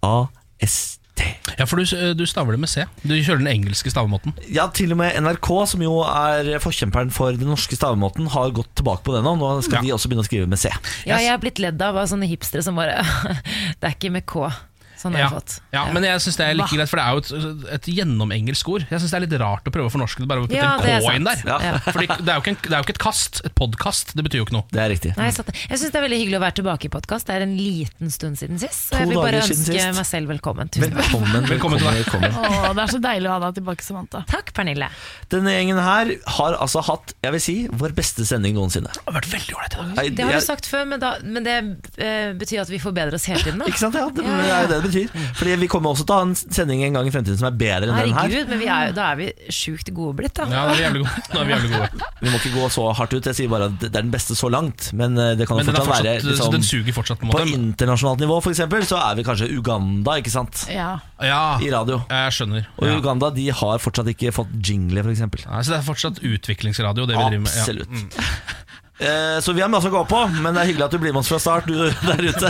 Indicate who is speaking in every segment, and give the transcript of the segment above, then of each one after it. Speaker 1: P-O-D-C-A-S-T.
Speaker 2: Ja, for du, eh, du staver det med C. Du kjører den engelske stavemåten.
Speaker 1: Ja, til og med NRK, som jo er forkjemperen for den norske stavemåten, har gått tilbake på det nå. Nå skal
Speaker 2: Ja.
Speaker 1: de også begynne å skrive med C.
Speaker 3: Ja, jeg er blitt ledd av av sånne hipstere som bare Det er ikke med K. Sånn har
Speaker 2: Ja,
Speaker 3: jeg fått.
Speaker 2: ja, men jeg synes det er like greit, for det er jo et, et gjennomengelsk ord. Jeg synes det er litt rart å prøve å fornorske det bare ved å putte
Speaker 3: Ja, det er
Speaker 2: en K inn der.
Speaker 3: sant. Ja.
Speaker 2: Fordi det er, jo ikke en, det er jo ikke et kast. Et podkast. Det betyr jo ikke noe.
Speaker 1: Det er riktig.
Speaker 3: Nei, sant. Jeg syns det er veldig hyggelig å være tilbake i podkast. Det er en liten stund siden sist. Og
Speaker 1: To
Speaker 3: jeg vil bare
Speaker 1: dager siden
Speaker 3: ønske
Speaker 1: sist.
Speaker 3: meg selv velkommen. Tusen takk.
Speaker 1: Velkommen,
Speaker 2: Velkommen
Speaker 1: velkommen,
Speaker 2: til deg.
Speaker 1: velkommen.
Speaker 4: Å, det er så deilig å ha deg tilbake, Samantha.
Speaker 3: Takk, Pernille.
Speaker 1: Denne gjengen her har altså hatt, jeg vil si, vår beste sending noensinne.
Speaker 2: Det har vært veldig ålreit i dag. altså.
Speaker 1: Nei,
Speaker 3: Det har
Speaker 1: jeg-
Speaker 3: du sagt før, men, da, men det eh, betyr at vi forbedrer oss hele tiden, da.
Speaker 1: Ikke sant? Ja, det, det er jo det det betyr. Fordi vi kommer også til å ha en sending en gang i fremtiden som er bedre enn den her.
Speaker 3: Herregud, men vi er, jo- da er vi sjukt gode blitt, da.
Speaker 2: Ja, nå er vi jævlig gode. Nå er vi jævlig gode.
Speaker 1: Vi må ikke gå så hardt ut. Jeg sier bare at det er den beste så langt. Men eh, det kan jo
Speaker 2: Men den, er
Speaker 1: fortsatt være
Speaker 2: fortsatt, så
Speaker 1: liksom,
Speaker 2: den suger fortsatt, på en
Speaker 1: På
Speaker 2: måte.
Speaker 1: internasjonalt nivå, for eksempel, så er vi kanskje Uganda, ikke sant?
Speaker 4: Ja.
Speaker 1: I
Speaker 2: Ja,
Speaker 1: radio.
Speaker 2: jeg skjønner.
Speaker 1: Og
Speaker 2: Ja.
Speaker 1: Uganda de har fortsatt ikke fått jingle, for eksempel.
Speaker 2: Nei, så det er fortsatt utviklingsradio, det vi driver med. Ja. Mm.
Speaker 1: Absolutt. Eh, Så vi har mye å gå på, men det er hyggelig at du blir med oss fra start, du der ute.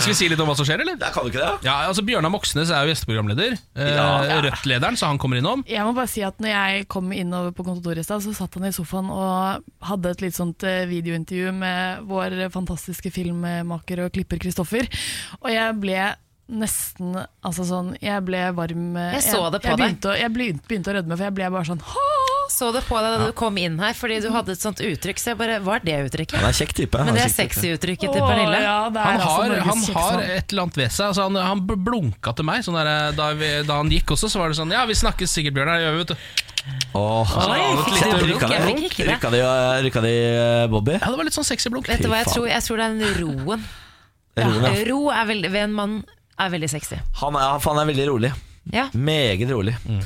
Speaker 2: Skal vi si litt om hva som skjer, eller?
Speaker 1: Jeg kan jo ikke det.
Speaker 2: Ja, altså Bjørnar Moxnes er jo gjesteprogramleder. Eh,
Speaker 1: Ja.
Speaker 2: Rødt-lederen, så han kommer innom.
Speaker 4: Jeg må bare si at når jeg kom innover på kontoret i stad, så satt han i sofaen og hadde et litt sånt eh, videointervju med vår fantastiske filmmaker og klipper Kristoffer. Og jeg ble nesten altså sånn Jeg ble varm eh,
Speaker 3: Jeg så det på
Speaker 4: jeg, jeg
Speaker 3: deg.
Speaker 4: begynte Å, jeg begynte, begynte å rødme, for jeg ble bare sånn Hå!
Speaker 3: Så det på deg da du kom inn her, fordi du hadde et sånt uttrykk, så jeg bare Hva er det uttrykket?
Speaker 1: Han er kjekk type.
Speaker 3: Men
Speaker 1: han
Speaker 3: det
Speaker 1: er
Speaker 3: er
Speaker 1: kjekk type.
Speaker 3: sexy-uttrykket til
Speaker 4: Å,
Speaker 3: Pernille.
Speaker 4: Ja, det er
Speaker 2: Han
Speaker 4: altså
Speaker 2: har,
Speaker 4: Norges
Speaker 2: han
Speaker 4: kjekkeste
Speaker 2: har
Speaker 4: mann.
Speaker 2: et eller annet ved seg. Altså han, han bl- blunka til meg sånn der, da, vi, da han gikk også. Så var det sånn Ja, vi snakkes sikkert, Bjørnar. gjør vi, vet du.
Speaker 1: Åh,
Speaker 3: Oi, jeg fikk
Speaker 1: Se,
Speaker 3: ikke det.
Speaker 1: rykka de-
Speaker 3: Jeg fikk ikke det.
Speaker 1: Rykka de, rykka de Bobby?
Speaker 2: Ja, det var litt sånn sexy blunk.
Speaker 3: Vet du hva jeg
Speaker 1: faen.
Speaker 3: tror? Jeg tror det er den roen.
Speaker 1: Rolig, ja.
Speaker 3: Ro er veldig, ved en mann er veldig sexy.
Speaker 1: Han er, han er veldig rolig.
Speaker 3: Ja.
Speaker 1: Meget rolig.
Speaker 2: Mm.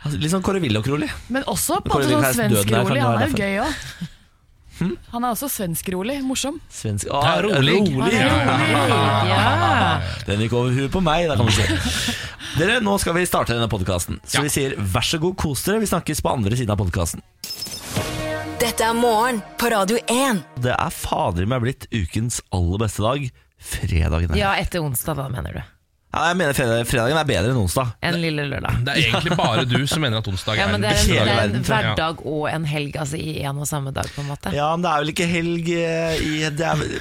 Speaker 1: Altså, Litt sånn Kåre Willoch-rolig.
Speaker 4: Men også på
Speaker 1: Kåre
Speaker 4: en måte
Speaker 1: Wilhelmsen
Speaker 4: sånn
Speaker 1: døde der, kan
Speaker 4: svenskrolig.
Speaker 1: det
Speaker 4: Han
Speaker 1: være
Speaker 4: er jo gøy òg. Han er også svenskrolig. Morsom.
Speaker 1: Svensk
Speaker 2: Ja,
Speaker 1: Åh,
Speaker 2: rolig.
Speaker 1: rolig.
Speaker 2: Ja, ja, ja.
Speaker 3: Ja.
Speaker 1: Den gikk over huet på meg, der kan du se. Dere, nå skal vi starte denne podkasten. Så
Speaker 2: Ja.
Speaker 1: vi sier vær så god, kos dere. Vi snakkes på andre siden av podkasten.
Speaker 5: Dette er morgen på Radio 1.
Speaker 1: Det er fader meg blitt ukens aller beste dag. Fredagen. er.
Speaker 3: ja, etter onsdag, da, mener du.
Speaker 1: Ja, jeg mener fredag- fredagen er bedre enn onsdag.
Speaker 3: En lille lørdag.
Speaker 2: Det er egentlig bare du som mener at onsdag
Speaker 3: Ja,
Speaker 2: er
Speaker 3: men
Speaker 2: den
Speaker 3: det er,
Speaker 2: beste
Speaker 3: en, det
Speaker 2: dagen.
Speaker 3: er
Speaker 1: verden,
Speaker 3: en
Speaker 2: tror jeg.
Speaker 3: hverdag og en helg altså, i en og samme dag, på en måte.
Speaker 1: Ja, men det er vel ikke helg eh, i Det er vel-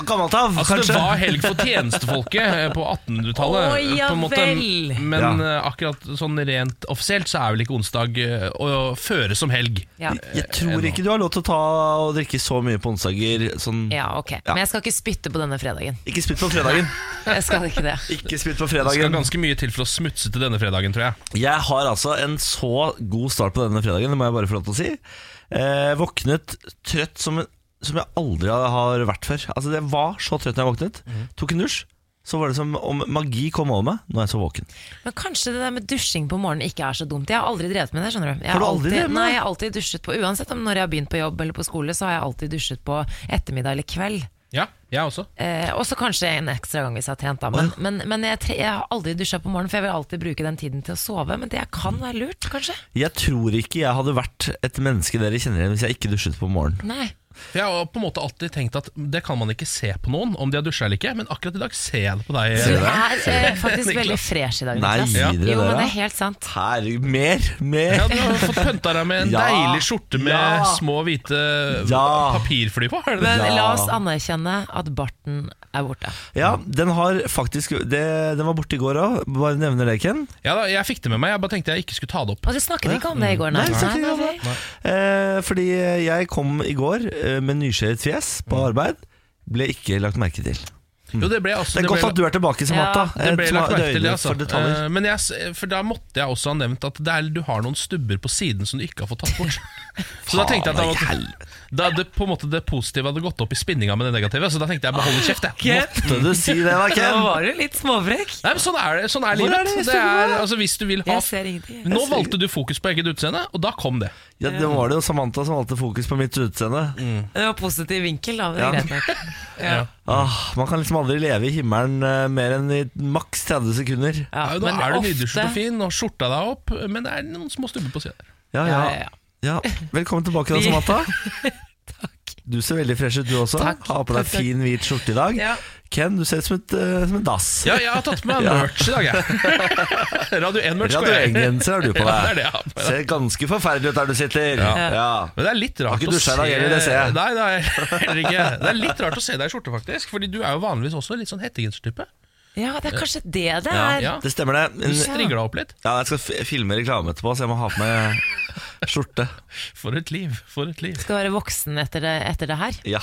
Speaker 1: gammelt av,
Speaker 2: Altså,
Speaker 1: kanskje.
Speaker 2: det var helg for tjenestefolket eh, på 1800-tallet.
Speaker 3: Å,
Speaker 2: eh,
Speaker 3: ja
Speaker 2: på en måte.
Speaker 3: vel.
Speaker 2: Men
Speaker 1: Ja.
Speaker 2: eh, akkurat sånn rent offisielt så er vel ikke onsdag eh, å føre som helg.
Speaker 3: Ja.
Speaker 1: Jeg tror ikke du har lov til å ta og drikke så mye på onsdager. Sånn.
Speaker 3: ja, ok.
Speaker 1: Ja.
Speaker 3: Men jeg skal ikke spytte på denne fredagen.
Speaker 1: Ikke spytt på fredagen.
Speaker 3: Jeg skal ikke det.
Speaker 1: Ikke spytt på
Speaker 2: Det skal
Speaker 1: fredagen.
Speaker 2: ganske mye til for å smutse til denne fredagen, tror jeg.
Speaker 1: Jeg har altså en så god start på denne fredagen, det må jeg bare få lov til å si. Eh, våknet trøtt som, som jeg aldri har vært før. Altså Det var så trøtt da jeg våknet. Tok en dusj. Så var det som om magi kom over meg. Nå er jeg så våken.
Speaker 3: Men kanskje det der med dusjing på morgenen ikke er så dumt. Jeg har aldri drevet med det. skjønner du jeg
Speaker 1: Har du aldri drevet med det?
Speaker 3: Nei, jeg har alltid dusjet på Uansett om når jeg har begynt på jobb eller på skole, så har jeg alltid dusjet på ettermiddag eller kveld.
Speaker 2: Ja, jeg også.
Speaker 3: Eh, og så kanskje en ekstra gang hvis jeg har trent, da. Men, men, men jeg, tre, jeg har aldri dusja på morgenen, for jeg vil alltid bruke den tiden til å sove. Men det kan være lurt, kanskje?
Speaker 1: Jeg tror ikke jeg hadde vært et menneske dere kjenner igjen hvis jeg ikke dusjet på morgenen.
Speaker 3: Nei.
Speaker 2: For Jeg har på en måte alltid tenkt at det kan man ikke se på noen, om de har dusja eller ikke, men akkurat i dag ser jeg det på deg.
Speaker 3: Du
Speaker 2: eh,
Speaker 3: er eh, faktisk veldig fresh i dag,
Speaker 1: Nei,
Speaker 3: Niklas.
Speaker 1: gir dere
Speaker 3: Jo, men
Speaker 1: det,
Speaker 3: det
Speaker 1: da?
Speaker 3: er helt sant.
Speaker 1: Herregud, mer! Mer!
Speaker 2: Ja, du har fått pønta deg med en
Speaker 1: Ja.
Speaker 2: deilig skjorte med
Speaker 1: Ja.
Speaker 2: små hvite
Speaker 1: Ja.
Speaker 2: papirfly på. Er det det?
Speaker 3: Men
Speaker 1: Ja.
Speaker 3: la oss anerkjenne at barten er borte.
Speaker 1: Ja, den har faktisk det, Den var borte i går òg, bare nevner det, Ken.
Speaker 2: Ja da, Jeg fikk det med meg, jeg bare tenkte jeg ikke skulle ta det opp.
Speaker 3: Og du snakket ikke om det i går, nei?
Speaker 1: Nei, snakket ikke om
Speaker 3: nei,
Speaker 1: det. Eh, fordi
Speaker 3: Mm.
Speaker 1: jeg kom i går eh, med nyskjevet fjes på arbeid. Ble ikke lagt merke til.
Speaker 2: Jo, det ble også
Speaker 1: Det er godt
Speaker 2: ble,
Speaker 1: at du er tilbake Eh, som
Speaker 3: Ja,
Speaker 1: Atta.
Speaker 2: det ble
Speaker 1: Et sma-
Speaker 2: lagt merke til, det,
Speaker 1: øyeblikk
Speaker 2: altså.
Speaker 1: for detaljer.
Speaker 2: Eh, Men jeg, s- for da måtte jeg også ha nevnt at det er, du har noen stubber på siden som du ikke har fått tatt bort. Så da tenkte jeg at da,
Speaker 1: Faen,
Speaker 2: måtte, da det, på en måte det positive hadde gått opp i spinninga med det negative, så da tenkte jeg bare holde kjeft. Jeg.
Speaker 1: Måtte du si det, da,
Speaker 3: Da
Speaker 1: Ken?
Speaker 3: var du litt småfrekk.
Speaker 2: Nei, men sånn er, det, sånn
Speaker 1: Hvor
Speaker 2: er
Speaker 1: er
Speaker 2: livet.
Speaker 1: det
Speaker 2: det,
Speaker 1: stubber,
Speaker 2: er,
Speaker 1: da?
Speaker 2: altså, hvis du vil ha
Speaker 3: Jeg ser ingenting.
Speaker 2: Nå valgte du fokus på eget utseende, og da kom det.
Speaker 1: Ja, det var det jo Samantha som valgte fokus på mitt utseende.
Speaker 3: Det var positiv vinkel, da. Men
Speaker 1: Ja.
Speaker 3: greit nok.
Speaker 2: Ja.
Speaker 1: Ah, man kan liksom aldri leve i himmelen eh, mer enn i maks 30 sekunder.
Speaker 3: Ja,
Speaker 2: Ja, nå
Speaker 3: men
Speaker 2: er du
Speaker 3: ofte-
Speaker 2: nydusjet og fin, og skjorta deg opp, men det er noen små stubber på sida der.
Speaker 1: Ja, ja,
Speaker 3: Ja, ja, ja.
Speaker 1: ja. Velkommen tilbake, da, Samantha. Du ser veldig fresh ut, du også.
Speaker 3: Takk.
Speaker 1: Har på deg
Speaker 3: Takk, takk.
Speaker 1: fin, hvit skjorte i dag.
Speaker 3: Ja.
Speaker 1: Ken, du ser ut som, et, eh, som en dass.
Speaker 2: Ja, jeg har tatt med
Speaker 1: Ja.
Speaker 2: merch i dag, jeg. Radio 1-merch.
Speaker 1: Radio 1-genser har du på
Speaker 2: Ja, det
Speaker 1: deg.
Speaker 2: er det jeg har på meg.
Speaker 1: Ser ganske forferdelig ut der du sitter. Ja.
Speaker 2: Men det er litt
Speaker 1: Har
Speaker 2: rart
Speaker 1: ikke
Speaker 2: å
Speaker 1: dusja i dag heller, det ser jeg.
Speaker 2: Nei, nei, heller ikke. Det er litt rart å se deg i skjorte, faktisk. Fordi du er jo vanligvis også litt sånn hettegensertype.
Speaker 3: ja, det er kanskje det det
Speaker 1: Ja,
Speaker 3: er.
Speaker 2: Ja.
Speaker 1: Det stemmer, det.
Speaker 2: Du
Speaker 1: Men-
Speaker 2: strigler deg opp litt.
Speaker 1: Ja, jeg skal f- filme reklame etterpå, så jeg må ha på meg skjorte.
Speaker 2: For et liv, for et liv.
Speaker 3: Skal være voksen etter det, etter det her. Mm.
Speaker 1: Ja.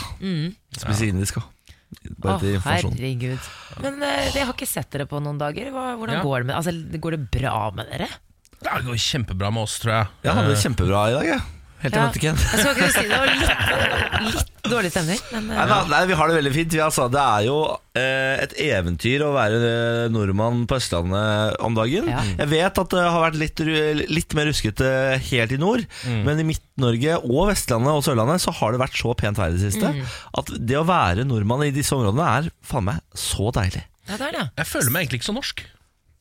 Speaker 1: Spise indisk òg.
Speaker 3: Å,
Speaker 1: Bare til informasjon.
Speaker 3: herregud. Men eh, jeg har ikke sett dere på noen dager. Hva, hvordan
Speaker 2: Ja.
Speaker 3: går det med Altså, går det bra med dere?
Speaker 2: Det går kjempebra med oss, tror jeg.
Speaker 1: Jeg hadde det kjempebra i dag, jeg. Helt til
Speaker 3: Ja.
Speaker 1: jeg møtte Ken.
Speaker 3: Jeg skal ikke si det var litt, eh, litt dårlig stemning, men eh,
Speaker 1: Nei, da, nei, vi har det veldig fint. Vi, altså, det er jo eh, et eventyr å være eh, nordmann på Østlandet om dagen.
Speaker 3: Ja.
Speaker 1: Jeg vet at det har vært litt, ru- litt mer ruskete helt i nord, men i Midt-Norge og Vestlandet og Sørlandet så har det vært så pent vær i det siste at det å være nordmann i disse områdene er faen meg så deilig.
Speaker 3: ja, det er det.
Speaker 2: Jeg føler meg egentlig ikke så norsk.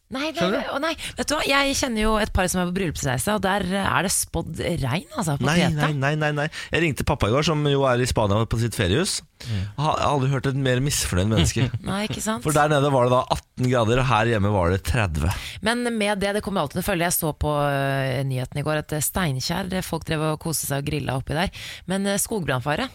Speaker 3: Nei, det,
Speaker 2: Skjønner du?
Speaker 3: å nei, vet du hva? Jeg kjenner jo et par som er på bryllupsreise, og der eh, er det spådd regn, altså. På
Speaker 1: Nei,
Speaker 3: Kreta.
Speaker 1: nei, nei, nei, nei. Jeg ringte pappa i går, som jo er i Spania på sitt feriehus. Har aldri hørt et mer misfornøyd menneske.
Speaker 3: Nei, ikke sant?
Speaker 1: For der nede var det da 18 grader, og her hjemme var det 30.
Speaker 3: Men med det, det kommer alltid til å følge. Jeg så på eh, nyheten i går at eh, Steinkjer, det folk drev og koste seg og grilla oppi der. Men eh, skogbrannfare,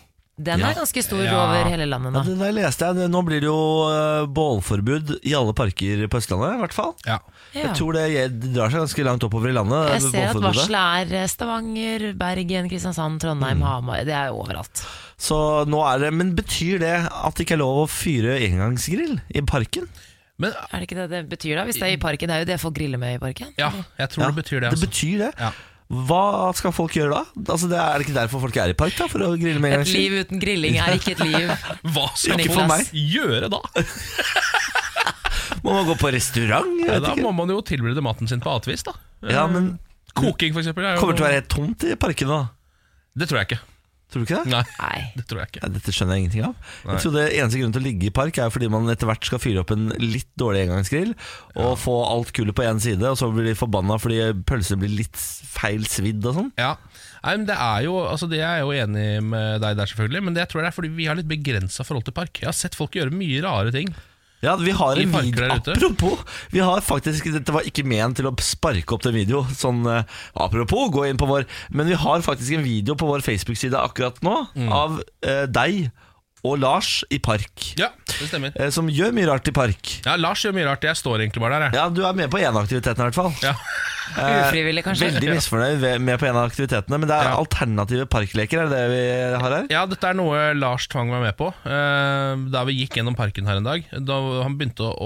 Speaker 3: den
Speaker 1: Ja.
Speaker 3: er ganske stor
Speaker 2: Ja.
Speaker 3: over hele landet
Speaker 1: Ja,
Speaker 3: nå.
Speaker 1: det der leste jeg. Nå blir det jo eh, bålforbud i alle parker på Østlandet, i hvert fall.
Speaker 2: Ja.
Speaker 3: Ja.
Speaker 1: Jeg tror det gje- det drar seg ganske langt oppover i landet.
Speaker 3: Jeg ser at
Speaker 1: bålforbudet.
Speaker 3: varselet er eh, Stavanger, Bergen, Kristiansand, Trondheim,
Speaker 1: Mm.
Speaker 3: Hamar. Det er jo overalt.
Speaker 1: Så nå er det, Men betyr det at det ikke er lov å fyre engangsgrill i parken?
Speaker 2: Men
Speaker 3: Er det ikke det det betyr da? Hvis det er i parken, det er jo det folk griller med i parken.
Speaker 2: ja, jeg tror
Speaker 1: Ja,
Speaker 2: det betyr det. Altså.
Speaker 1: betyr det.
Speaker 2: Ja.
Speaker 1: Hva skal folk gjøre da? Altså, det er, er det ikke derfor folk er i park? da, For å grille med
Speaker 3: Et
Speaker 1: engangsgrill?
Speaker 3: liv uten grilling er ikke et liv.
Speaker 2: Hva skal
Speaker 3: Ikke for
Speaker 2: man
Speaker 3: meg.
Speaker 2: gjøre da?
Speaker 1: Må man gå på restaurant? Jeg
Speaker 2: Ja,
Speaker 1: vet
Speaker 2: da
Speaker 1: ikke.
Speaker 2: må man jo tilberede maten sin på annet vis, da.
Speaker 1: Ja, men
Speaker 2: Koking, for eksempel. er jo-
Speaker 1: Kommer det til å være helt tomt i parkene da?
Speaker 2: Det tror jeg ikke.
Speaker 1: Tror du ikke det?
Speaker 2: Nei,
Speaker 3: Nei.
Speaker 2: det tror jeg ikke.
Speaker 1: Ja, dette skjønner jeg ingenting av.
Speaker 2: Nei.
Speaker 1: Jeg tror det Eneste grunnen til å ligge i park er fordi man etter hvert skal fyre opp en litt dårlig engangsgrill og få alt kullet på én side, og så blir de forbanna fordi pølsene blir litt feil svidd og sånn.
Speaker 2: Ja, Nei, men det er jo, altså det er jeg jo enig med deg der selvfølgelig Men det tror jeg det er fordi vi har litt begrenset forhold til park Jeg har sett folk gjøre mye rare ting
Speaker 1: Ja, vi har
Speaker 2: I
Speaker 1: en
Speaker 2: parker
Speaker 1: video
Speaker 2: der ute.
Speaker 1: Apropos, vi har faktisk Dette var ikke ment til å sparke opp til en video Sånn, eh, apropos, gå inn på vår Men vi har faktisk en video på vår Facebook-side akkurat nå Av eh, deg og Lars i park
Speaker 2: Ja, det stemmer
Speaker 1: eh, Som gjør mye rart i park
Speaker 2: Ja, Lars gjør mye rart, jeg står egentlig bare der jeg.
Speaker 1: Ja, du er med på en av aktivitetene i hvert fall
Speaker 2: Ja.
Speaker 3: Ufrivillig, kanskje.
Speaker 1: Eh, Veldig misfornøyd ved- med på en av aktivitetene Men det er
Speaker 2: Ja.
Speaker 1: alternative parkleker, er det det vi har her?
Speaker 2: Ja, dette er noe Lars tvang meg med på eh, Da vi gikk gjennom parken her en dag Da han begynte å,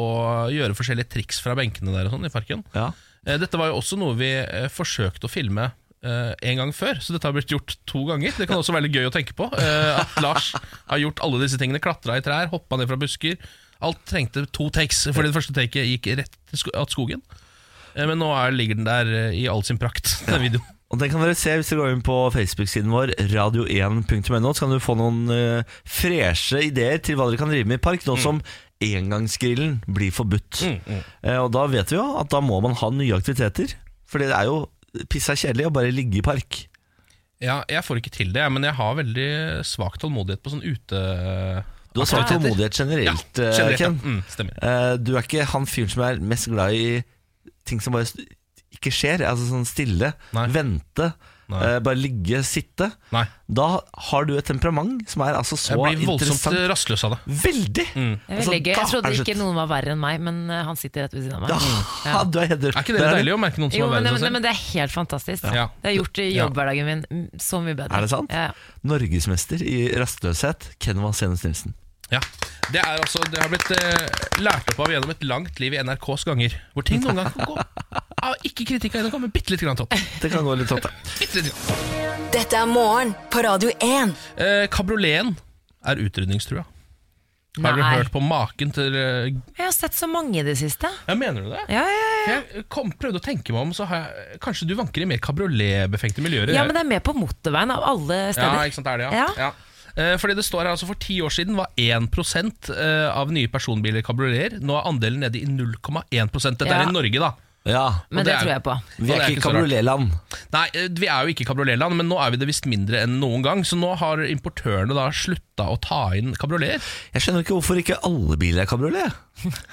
Speaker 2: å gjøre forskjellige triks fra benkene der og sånn i parken
Speaker 1: Ja,
Speaker 2: Eh, Dette var jo også noe vi eh, forsøkte å filme eh, en gang før, så dette har blitt gjort to ganger. Det kan også være litt gøy å tenke på. eh, at Lars har gjort alle disse tingene. Klatra i trær, hoppa ned fra busker. Alt trengte to takes, fordi det første taket gikk rett til sko at skogen. Eh, men nå er, ligger den der eh, i all sin prakt, den videoen.
Speaker 1: og den kan dere se hvis dere går inn på Facebook-siden vår radio1.no Så kan du få noen uh, freshe ideer til hva dere kan drive med i park
Speaker 2: Mm.
Speaker 1: Nå som engangsgrillen blir forbudt Eh, Og da vet vi jo at da må man ha nye aktiviteter Fordi det er jo pissa kjedelig å bare ligge i park
Speaker 2: Ja, jeg får ikke til det, jeg, men jeg har veldig svak tålmodighet på sånn ute...
Speaker 1: Du har svart tålmodighet generelt,
Speaker 2: Ja,
Speaker 1: eh,
Speaker 2: generelt, ja.
Speaker 1: Ken
Speaker 2: Mm, stemmer.
Speaker 1: Eh, Du er ikke han fyren som er mest glad i ting som bare st- ikke skjer. Altså sånn stille,
Speaker 2: Nei.
Speaker 1: vente,
Speaker 2: Nei.
Speaker 1: eh, bare ligge, sitte.
Speaker 2: Nei,
Speaker 1: Da har du et temperament som er altså så
Speaker 2: jeg blir voldsomt eh, Mm.
Speaker 1: interessant.
Speaker 2: rastløs av det.
Speaker 1: Veldig!
Speaker 3: Det er veldig
Speaker 1: Altså,
Speaker 3: gøy.
Speaker 1: da
Speaker 3: Jeg trodde
Speaker 1: er det
Speaker 3: ikke Mm.
Speaker 1: slutt.
Speaker 3: noen var verre enn meg, men eh, han sitter rett ved siden av meg.
Speaker 1: Ja,
Speaker 3: Ja.
Speaker 1: du er heder.
Speaker 2: Er ikke det
Speaker 1: Der
Speaker 2: deilig å merke noen som
Speaker 3: Jo,
Speaker 2: er
Speaker 3: men det,
Speaker 2: verre enn seg
Speaker 3: men
Speaker 2: selv?
Speaker 3: det er helt fantastisk.
Speaker 2: Ja.
Speaker 3: Det har gjort i
Speaker 2: Ja.
Speaker 3: jobbhverdagen min mm, så mye bedre.
Speaker 1: Er det sant?
Speaker 3: Ja.
Speaker 1: Norgesmester i rastløshet, Ken Vasenius Nilsen.
Speaker 2: Ja. Det, er altså, det har blitt eh, lært opp av gjennom et langt liv i NRKs ganger, hvor ting noen ganger kan gå av ikke kritikk av NRK, men bitte litt grann topp.
Speaker 1: Det kan gå litt tatt, ja.
Speaker 2: Bitte litt grann.
Speaker 5: Dette er morgen på Radio 1.
Speaker 2: Eh, kabrioleten er utrydningstrua. Har dere
Speaker 3: Nei.
Speaker 2: hørt på maken til eh,
Speaker 3: Jeg har sett så mange i det siste.
Speaker 2: Ja, mener du det?
Speaker 3: Ja, ja, ja.
Speaker 2: Jeg kom, prøvde å tenke meg om, så har jeg Kanskje du vanker i mer kabrioletbefengte miljøer? enn
Speaker 3: ja,
Speaker 2: jeg-
Speaker 3: men det er med på motorveien av alle
Speaker 2: Ja,
Speaker 3: steder.
Speaker 2: ikke sant, det er det, ja.
Speaker 3: Ja.
Speaker 2: ja. Eh, Fordi det står her altså For ti år siden var 1 eh, av nye personbiler kabrioleter. Nå er andelen nede i 0,1 Dette
Speaker 3: Ja.
Speaker 2: er i Norge, da.
Speaker 1: ja.
Speaker 2: Og
Speaker 3: Men det
Speaker 2: er-
Speaker 3: tror jeg på.
Speaker 2: Og
Speaker 1: Vi
Speaker 2: det
Speaker 1: er ikke i
Speaker 2: så rart.
Speaker 1: kabrioletland.
Speaker 2: Nei, eh, vi er jo ikke kabrioletland, men nå er vi det visst mindre enn noen gang. Så nå har importørene da slutta å ta inn kabrioleter.
Speaker 1: Jeg skjønner ikke hvorfor ikke alle biler er kabriolet.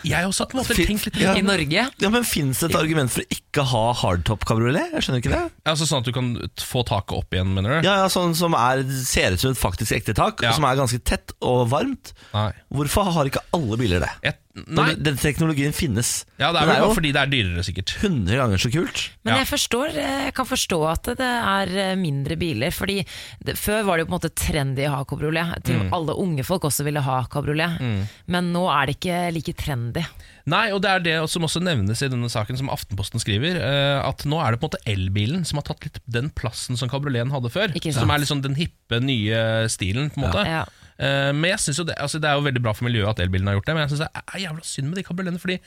Speaker 2: Jeg har også på en måte
Speaker 1: Fy-
Speaker 2: tenkt litt
Speaker 1: Ja.
Speaker 3: I Norge.
Speaker 1: Ja, men Fins det et argument for ikke å ha hardtop-kabriolet? Jeg skjønner ikke det.
Speaker 2: Altså Sånn at du kan t- få taket opp igjen, mener du?
Speaker 1: Ja, ja, Sånn som er, ser ut som et faktisk ekte tak,
Speaker 2: Ja.
Speaker 1: som er ganske tett og varmt.
Speaker 2: Nei.
Speaker 1: Hvorfor har ikke alle biler det?
Speaker 2: Jeg, nei.
Speaker 1: Når Den teknologien finnes.
Speaker 2: Ja, det er
Speaker 1: Den
Speaker 2: vel bare
Speaker 1: jo
Speaker 2: fordi det er dyrere, sikkert.
Speaker 1: 100 ganger så kult.
Speaker 3: Men
Speaker 2: Ja.
Speaker 3: jeg, forstår, eh, jeg kan forstå at det er eh, mindre biler. Fordi det, Før var det jo på en måte trendy å ha kabriolet. Til og med Alle unge folk også ville ha kabriolet. Men nå er det ikke like trendy.
Speaker 2: Nei, og det er det som også nevnes i denne saken som Aftenposten skriver, eh, at nå er det på en måte elbilen som har tatt litt den plassen som kabrioleten hadde før.
Speaker 3: Ikke sant.
Speaker 2: Som er liksom den hippe, nye stilen, på en måte.
Speaker 3: Ja.
Speaker 2: Eh, Men jeg synes jo det, altså det er jo veldig bra for miljøet at elbilen har gjort det, men jeg syns det er jævla synd med de kabrioletene. Fordi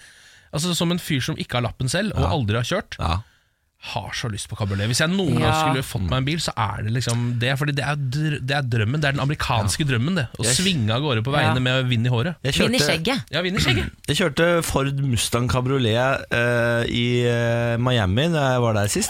Speaker 2: altså som en fyr som ikke har lappen selv, og aldri har kjørt,
Speaker 1: Ja.
Speaker 2: har så lyst på kabriolet. Hvis jeg noen gang
Speaker 3: Ja.
Speaker 2: skulle fått meg en bil, så er det liksom det. Fordi det er, dr det er drømmen. Det er den amerikanske drømmen, det. Å
Speaker 1: Jeg-
Speaker 2: svinge av gårde på veiene
Speaker 3: Ja.
Speaker 2: med vind i håret.
Speaker 1: Jeg
Speaker 3: Vinn i
Speaker 1: kjørte,
Speaker 3: skjegget.
Speaker 2: Ja, vinner skjegget.
Speaker 1: jeg kjørte Ford Mustang kabriolet eh, i eh, Miami da jeg var der sist.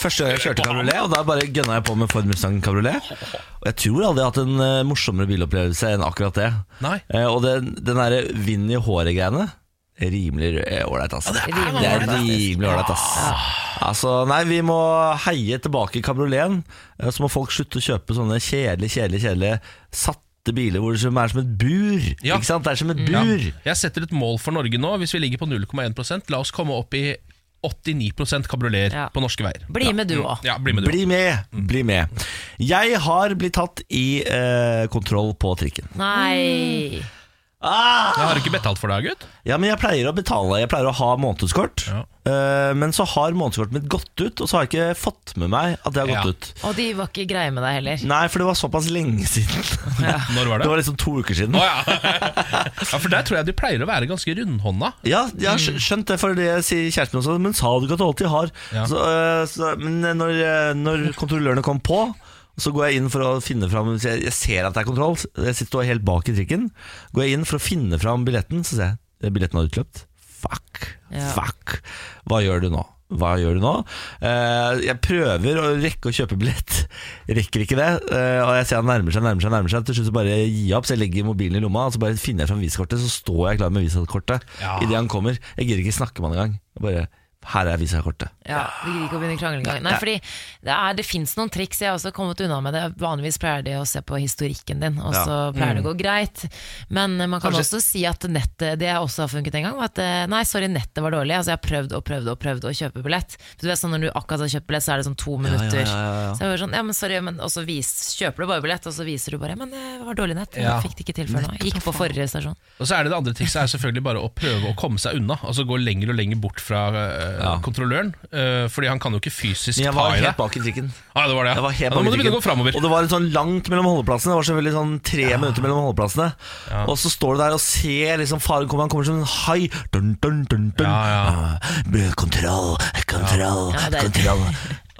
Speaker 1: Første gang jeg kjørte kabriolet, og da bare gønna jeg på med Ford Mustang kabriolet. Og jeg tror aldri jeg har hatt en eh, morsommere bilopplevelse enn akkurat det.
Speaker 2: Nei.
Speaker 1: Eh, og den, den derre vind i håret-greiene Rimelig eh, ålreit, ass. Det
Speaker 3: er
Speaker 1: det er rimelig ålreit, ass. Altså, nei, vi må heie tilbake kabrioleten. Eh, Så må folk slutte å kjøpe sånne kjedelige, kjedelige, kjedelige satte biler hvor det som er som et bur.
Speaker 2: Ja. Mm.
Speaker 1: Ikke sant? Det er som et
Speaker 2: Ja.
Speaker 1: bur.
Speaker 2: Jeg setter et mål for Norge nå. Hvis vi ligger på 0,1 la oss komme opp i 89 kabrioleter
Speaker 3: Ja.
Speaker 2: på norske veier.
Speaker 3: Bli med du òg.
Speaker 2: Ja, bli med du.
Speaker 1: Bli med, bli med. Jeg har blitt tatt i eh, kontroll på trikken.
Speaker 3: Nei
Speaker 1: Ah!
Speaker 2: Jeg har ikke betalt for deg, gutt.
Speaker 1: Ja, men jeg pleier å betale. Jeg pleier å ha månedskort.
Speaker 2: Ja.
Speaker 1: Eh, men så har månedskortet mitt gått ut, og så har jeg ikke fått med meg at det har gått
Speaker 2: Ja.
Speaker 1: ut.
Speaker 3: Og de var ikke greie med deg heller.
Speaker 1: Nei, for det var såpass lenge siden.
Speaker 2: Når var
Speaker 1: Det
Speaker 2: det?
Speaker 1: var liksom to uker siden.
Speaker 2: Å, ja. ja, For der tror jeg de pleier å være ganske rundhånda.
Speaker 1: Ja, jeg har skj- skjønt det, for det sier kjæresten min også. Men sa du ikke at du alltid har?
Speaker 2: Ja.
Speaker 1: Så, øh, så, men når, øh, når kontrollørene kom på, så går jeg inn for å finne fram så Jeg jeg ser at det er kontroll, så jeg sitter helt bak i trikken. Går jeg inn for å finne fram billetten, så ser jeg eh, billetten har utløpt. Fuck.
Speaker 3: Ja.
Speaker 1: Fuck. Hva gjør du nå? Hva gjør du nå? Eh, jeg prøver å rekke å kjøpe billett. Rekker ikke det. eh, og jeg ser han nærmer seg, nærmer seg, nærmer seg. Til slutt så bare gir jeg opp, så jeg legger mobilen i lomma og så bare finner jeg fram visakortet. Så står jeg klar med visakortet
Speaker 2: Ja.
Speaker 1: idet han kommer. Jeg gidder ikke snakke med han engang. Jeg Bare her er visakortet.
Speaker 3: Ja, Vi gidder ikke å begynne å krangle engang. Nei, fordi det, er, det fins noen triks. Jeg har også kommet unna med det. Vanligvis pleier de å se på historikken din, og så pleier
Speaker 1: Mm.
Speaker 3: det å gå greit. Men eh, man kan
Speaker 2: Kanskje-
Speaker 3: også si at nettet Det jeg også har funket en gang, var at eh, nei, sorry, nettet var dårlig. Altså, jeg har prøvd og prøvd og prøvd å kjøpe billett. For du vet sånn Når du akkurat har kjøpt billett, så er det sånn to minutter.
Speaker 1: ja, ja, ja.
Speaker 3: Så jeg var sånn, ja, men sorry, men, og så vis, kjøper du bare billett, og så viser du bare Men eh, det var dårlig nett.
Speaker 2: Ja.
Speaker 3: Jeg fikk det ikke til før nå. Jeg Gikk på forrige stasjon.
Speaker 2: Og så er det det andre trikset er selvfølgelig bare å prøve å komme seg unna. Altså gå lenger og lenger bort fra eh,
Speaker 1: Ja.
Speaker 2: kontrolløren. eh, fordi han kan jo ikke fysisk
Speaker 1: Men
Speaker 2: ta
Speaker 1: jeg var
Speaker 2: i
Speaker 1: helt
Speaker 2: deg.
Speaker 1: bak i trikken.
Speaker 2: Ja, det var det.
Speaker 1: Jeg
Speaker 2: Ja.
Speaker 1: var helt
Speaker 2: Ja, nå
Speaker 1: bak i
Speaker 2: må du
Speaker 1: trikken.
Speaker 2: begynne å gå framover.
Speaker 1: Og det var litt sånn langt mellom holdeplassene. Det var selvfølgelig sånn tre minutter mellom holdeplassene. Og så står du der og ser liksom faren komme. Han kommer som en hai. Dun, dun, dun, dun.
Speaker 2: Ja, ja.
Speaker 1: Ah, Kontroll, kontroll,
Speaker 3: Ja, det er-
Speaker 1: kontroll.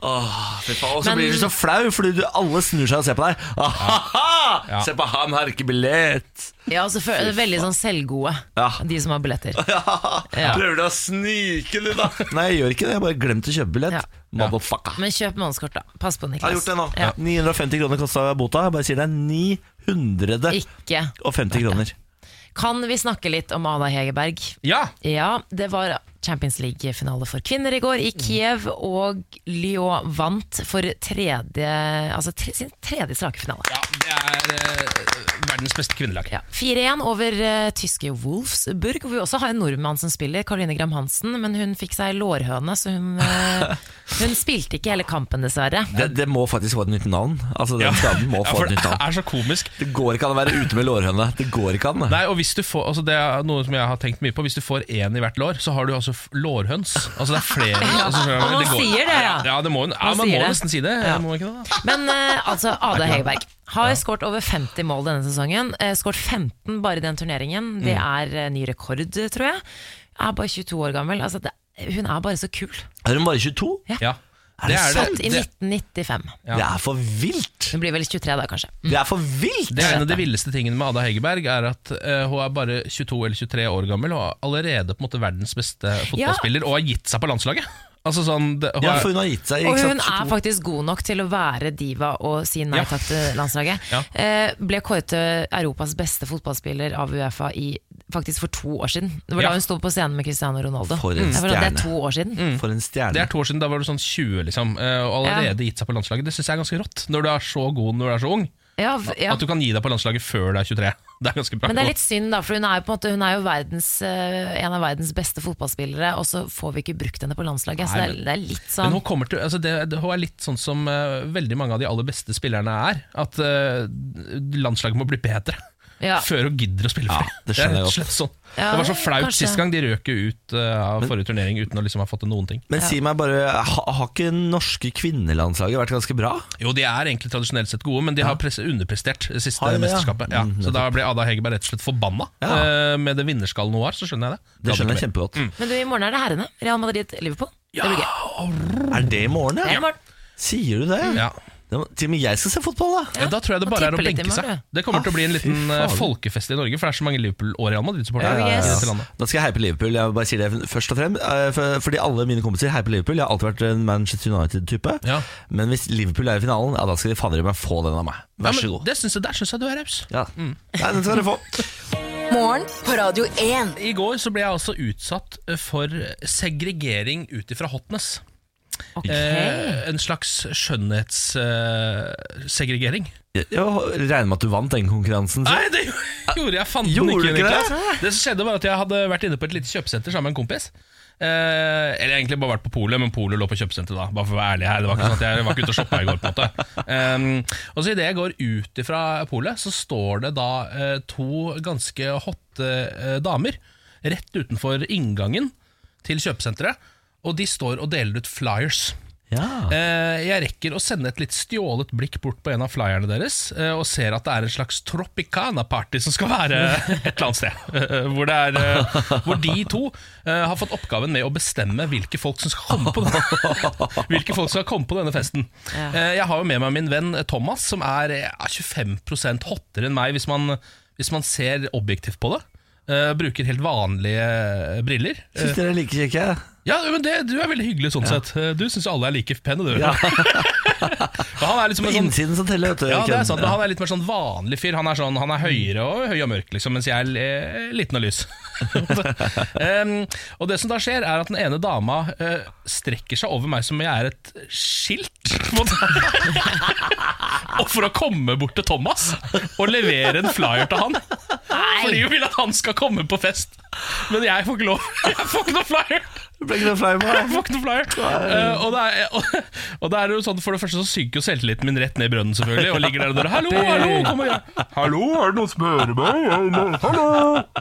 Speaker 1: Åh, fy faen. Og så
Speaker 3: Men-
Speaker 1: blir du så flau, fordi du, alle snur seg og ser på deg. Ahaha!
Speaker 2: Ja.
Speaker 1: Se på han, har ikke billett!
Speaker 3: Ja, og så føler, Veldig sånn selvgode,
Speaker 1: Ja.
Speaker 3: de som har billetter. Ja.
Speaker 1: Prøver du å snike, du, da? Nei, jeg gjør ikke det. Jeg bare glemte å kjøpe billett.
Speaker 3: Ja.
Speaker 1: Motherfucker.
Speaker 3: Men kjøp månedskort, da. Pass på,
Speaker 1: Jeg
Speaker 3: Niklas.
Speaker 1: har gjort det nå.
Speaker 3: Ja.
Speaker 1: 950 kroner kosta bota. Jeg bare sier det er 950
Speaker 3: Ikke.
Speaker 1: kroner.
Speaker 3: Kan vi snakke litt om Ada Hegerberg?
Speaker 2: Ja,
Speaker 3: Ja, det var Champions League-finale for kvinner i går i Kiev, og Lyon vant for tredje, altså tre, sin tredje strake finale.
Speaker 2: Ja, det er eh, verdens beste kvinnelag.
Speaker 3: Ja. 4-1 over eh, tyske Wolfsburg, hvor vi også har en nordmann som spiller, Caroline Gram Hansen, men hun fikk seg lårhøne, så hun, eh, hun spilte ikke hele kampen, dessverre.
Speaker 1: Det, det må faktisk få et nytt navn. Altså, Den skaden må
Speaker 2: Ja,
Speaker 1: få
Speaker 2: for
Speaker 1: et
Speaker 2: det
Speaker 1: nytt navn.
Speaker 2: er så komisk.
Speaker 1: Det går ikke an å være ute med lårhøne. Det går ikke an. det.
Speaker 2: Nei, og hvis du får, altså Det er noe som jeg har tenkt mye på. Hvis du får én i hvert lår, så har du altså f- lårhøns. Altså Det er flere. Altså, så-
Speaker 3: Og man
Speaker 2: går-
Speaker 3: sier det, ja.
Speaker 2: Ja, det må, ja
Speaker 3: Man
Speaker 2: man
Speaker 3: sier
Speaker 2: må
Speaker 3: det.
Speaker 2: nesten si det.
Speaker 3: Ja.
Speaker 2: Må man ikke det da?
Speaker 3: Men eh, altså, Ada Hegerberg har skåret over 50 mål denne sesongen. Eh, skåret 15 bare i den turneringen.
Speaker 1: Mm.
Speaker 3: Det er eh, ny rekord, tror jeg. Er bare 22 år gammel. Altså, det, hun er bare så kul.
Speaker 1: Er hun bare 22?
Speaker 2: Ja.
Speaker 1: Er det sant?
Speaker 3: Født i 1995.
Speaker 2: Ja.
Speaker 1: Det er for vilt!
Speaker 3: Hun blir vel 23 da, kanskje.
Speaker 1: Det er for vilt!
Speaker 2: Det er en av de villeste tingene med Ada Hegerberg, er at eh, hun er bare 22 eller 23 år gammel og er allerede på en måte verdens beste fotballspiller, og har gitt seg på landslaget. Altså sånn, det, hun
Speaker 1: Ja,
Speaker 2: er-
Speaker 1: for hun har gitt seg.
Speaker 3: Og
Speaker 1: Ikke
Speaker 3: hun
Speaker 1: sant?
Speaker 3: er faktisk god nok til å være diva og si nei
Speaker 2: Ja.
Speaker 3: takk til landslaget.
Speaker 2: Ja.
Speaker 3: Eh, ble kåret til Europas beste fotballspiller av Uefa i, faktisk for to år siden. Det var
Speaker 2: Ja.
Speaker 3: da hun sto på scenen med Cristiano Ronaldo.
Speaker 1: For
Speaker 3: Det er det
Speaker 1: en stjerne. Mm.
Speaker 3: er to år siden.
Speaker 1: For en
Speaker 2: det
Speaker 1: stjerne.
Speaker 2: er to år siden, da var du sånn 20, liksom. eh, Og allerede gitt seg på landslaget. Det syns jeg er ganske rått, når du er så god når du er så ung.
Speaker 3: Ja, v- ja.
Speaker 2: At du kan gi deg på landslaget før du er 23. Det er ganske bra.
Speaker 3: Men det er litt synd, da, for hun er jo, på en måte, hun er jo verdens, eh, en av verdens beste fotballspillere, og så får vi ikke brukt henne på landslaget. Så det
Speaker 2: Nei,
Speaker 3: er,
Speaker 2: men-
Speaker 3: det er litt
Speaker 2: Men
Speaker 3: sånn
Speaker 2: hun, kommer til, altså det, det- hun er litt sånn som eh, veldig mange av de aller beste spillerne er. At eh, landslaget må bli bedre
Speaker 3: ja.
Speaker 2: før hun gidder å spille for
Speaker 1: Ja,
Speaker 2: dem.
Speaker 1: det skjønner jeg
Speaker 2: er rett og
Speaker 1: godt.
Speaker 2: slett sånn.
Speaker 3: Ja,
Speaker 2: det var så
Speaker 3: det-
Speaker 2: flaut
Speaker 3: kanskje.
Speaker 2: sist gang. De røk jo ut eh, av forrige turnering uten å liksom ha fått til noen ting.
Speaker 1: Men si meg bare, ha, har ikke norske kvinnelandslaget vært ganske bra?
Speaker 2: Jo, de er egentlig tradisjonelt sett gode, men de har presse, underprestert det siste
Speaker 1: Har de det, ja?
Speaker 2: mesterskapet. Ja, Mhm,
Speaker 1: Mm,
Speaker 2: så da ble Ada Hegerberg rett og slett forbanna
Speaker 1: Ja.
Speaker 2: eh, med det vinnerskallen hun var. Så skjønner jeg det.
Speaker 1: Det skjønner jeg
Speaker 2: hadde ikke
Speaker 1: kjempegodt.
Speaker 3: Men du, i morgen er det herrene. Real Madrid-Liverpool. Det blir gøy.
Speaker 1: Er det i morgen,
Speaker 3: Det er i
Speaker 1: ja?
Speaker 3: morgen.
Speaker 1: Sier du det?
Speaker 2: mer. Ja.
Speaker 1: Det må- Til og med jeg skal se fotball, da!
Speaker 2: Ja, da tror jeg det
Speaker 3: man
Speaker 2: bare er å
Speaker 3: tipper litt i
Speaker 2: benke
Speaker 3: morgen,
Speaker 2: seg.
Speaker 3: du.
Speaker 2: Det kommer til å bli en
Speaker 1: Ah, fy
Speaker 2: liten eh,
Speaker 1: faen.
Speaker 2: folkefest i Norge, for det er så mange Liverpool- og Real Madrid-supportere.
Speaker 3: Ja,
Speaker 2: i
Speaker 3: yes.
Speaker 2: dette landet.
Speaker 1: Da skal jeg heie på Liverpool. Jeg bare sier det først og fremst eh, for- Fordi alle mine kompiser heier på Liverpool. Jeg har alltid vært en Manchester United-type.
Speaker 2: Ja.
Speaker 1: Men hvis Liverpool er i finalen, ja, da skal de fader meg få den av meg. Vær så
Speaker 2: Ja, men
Speaker 1: god.
Speaker 2: Det Mm. synes jeg, der syns jeg du er raus.
Speaker 1: Ja. Nei, den skal dere få.
Speaker 5: Morgen på Radio 1.
Speaker 2: I går så ble jeg altså utsatt for segregering ut ifra hotness.
Speaker 3: Ok.
Speaker 2: Eh, en slags skjønnhetssegregering. Eh, segregering.
Speaker 1: Jeg jeg regner med at du vant den konkurransen. så.
Speaker 2: Nei, det gjorde jeg fanden
Speaker 1: Gjorde
Speaker 2: ikke.
Speaker 1: du ikke det?
Speaker 2: Niklas. Det som skjedde var at Jeg hadde vært inne på et lite kjøpesenter sammen med en kompis. Eh, eller egentlig bare vært på polet, men polet lå på kjøpesenteret da. Bare for å være ærlig her Det var ikke sånn at jeg var ikke ute og shoppa i går. på en måte Em, Og så Idet jeg går ut ifra polet, så står det da eh, to ganske hotte eh, damer rett utenfor inngangen til kjøpesenteret, og de står og deler ut flyers.
Speaker 1: Ja.
Speaker 2: Eh, Jeg rekker å sende et litt stjålet blikk bort på en av flyerne deres, eh, og ser at det er en slags Tropicana-party som skal være et eller annet sted. Eh, Hvor, det er, eh, hvor de to eh, har fått oppgaven med å bestemme hvilke folk som skal komme på, den. hvilke folk som skal komme på denne festen. Eh, Jeg har jo med meg min venn eh, Thomas, som er eh, 25 hottere enn meg, hvis man, hvis man ser objektivt på det. Eh, bruker helt vanlige eh, briller. Eh,
Speaker 1: Syns dere er like kjekke?
Speaker 2: ja, men det, Du er veldig hyggelig sånn sett. Eh, Du syns alle er like pene, du.
Speaker 1: Ja.
Speaker 2: For han er liksom
Speaker 1: På
Speaker 2: en sånn
Speaker 1: innsiden som teller, vet du.
Speaker 2: ja, det er
Speaker 1: Ken.
Speaker 2: sant, men Han er litt mer sånn vanlig fyr. Han er, sånn, han er høyere og høy og mørk, liksom, mens jeg er eh, liten og lys. Em, og Det som da skjer, er at den ene dama eh, strekker seg over meg som om jeg er et skilt. på en måte. og for å komme bort til Thomas og levere en flyer til han. Fordi hun vil at han skal komme på fest. Men jeg får ikke lov. Jeg får ikke noe flyer.
Speaker 1: Det Ble ikke noe flau
Speaker 2: Jeg
Speaker 1: med
Speaker 2: får ikke noe flyer. Eh, og, det er, og, og det er jo sånn, For det første så synker jo selvtilliten min rett ned i brønnen, selvfølgelig. Og ligger der og dør. Hallo, hallo, kom og gjør
Speaker 6: Hallo, er det noen som hører meg? Eller? Hallo!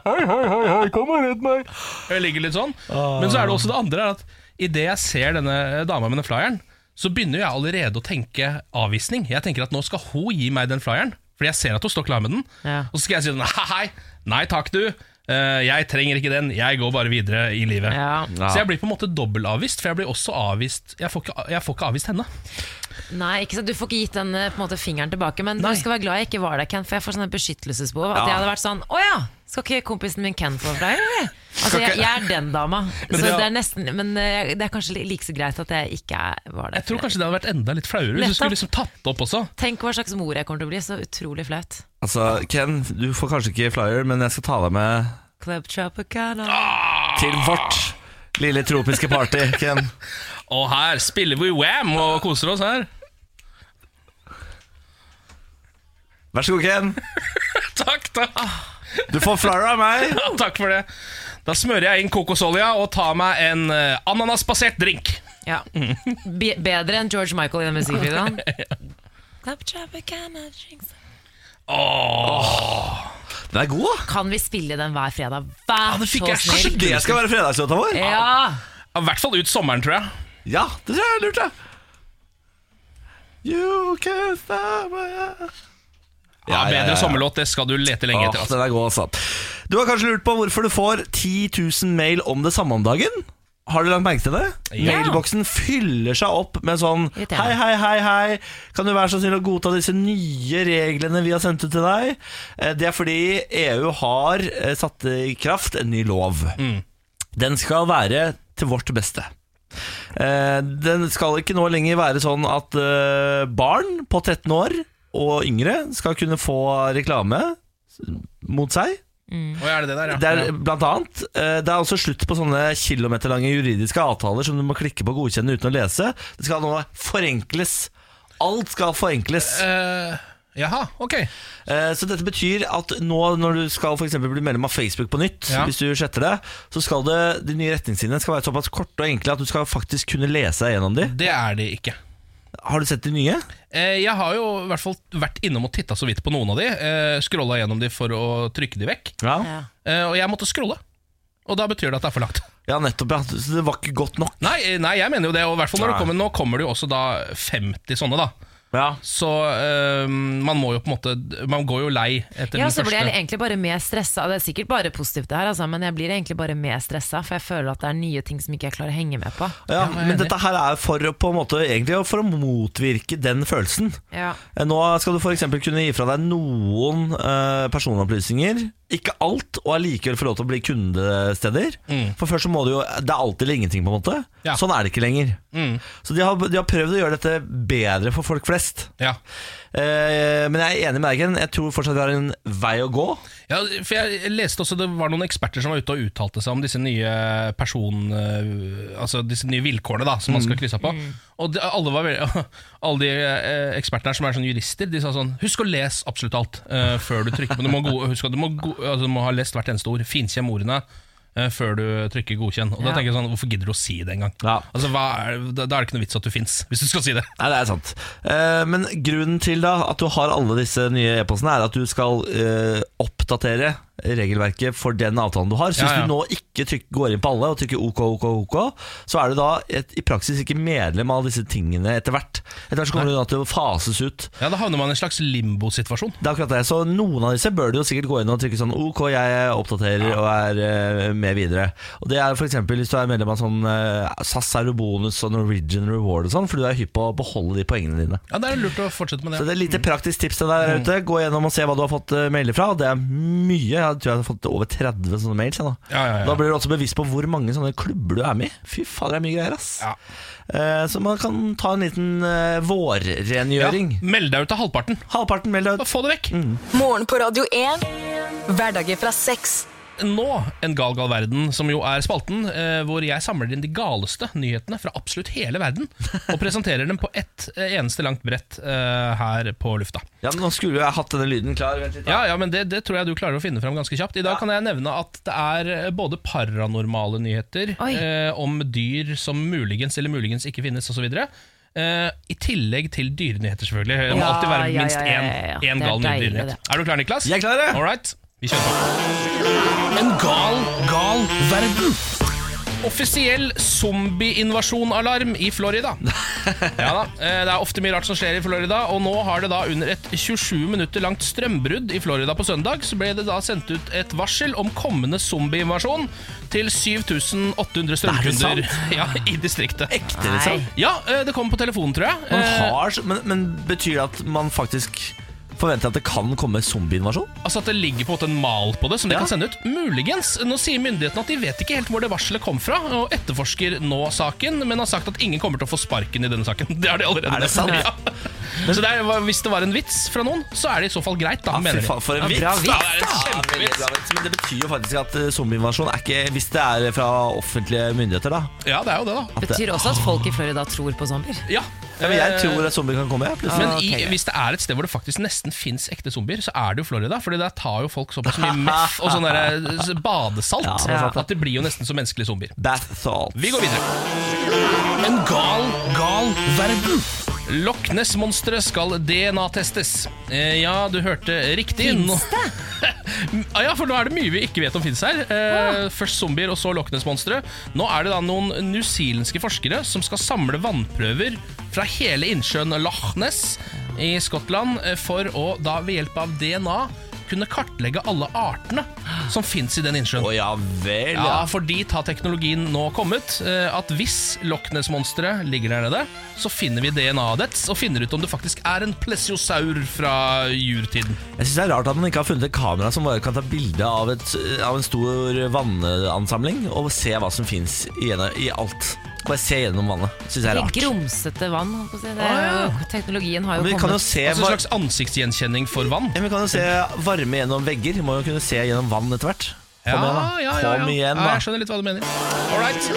Speaker 6: Hei, hei, hei, hei, kom og redd meg!
Speaker 2: Jeg ligger litt sånn. Men så er det også det andre er at idet jeg ser denne dama med den flyeren, så begynner jeg allerede å tenke avvisning. Jeg tenker at nå skal hun gi meg den flyeren, fordi jeg ser at hun står klar med den.
Speaker 3: Ja.
Speaker 2: Og så skal jeg si sånn hei, hei, nei takk, du. Eh, jeg trenger ikke den, jeg går bare videre i livet.
Speaker 3: Ja.
Speaker 2: Så jeg blir på en måte dobbeltavvist, for jeg blir også avvist Jeg får ikke, jeg får ikke avvist henne.
Speaker 3: Nei, ikke sant? Du får ikke gitt den eh, på en måte, fingeren tilbake, men
Speaker 2: Nei.
Speaker 3: du skal være glad jeg ikke var der, Ken, for jeg får sånne beskyttelsesbehov. At
Speaker 1: Ja.
Speaker 3: jeg hadde vært sånn Å ja! Skal ikke kompisen min Ken få flyer, eller? Altså, jeg, jeg er den dama. Så
Speaker 2: det-
Speaker 3: det er nesten, men eh, det er kanskje li- like så greit at jeg ikke er- var der.
Speaker 2: Jeg tror
Speaker 3: for det.
Speaker 2: kanskje det hadde vært enda litt flauere hvis du
Speaker 3: Nettopp.
Speaker 2: skulle liksom tatt det opp også.
Speaker 3: Tenk hva slags mor jeg kommer til å bli. Så utrolig flaut.
Speaker 1: Altså, Ken, du får kanskje ikke flyer, men jeg skal ta deg med
Speaker 3: Club Tropicana.
Speaker 1: til vårt Lille tropiske party, Ken.
Speaker 2: Og her spiller vi Wham og koser oss her.
Speaker 1: Vær så god, Ken.
Speaker 2: Takk, takk.
Speaker 1: Du får flyer av meg.
Speaker 2: Ja, takk for det. Da smører jeg inn kokosolja og tar meg en eh, ananasbasert drink.
Speaker 3: Ja. Be bedre enn George Michael i den musikkvideoen.
Speaker 1: Den er god, da.
Speaker 3: Kan vi spille den hver fredag? Vær
Speaker 2: det fikk
Speaker 3: så
Speaker 2: jeg.
Speaker 1: Kanskje
Speaker 3: snill!
Speaker 1: det skal være fredagslåta vår?
Speaker 2: Eh.
Speaker 3: Ja!
Speaker 2: Ja, I hvert fall ut sommeren, tror jeg.
Speaker 1: Ja, det tror jeg er lurt, ja. You can stop me.
Speaker 2: Ja, bedre sommerlåt, det skal du lete lenge etter.
Speaker 1: Åh,
Speaker 2: Altså.
Speaker 1: den er god, altså. Du har kanskje lurt på hvorfor du får 10 000 mail om det samme om dagen? Har du lagt merke til det?
Speaker 2: Ja.
Speaker 1: Mailboksen fyller seg opp med sånn
Speaker 3: Irriterende.
Speaker 1: Hei, hei, hei, hei. Kan du være så snill å godta disse nye reglene vi har sendt ut til deg? Eh, Det er fordi EU har eh, satt i kraft en ny lov. Den skal være til vårt beste. Eh, Den skal ikke nå lenger være sånn at eh, barn på 13 år og yngre skal kunne få reklame mot seg.
Speaker 2: Oi, er det det altså. der, ja?
Speaker 1: Det er blant annet eh, Det er også slutt på sånne kilometerlange juridiske avtaler som du må klikke på og godkjenne uten å lese. Det skal nå forenkles. Alt skal forenkles.
Speaker 2: Eh, jaha, ok.
Speaker 1: Eh, Så dette betyr at nå når du skal for eksempel bli medlem av Facebook på nytt,
Speaker 2: Ja.
Speaker 1: hvis du sletter det, så skal det, de nye retningslinjene skal være såpass korte og enkle at du skal faktisk kunne lese deg gjennom de.
Speaker 2: Det er det ikke.
Speaker 1: Har du sett de nye?
Speaker 2: Eh, Jeg har jo i hvert fall vært innom og titta så vidt på noen av de. eh, Scrolla gjennom de for å trykke de vekk.
Speaker 1: Ja.
Speaker 2: Eh, Og jeg måtte scrolle. Og da betyr det at det er for langt.
Speaker 1: Ja, nettopp. Ja. Så det var ikke godt nok.
Speaker 2: Nei, eh, nei jeg mener jo det. Og i hvert fall når
Speaker 1: Nei.
Speaker 2: det kommer, Nå kommer det jo også da 50 sånne, da.
Speaker 1: Ja.
Speaker 2: Så eh, man må jo på en måte Man går jo lei etter
Speaker 3: Ja,
Speaker 2: den
Speaker 3: så blir jeg
Speaker 2: første.
Speaker 3: egentlig bare mer stressa. Det er sikkert bare positivt, det her, altså, men jeg blir egentlig bare mer stressa, for jeg føler at det er nye ting som ikke jeg klarer å henge med på.
Speaker 1: Ja, men dette her er for, å på en måte, egentlig for å motvirke den følelsen.
Speaker 3: Ja.
Speaker 1: Eh, Nå skal du f.eks. kunne gi fra deg noen eh, personopplysninger. Ikke alt, og allikevel få lov til å bli kundesteder. For før så må du jo Det er alltid eller ingenting, på en måte.
Speaker 2: Ja.
Speaker 1: Sånn er det ikke lenger. Så de har, de har prøvd å gjøre dette bedre for folk flest.
Speaker 2: Ja.
Speaker 1: Eh, men jeg er enig med deg, Ken. Jeg tror fortsatt vi har en vei å gå.
Speaker 2: Ja, for jeg leste også det var noen eksperter som var ute og uttalte seg om disse nye person... øh, Altså disse nye vilkårene da, som man skal krysse av på. Og de, alle, var, veldig- alle de eh, ekspertene her som er sånn jurister, de sa sånn Husk å lese absolutt alt eh, før du trykker på. Du må, go husk at du, må go altså, du må ha lest hvert eneste ord. Finkjem ordene. eh, Før du trykker 'godkjenn'. Og da
Speaker 3: Ja.
Speaker 2: tenker jeg sånn, Hvorfor gidder du å si det engang?
Speaker 1: Ja.
Speaker 2: Altså, hva er- da, da er det ikke noe vits at du fins, hvis du skal si det.
Speaker 1: Nei, det er sant. Eh, men grunnen til da at du har alle disse nye e-postene, er at du skal eh, oppdatere regelverket for den avtalen du har. Så
Speaker 2: Ja,
Speaker 1: hvis
Speaker 2: ja.
Speaker 1: du nå ikke tryk, går inn på alle og trykker OK, OK, OK, så er du da et, i praksis ikke medlem av disse tingene etter hvert. Etter hvert så kommer du da til å fases ut.
Speaker 2: Ja, Da havner man i en slags limbosituasjon.
Speaker 1: Det er akkurat det. Så noen av disse bør du jo sikkert gå inn og trykke sånn OK, jeg oppdaterer og er eh, med videre. Og Det er f.eks. hvis du er medlem av sånn eh, SAS Aerobonus og Norwegian Reward og sånn, fordi du er hypp på å beholde de poengene dine.
Speaker 2: Ja, Mm. Det er lurt å fortsette med
Speaker 1: Så det
Speaker 2: det.
Speaker 1: er et lite praktisk tips til deg der ute. Gå gjennom og se hva du har fått eh, mailer fra. Det er mye. Jeg tror jeg har fått over 30 sånne mails. Jeg, nå.
Speaker 2: Ja, ja, ja.
Speaker 1: Da blir du også bevisst på hvor mange sånne klubber du er med i. Fy fader, det er mye greier, ass.
Speaker 2: Ja.
Speaker 1: Eh, Så man kan ta en liten eh, vårrengjøring.
Speaker 2: Ja, meld deg ut av halvparten.
Speaker 1: Halvparten meld deg
Speaker 2: Da
Speaker 1: ut.
Speaker 2: Få det vekk.
Speaker 5: Morgen på Radio 1. Hverdager fra seks.
Speaker 2: Nå, En gal gal verden, som jo er spalten eh, hvor jeg samler inn de galeste nyhetene fra absolutt hele verden, og presenterer dem på ett eh, eneste langt brett eh, her på lufta.
Speaker 1: Ja, men nå skulle jeg hatt denne lyden klar. Vent litt. da.
Speaker 2: Ja, ja, men det, det tror jeg du klarer å finne fram ganske kjapt. I dag kan jeg nevne at det er eh, både paranormale nyheter
Speaker 3: Oi.
Speaker 2: eh, om dyr som muligens eller muligens ikke finnes, osv. Eh, I tillegg til dyrenyheter, selvfølgelig. Det må
Speaker 3: Ja,
Speaker 2: alltid være
Speaker 3: ja,
Speaker 2: minst
Speaker 3: ja,
Speaker 2: én
Speaker 3: ja, ja, ja. Det
Speaker 2: én
Speaker 3: er
Speaker 2: gal ny
Speaker 3: deilig,
Speaker 2: dyrenyhet. Er du klar, Niklas?
Speaker 1: Jeg er klar, jeg.
Speaker 2: All right, vi kjører på. En gal, gal verden. Offisiell zombieinvasjonalarm i Florida. Ja da, eh, Det er ofte mye rart som skjer i Florida, og nå har det da under et 27 minutter langt strømbrudd i Florida på søndag, så ble det da sendt ut et varsel om kommende zombieinvasjon til 7800
Speaker 1: Er
Speaker 2: strømkunder
Speaker 1: det
Speaker 2: ja, i distriktet.
Speaker 1: Ekte, liksom.
Speaker 2: Ja, eh, det kom på telefonen, tror jeg.
Speaker 1: Man
Speaker 2: Eh,
Speaker 1: har, men, men betyr det at man faktisk forventer at det kan komme zombieinvasjon?
Speaker 2: Altså at det ligger på en måte en mal på det som de
Speaker 1: Ja.
Speaker 2: kan sende ut. Muligens. Nå sier myndighetene at de vet ikke helt hvor det varselet kom fra, og etterforsker nå saken, men har sagt at ingen kommer til å få sparken i denne saken. Det har de allerede
Speaker 1: Er det sant?
Speaker 2: Ja. Så det er, hvis det var en vits fra noen, så er det i så fall greit. da,
Speaker 1: Ja, Ah, fy
Speaker 2: mener
Speaker 1: faen,
Speaker 2: de.
Speaker 1: for en vits!
Speaker 3: bra
Speaker 1: da.
Speaker 3: vits,
Speaker 1: Det er en kjempevits. Ja, veldig bra vits. Men det betyr jo faktisk at eh, zombieinvasjon er ikke Hvis det er fra offentlige myndigheter, da.
Speaker 2: Ja, det er jo det, da.
Speaker 1: At det,
Speaker 3: Betyr også at folk i Florida tror på zombier.
Speaker 2: Ja,
Speaker 1: ja, men jeg
Speaker 2: eh,
Speaker 1: tror at zombier kan komme. Ja, plutselig.
Speaker 2: Men
Speaker 3: Ah, ok,
Speaker 2: i,
Speaker 3: greit.
Speaker 2: hvis det er et sted hvor det faktisk nesten fins ekte zombier, så er det jo Florida. Fordi der tar jo folk såpass mye meff og sånn derre s- badesalt
Speaker 1: Ja, det er sant,
Speaker 2: at de blir jo nesten som menneskelige zombier.
Speaker 1: Bath salt.
Speaker 2: Vi går videre. En gal, gal verden. Loch Ness-monsteret skal DNA-testes. Eh, ja, du hørte riktig. Fins det? ja, for nå er det mye vi ikke vet om fins her. Eh, Først zombier, og så Loch Ness-monsteret. Nå er det da noen newzealandske forskere som skal samle vannprøver fra hele innsjøen Loch Ness i Skottland eh, for å da ved hjelp av DNA kunne kartlegge alle artene som fins i den innsjøen.
Speaker 1: Å ja vel, ja.
Speaker 2: Ja, for dit har teknologien nå kommet. eh, At hvis Loch Ness-monsteret ligger der nede, så finner vi DNA-et dets og finner ut om det faktisk er en plesiosaur fra jurtiden.
Speaker 1: Jeg synes det er rart at man ikke har funnet et kamera som bare kan ta bilde av, et, eh, av en stor vannansamling og se hva som fins i i alt. Bare se gjennom vannet. Synes jeg er
Speaker 3: Det
Speaker 1: rart.
Speaker 3: grumsete vann. holdt på å si. Det er jo, teknologien har jo
Speaker 1: Men vi kan jo
Speaker 3: kommet.
Speaker 1: se,
Speaker 2: Altså en
Speaker 1: var-
Speaker 2: slags ansiktsgjenkjenning for vann.
Speaker 1: ja, men vi kan jo se varme gjennom vegger. Vi må jo kunne se gjennom vann etter hvert. Kom igjen, da. Kom igjen,
Speaker 2: Ja,
Speaker 1: da.
Speaker 2: jeg skjønner litt hva du mener. All right.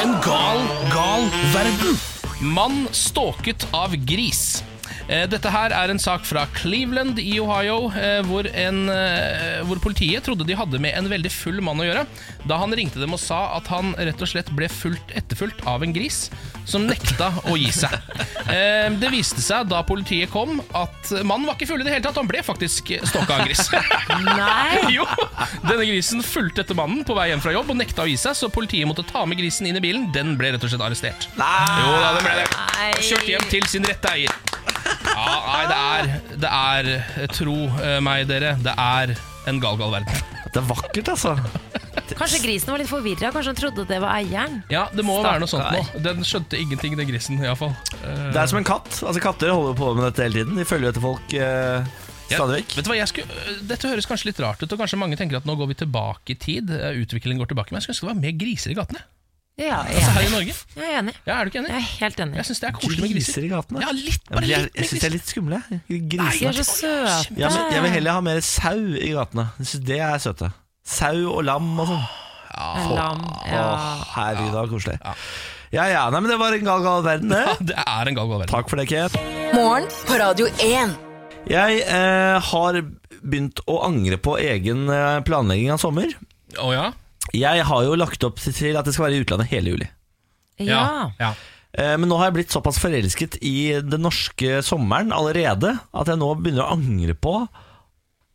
Speaker 2: En gal, gal verden. Mann stalket av gris. Eh, Dette her er en sak fra Cleveland i Ohio, eh, hvor, en, eh, hvor politiet trodde de hadde med en veldig full mann å gjøre, da han ringte dem og sa at han rett og slett ble fullt etterfulgt av en gris som nekta å gi seg. Eh, Det viste seg da politiet kom at mannen var ikke full i det hele tatt, han ble faktisk stalka av en gris.
Speaker 3: Nei!
Speaker 2: Jo, denne grisen fulgte etter mannen på vei hjem fra jobb og nekta å gi seg, så politiet måtte ta med grisen inn i bilen. Den ble rett og slett arrestert. Jo da, den ble det. Og Kjørt hjem til sin rette eier. Ja, nei, det er, det er Tro eh, meg, dere, det er en gal, gal verden.
Speaker 1: Det er vakkert, altså.
Speaker 3: Kanskje grisen var litt forvirra. Kanskje han trodde det var eieren.
Speaker 2: Ja, det må være noe sånt nå. Den skjønte ingenting, den grisen, iallfall.
Speaker 1: Det er som en katt. Altså Katter holder på med dette hele tiden. De følger etter folk eh, stadig vekk.
Speaker 2: Vet du hva, jeg skulle, øh, dette høres kanskje litt rart ut, og kanskje mange tenker at nå går vi tilbake i tid. øh, Utviklingen går tilbake, men jeg skulle ønske det var mer griser i gatene.
Speaker 3: Ja, jeg
Speaker 2: Altså
Speaker 3: er
Speaker 2: her
Speaker 3: enig.
Speaker 2: i Norge.
Speaker 3: Jeg er enig.
Speaker 2: Ja, er du ikke enig?
Speaker 3: Jeg er helt enig.
Speaker 2: Jeg syns det er koselig med griser.
Speaker 1: i gatene.
Speaker 2: Ja, litt,
Speaker 1: Ja, men
Speaker 2: bare
Speaker 1: de er-
Speaker 2: litt
Speaker 1: jeg
Speaker 2: mer
Speaker 1: syns de er
Speaker 2: griser.
Speaker 1: litt skumle. jeg.
Speaker 3: De
Speaker 1: Grisene.
Speaker 3: er så søte.
Speaker 1: Ja, men jeg vil heller ha mer sau i gatene. Jeg synes det er søte. Sau og lam og sånn.
Speaker 3: Lam. Ja.
Speaker 1: Åh, herregud, det var koselig. Ja ja, nei, men det var en gal, gal verden,
Speaker 2: Ja,
Speaker 1: det.
Speaker 2: det er en gal gal verden.
Speaker 1: Takk for det, Kate.
Speaker 5: Morgen på Radio 1.
Speaker 1: Jeg eh, har begynt å angre på egen eh, planlegging av sommer.
Speaker 2: Å ja?
Speaker 1: Jeg har jo lagt opp til at det skal være i utlandet hele juli.
Speaker 3: ja.
Speaker 2: ja.
Speaker 1: Eh, Men nå har jeg blitt såpass forelsket i den norske sommeren allerede at jeg nå begynner å angre på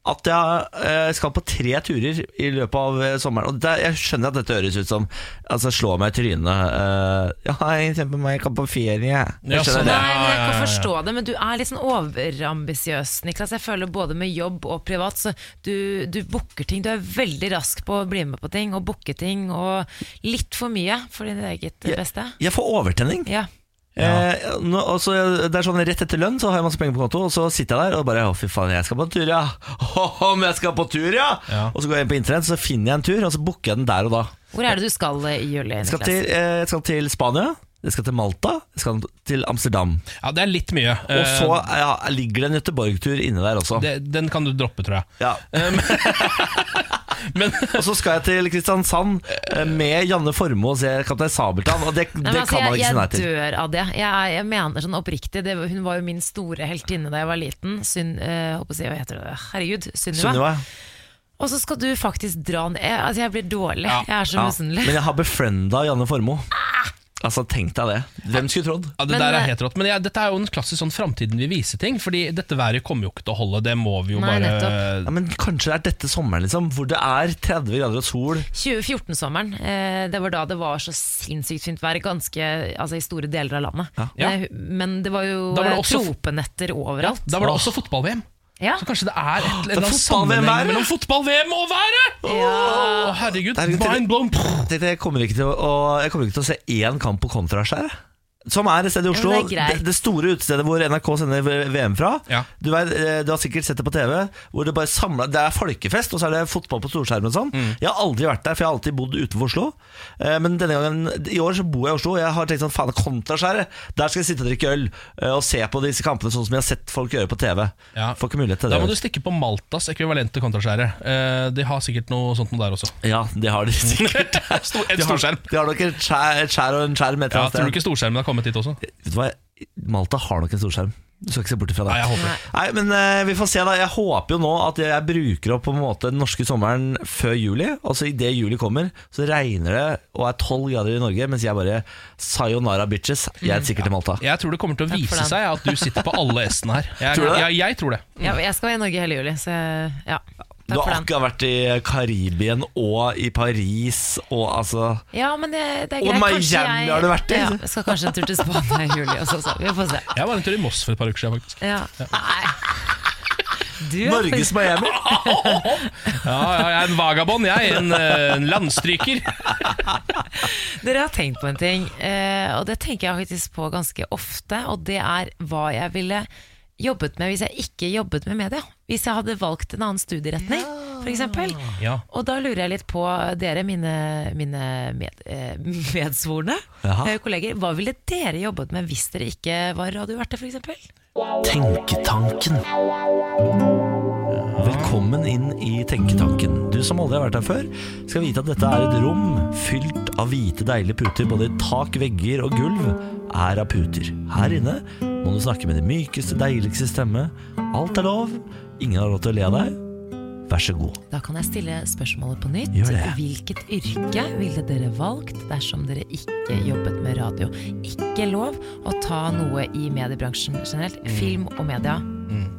Speaker 1: at jeg eh, skal på tre turer i løpet av eh, sommeren. Og det, jeg skjønner at dette høres ut som altså, slå meg i trynet. eh, ja, jeg kjemper meg, jeg kan på ferie.
Speaker 2: Ja,
Speaker 1: Jeg skjønner
Speaker 2: sånn,
Speaker 1: det.
Speaker 3: Nei, men jeg
Speaker 2: Ja, ja,
Speaker 3: kan
Speaker 2: ja, ja.
Speaker 3: forstå det, men du er litt sånn overambisiøs, Niklas. Jeg føler både med jobb og privat, så du, du booker ting. Du er veldig rask på å bli med på ting og booke ting, og litt for mye for din eget beste.
Speaker 1: Jeg får overtenning.
Speaker 3: Ja.
Speaker 1: Eh, nå, og så, det er sånn Rett etter lønn så har jeg masse penger på konto, og så sitter jeg der og bare Å, fy faen, jeg skal på tur, ja! Om jeg skal på tur, ja!
Speaker 2: Ja.
Speaker 1: Og så går jeg inn på internett, så finner jeg en tur, og så booker jeg den der og da.
Speaker 3: Hvor er det du skal eh, i juli,
Speaker 1: Jeg skal
Speaker 3: Niklas?
Speaker 1: til, eh, jeg skal til Spania, jeg skal til Malta, jeg skal til Amsterdam.
Speaker 2: ja, det er litt mye.
Speaker 1: Og så
Speaker 3: Um,
Speaker 1: ja, ligger det en Göteborg-tur inne der også.
Speaker 2: Eh, det, Den kan du droppe, tror jeg.
Speaker 1: Ja.
Speaker 3: Um,
Speaker 2: Men
Speaker 1: Og så skal jeg til Kristiansand eh, med Janne Formoe og se Kaptein Sabeltann, og det,
Speaker 3: Nei,
Speaker 1: det
Speaker 3: men altså,
Speaker 1: kan man ikke si nei
Speaker 3: Jeg
Speaker 1: til.
Speaker 3: dør av det. Jeg, er- jeg mener sånn oppriktig. Det, hun var jo min store heltinne da jeg var liten. Syn, eh, håper å si, hva heter det? Herregud, Sunniva.
Speaker 1: Sunniva.
Speaker 3: Og så skal du faktisk dra ned. Jeg- Altså, jeg blir dårlig.
Speaker 2: Ja.
Speaker 3: Jeg er Ah! så
Speaker 1: Ja.
Speaker 3: misunnelig.
Speaker 1: Men jeg har befrienda Janne Formoe. Altså, tenk deg det. Hvem skulle trodd?
Speaker 2: ja, det
Speaker 3: Men,
Speaker 2: der
Speaker 3: eh,
Speaker 2: er helt rått. Men jeg- dette er jo en klassisk sånn framtiden vil vise-ting. Fordi dette været kommer jo ikke til å holde. Det må vi jo
Speaker 3: Nei,
Speaker 2: bare
Speaker 3: nettopp.
Speaker 1: Ja, men Kanskje det er dette sommeren, liksom, hvor det er 30 grader og sol.
Speaker 3: 2014-sommeren, eh, det var da det var så sinnssykt fint vær ganske, altså, i store deler av landet.
Speaker 2: Ja.
Speaker 3: Eh, men det var jo
Speaker 2: Da var det
Speaker 3: eh,
Speaker 2: også-
Speaker 3: tropenetter overalt.
Speaker 2: Da var det også fotball-VM.
Speaker 3: Ja.
Speaker 2: Så kanskje det er et eller
Speaker 1: Ah, Det er
Speaker 2: annet
Speaker 1: fotball-VM
Speaker 2: sammenheng
Speaker 1: været.
Speaker 2: mellom fotball-VM og været! Å, herregud,
Speaker 1: Det er jo til-
Speaker 2: mind blown!
Speaker 1: Tenkte Jeg kommer ikke til å, å- jeg kommer ikke til å se én kamp på kontraskjæret. Som er et sted i Oslo.
Speaker 3: Ja, det er greit.
Speaker 1: det, det store utestedet hvor NRK sender VM fra.
Speaker 2: Ja.
Speaker 1: Du, vet, eh, du har sikkert sett det på TV. Hvor Det bare samler, det er folkefest, og så er det fotball på storskjermen. og Sånn.
Speaker 2: Mm.
Speaker 1: Jeg har aldri vært der, for jeg har alltid bodd utenfor Oslo. Eh, Men denne gangen, i år så bor jeg i Oslo, og jeg har tenkt sånn faen, Kontraskjæret! Der skal jeg sitte og drikke øl eh, og se på disse kampene sånn som jeg har sett folk gjøre på TV.
Speaker 2: Ja.
Speaker 1: Får ikke mulighet til
Speaker 2: Da
Speaker 1: det.
Speaker 2: må du stikke på Maltas ekvivalent til kontraskjæret. Eh, de har sikkert noe sånt noe der også.
Speaker 1: Ja, det har de sikkert.
Speaker 2: Stor, et
Speaker 1: De har,
Speaker 2: storskjerm.
Speaker 1: de har nok et skjær, et skjær og en skjerm et
Speaker 2: Ja,
Speaker 1: eller annet
Speaker 2: tror du ikke storskjermen har kommet dit også?
Speaker 1: Vet du hva, Malta har nok en storskjerm. Du skal ikke se bort ifra det.
Speaker 2: Nei, jeg håper det.
Speaker 1: Nei, men eh, vi får se da Jeg håper jo nå at jeg bruker opp på en måte den norske sommeren før juli Altså i det juli kommer Så regner det og er 12 grader i Norge Mens jeg bare sayonara bitches Jeg er sikkert til Malta
Speaker 2: Jeg tror det kommer til å
Speaker 3: Takk for
Speaker 2: vise
Speaker 3: den.
Speaker 2: seg at du sitter på alle S-ene her. Jeg,
Speaker 1: Tror du det?
Speaker 2: Ja, jeg tror det.
Speaker 3: Ja, jeg skal være i Norge hele juli, så ja.
Speaker 1: Du
Speaker 3: Takk
Speaker 1: har
Speaker 3: for den.
Speaker 1: akkurat vært i Karibien og i Paris Og altså
Speaker 3: Ja, men det, det er
Speaker 1: Og
Speaker 3: greit.
Speaker 1: Miami
Speaker 3: Kanskje
Speaker 1: har du vært i?
Speaker 3: Ja, jeg skal kanskje en tur til Spania i juli også, så vi får se.
Speaker 2: Jeg var en tur i Moss for et par uker siden, faktisk.
Speaker 3: Ja. Nei. Du er
Speaker 1: Norges Miami
Speaker 2: Ja, ja, jeg er en vagabond, jeg. En, eh, en landstryker.
Speaker 3: Dere har tenkt på en ting, eh, og det tenker jeg faktisk på ganske ofte, og det er hva jeg ville jobbet med hvis jeg ikke jobbet med media. Hvis jeg hadde valgt en annen studieretning, for eksempel.
Speaker 2: Ja.
Speaker 3: Og da lurer jeg litt på dere, mine, mine med, eh, medsvorne
Speaker 1: Jaha.
Speaker 3: eh, kolleger. Hva ville dere jobbet med hvis dere ikke var radioverter, f.eks.?
Speaker 1: Tenketanken Velkommen inn i Tenketanken. Du som aldri har vært her før, skal vite at dette er et rom fylt av hvite, deilige puter. Både tak, vegger og gulv er av puter. Her inne må du snakke med den mykeste, deiligste stemme. Alt er lov. Ingen har lov til å le av deg. Vær så god.
Speaker 3: Da kan jeg stille spørsmålet på nytt.
Speaker 1: Gjør det.
Speaker 3: Hvilket yrke ville dere valgt dersom dere ikke jobbet med radio? Ikke lov å ta noe i mediebransjen generelt.
Speaker 1: Mm.
Speaker 3: Film og media,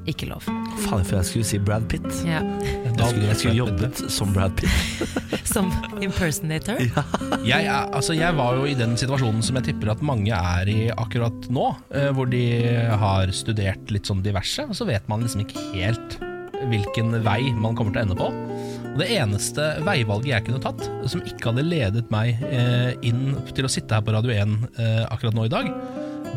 Speaker 3: ikke lov.
Speaker 1: Faen, for jeg skulle si Brad Pitt.
Speaker 3: Ja.
Speaker 1: Jeg skulle, jeg skulle jobbet som Brad Pitt.
Speaker 3: Som impersonator.
Speaker 2: Jeg, er, altså, jeg var jo i den situasjonen som jeg tipper at mange er i akkurat nå, eh, hvor de har studert litt sånn diverse, og så vet man liksom ikke helt hvilken vei man kommer til å ende på. Og det eneste veivalget jeg kunne tatt, som ikke hadde ledet meg eh, inn til å sitte her på Radio 1 eh, akkurat nå i dag,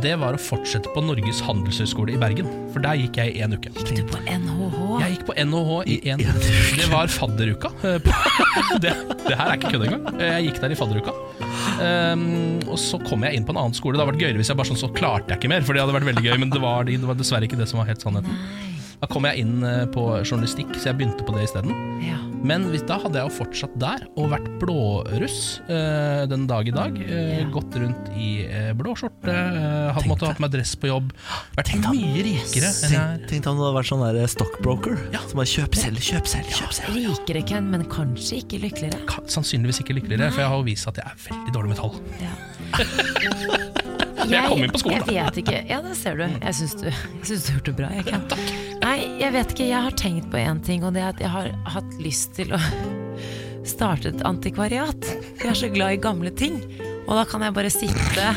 Speaker 2: det var å fortsette på Norges handelshøyskole i Bergen. For der gikk jeg i én uke.
Speaker 3: Du på NHH.
Speaker 2: Jeg gikk på NHH i én
Speaker 1: en
Speaker 2: uke. Det var fadderuka. Eh, på- Det, det her er ikke kødd engang. Eh, Jeg gikk der i fadderuka. Um, og så kom jeg inn på en annen skole. Det hadde vært gøyere hvis jeg bare sånn, så klarte jeg ikke mer. For det hadde vært veldig gøy, men det var, det var dessverre ikke det som var helt sannheten. Da kom jeg inn eh, på journalistikk, så jeg begynte på det isteden.
Speaker 3: Ja.
Speaker 2: Men hvis, da hadde jeg jo fortsatt der og vært blåruss eh, den dag i dag. eh,
Speaker 3: Ja.
Speaker 2: Gått rundt i eh, blå skjorte, eh, hadde måttet ha på meg dress på jobb. Vært mye rikere enn jeg er.
Speaker 1: Tenk tenk om du hadde vært sånn der stockbroker
Speaker 2: Ja.
Speaker 1: som bare kjøp, selg, kjøp, selg. Kjøp, selg.
Speaker 3: Rikere, Ken, men kanskje ikke lykkeligere.
Speaker 2: Ka- Sannsynligvis ikke lykkeligere, for jeg har jo vist at jeg er veldig dårlig med tall. Jeg kom inn på skolen,
Speaker 3: Jeg vet ikke. Ja, det ser du. Jeg syns du, jeg syns du gjorde det bra. Jeg kan. Nei, jeg vet ikke. Jeg har tenkt på én ting, og det er at jeg har hatt lyst til å starte et antikvariat. For jeg er så glad i gamle ting. Og da kan jeg bare sitte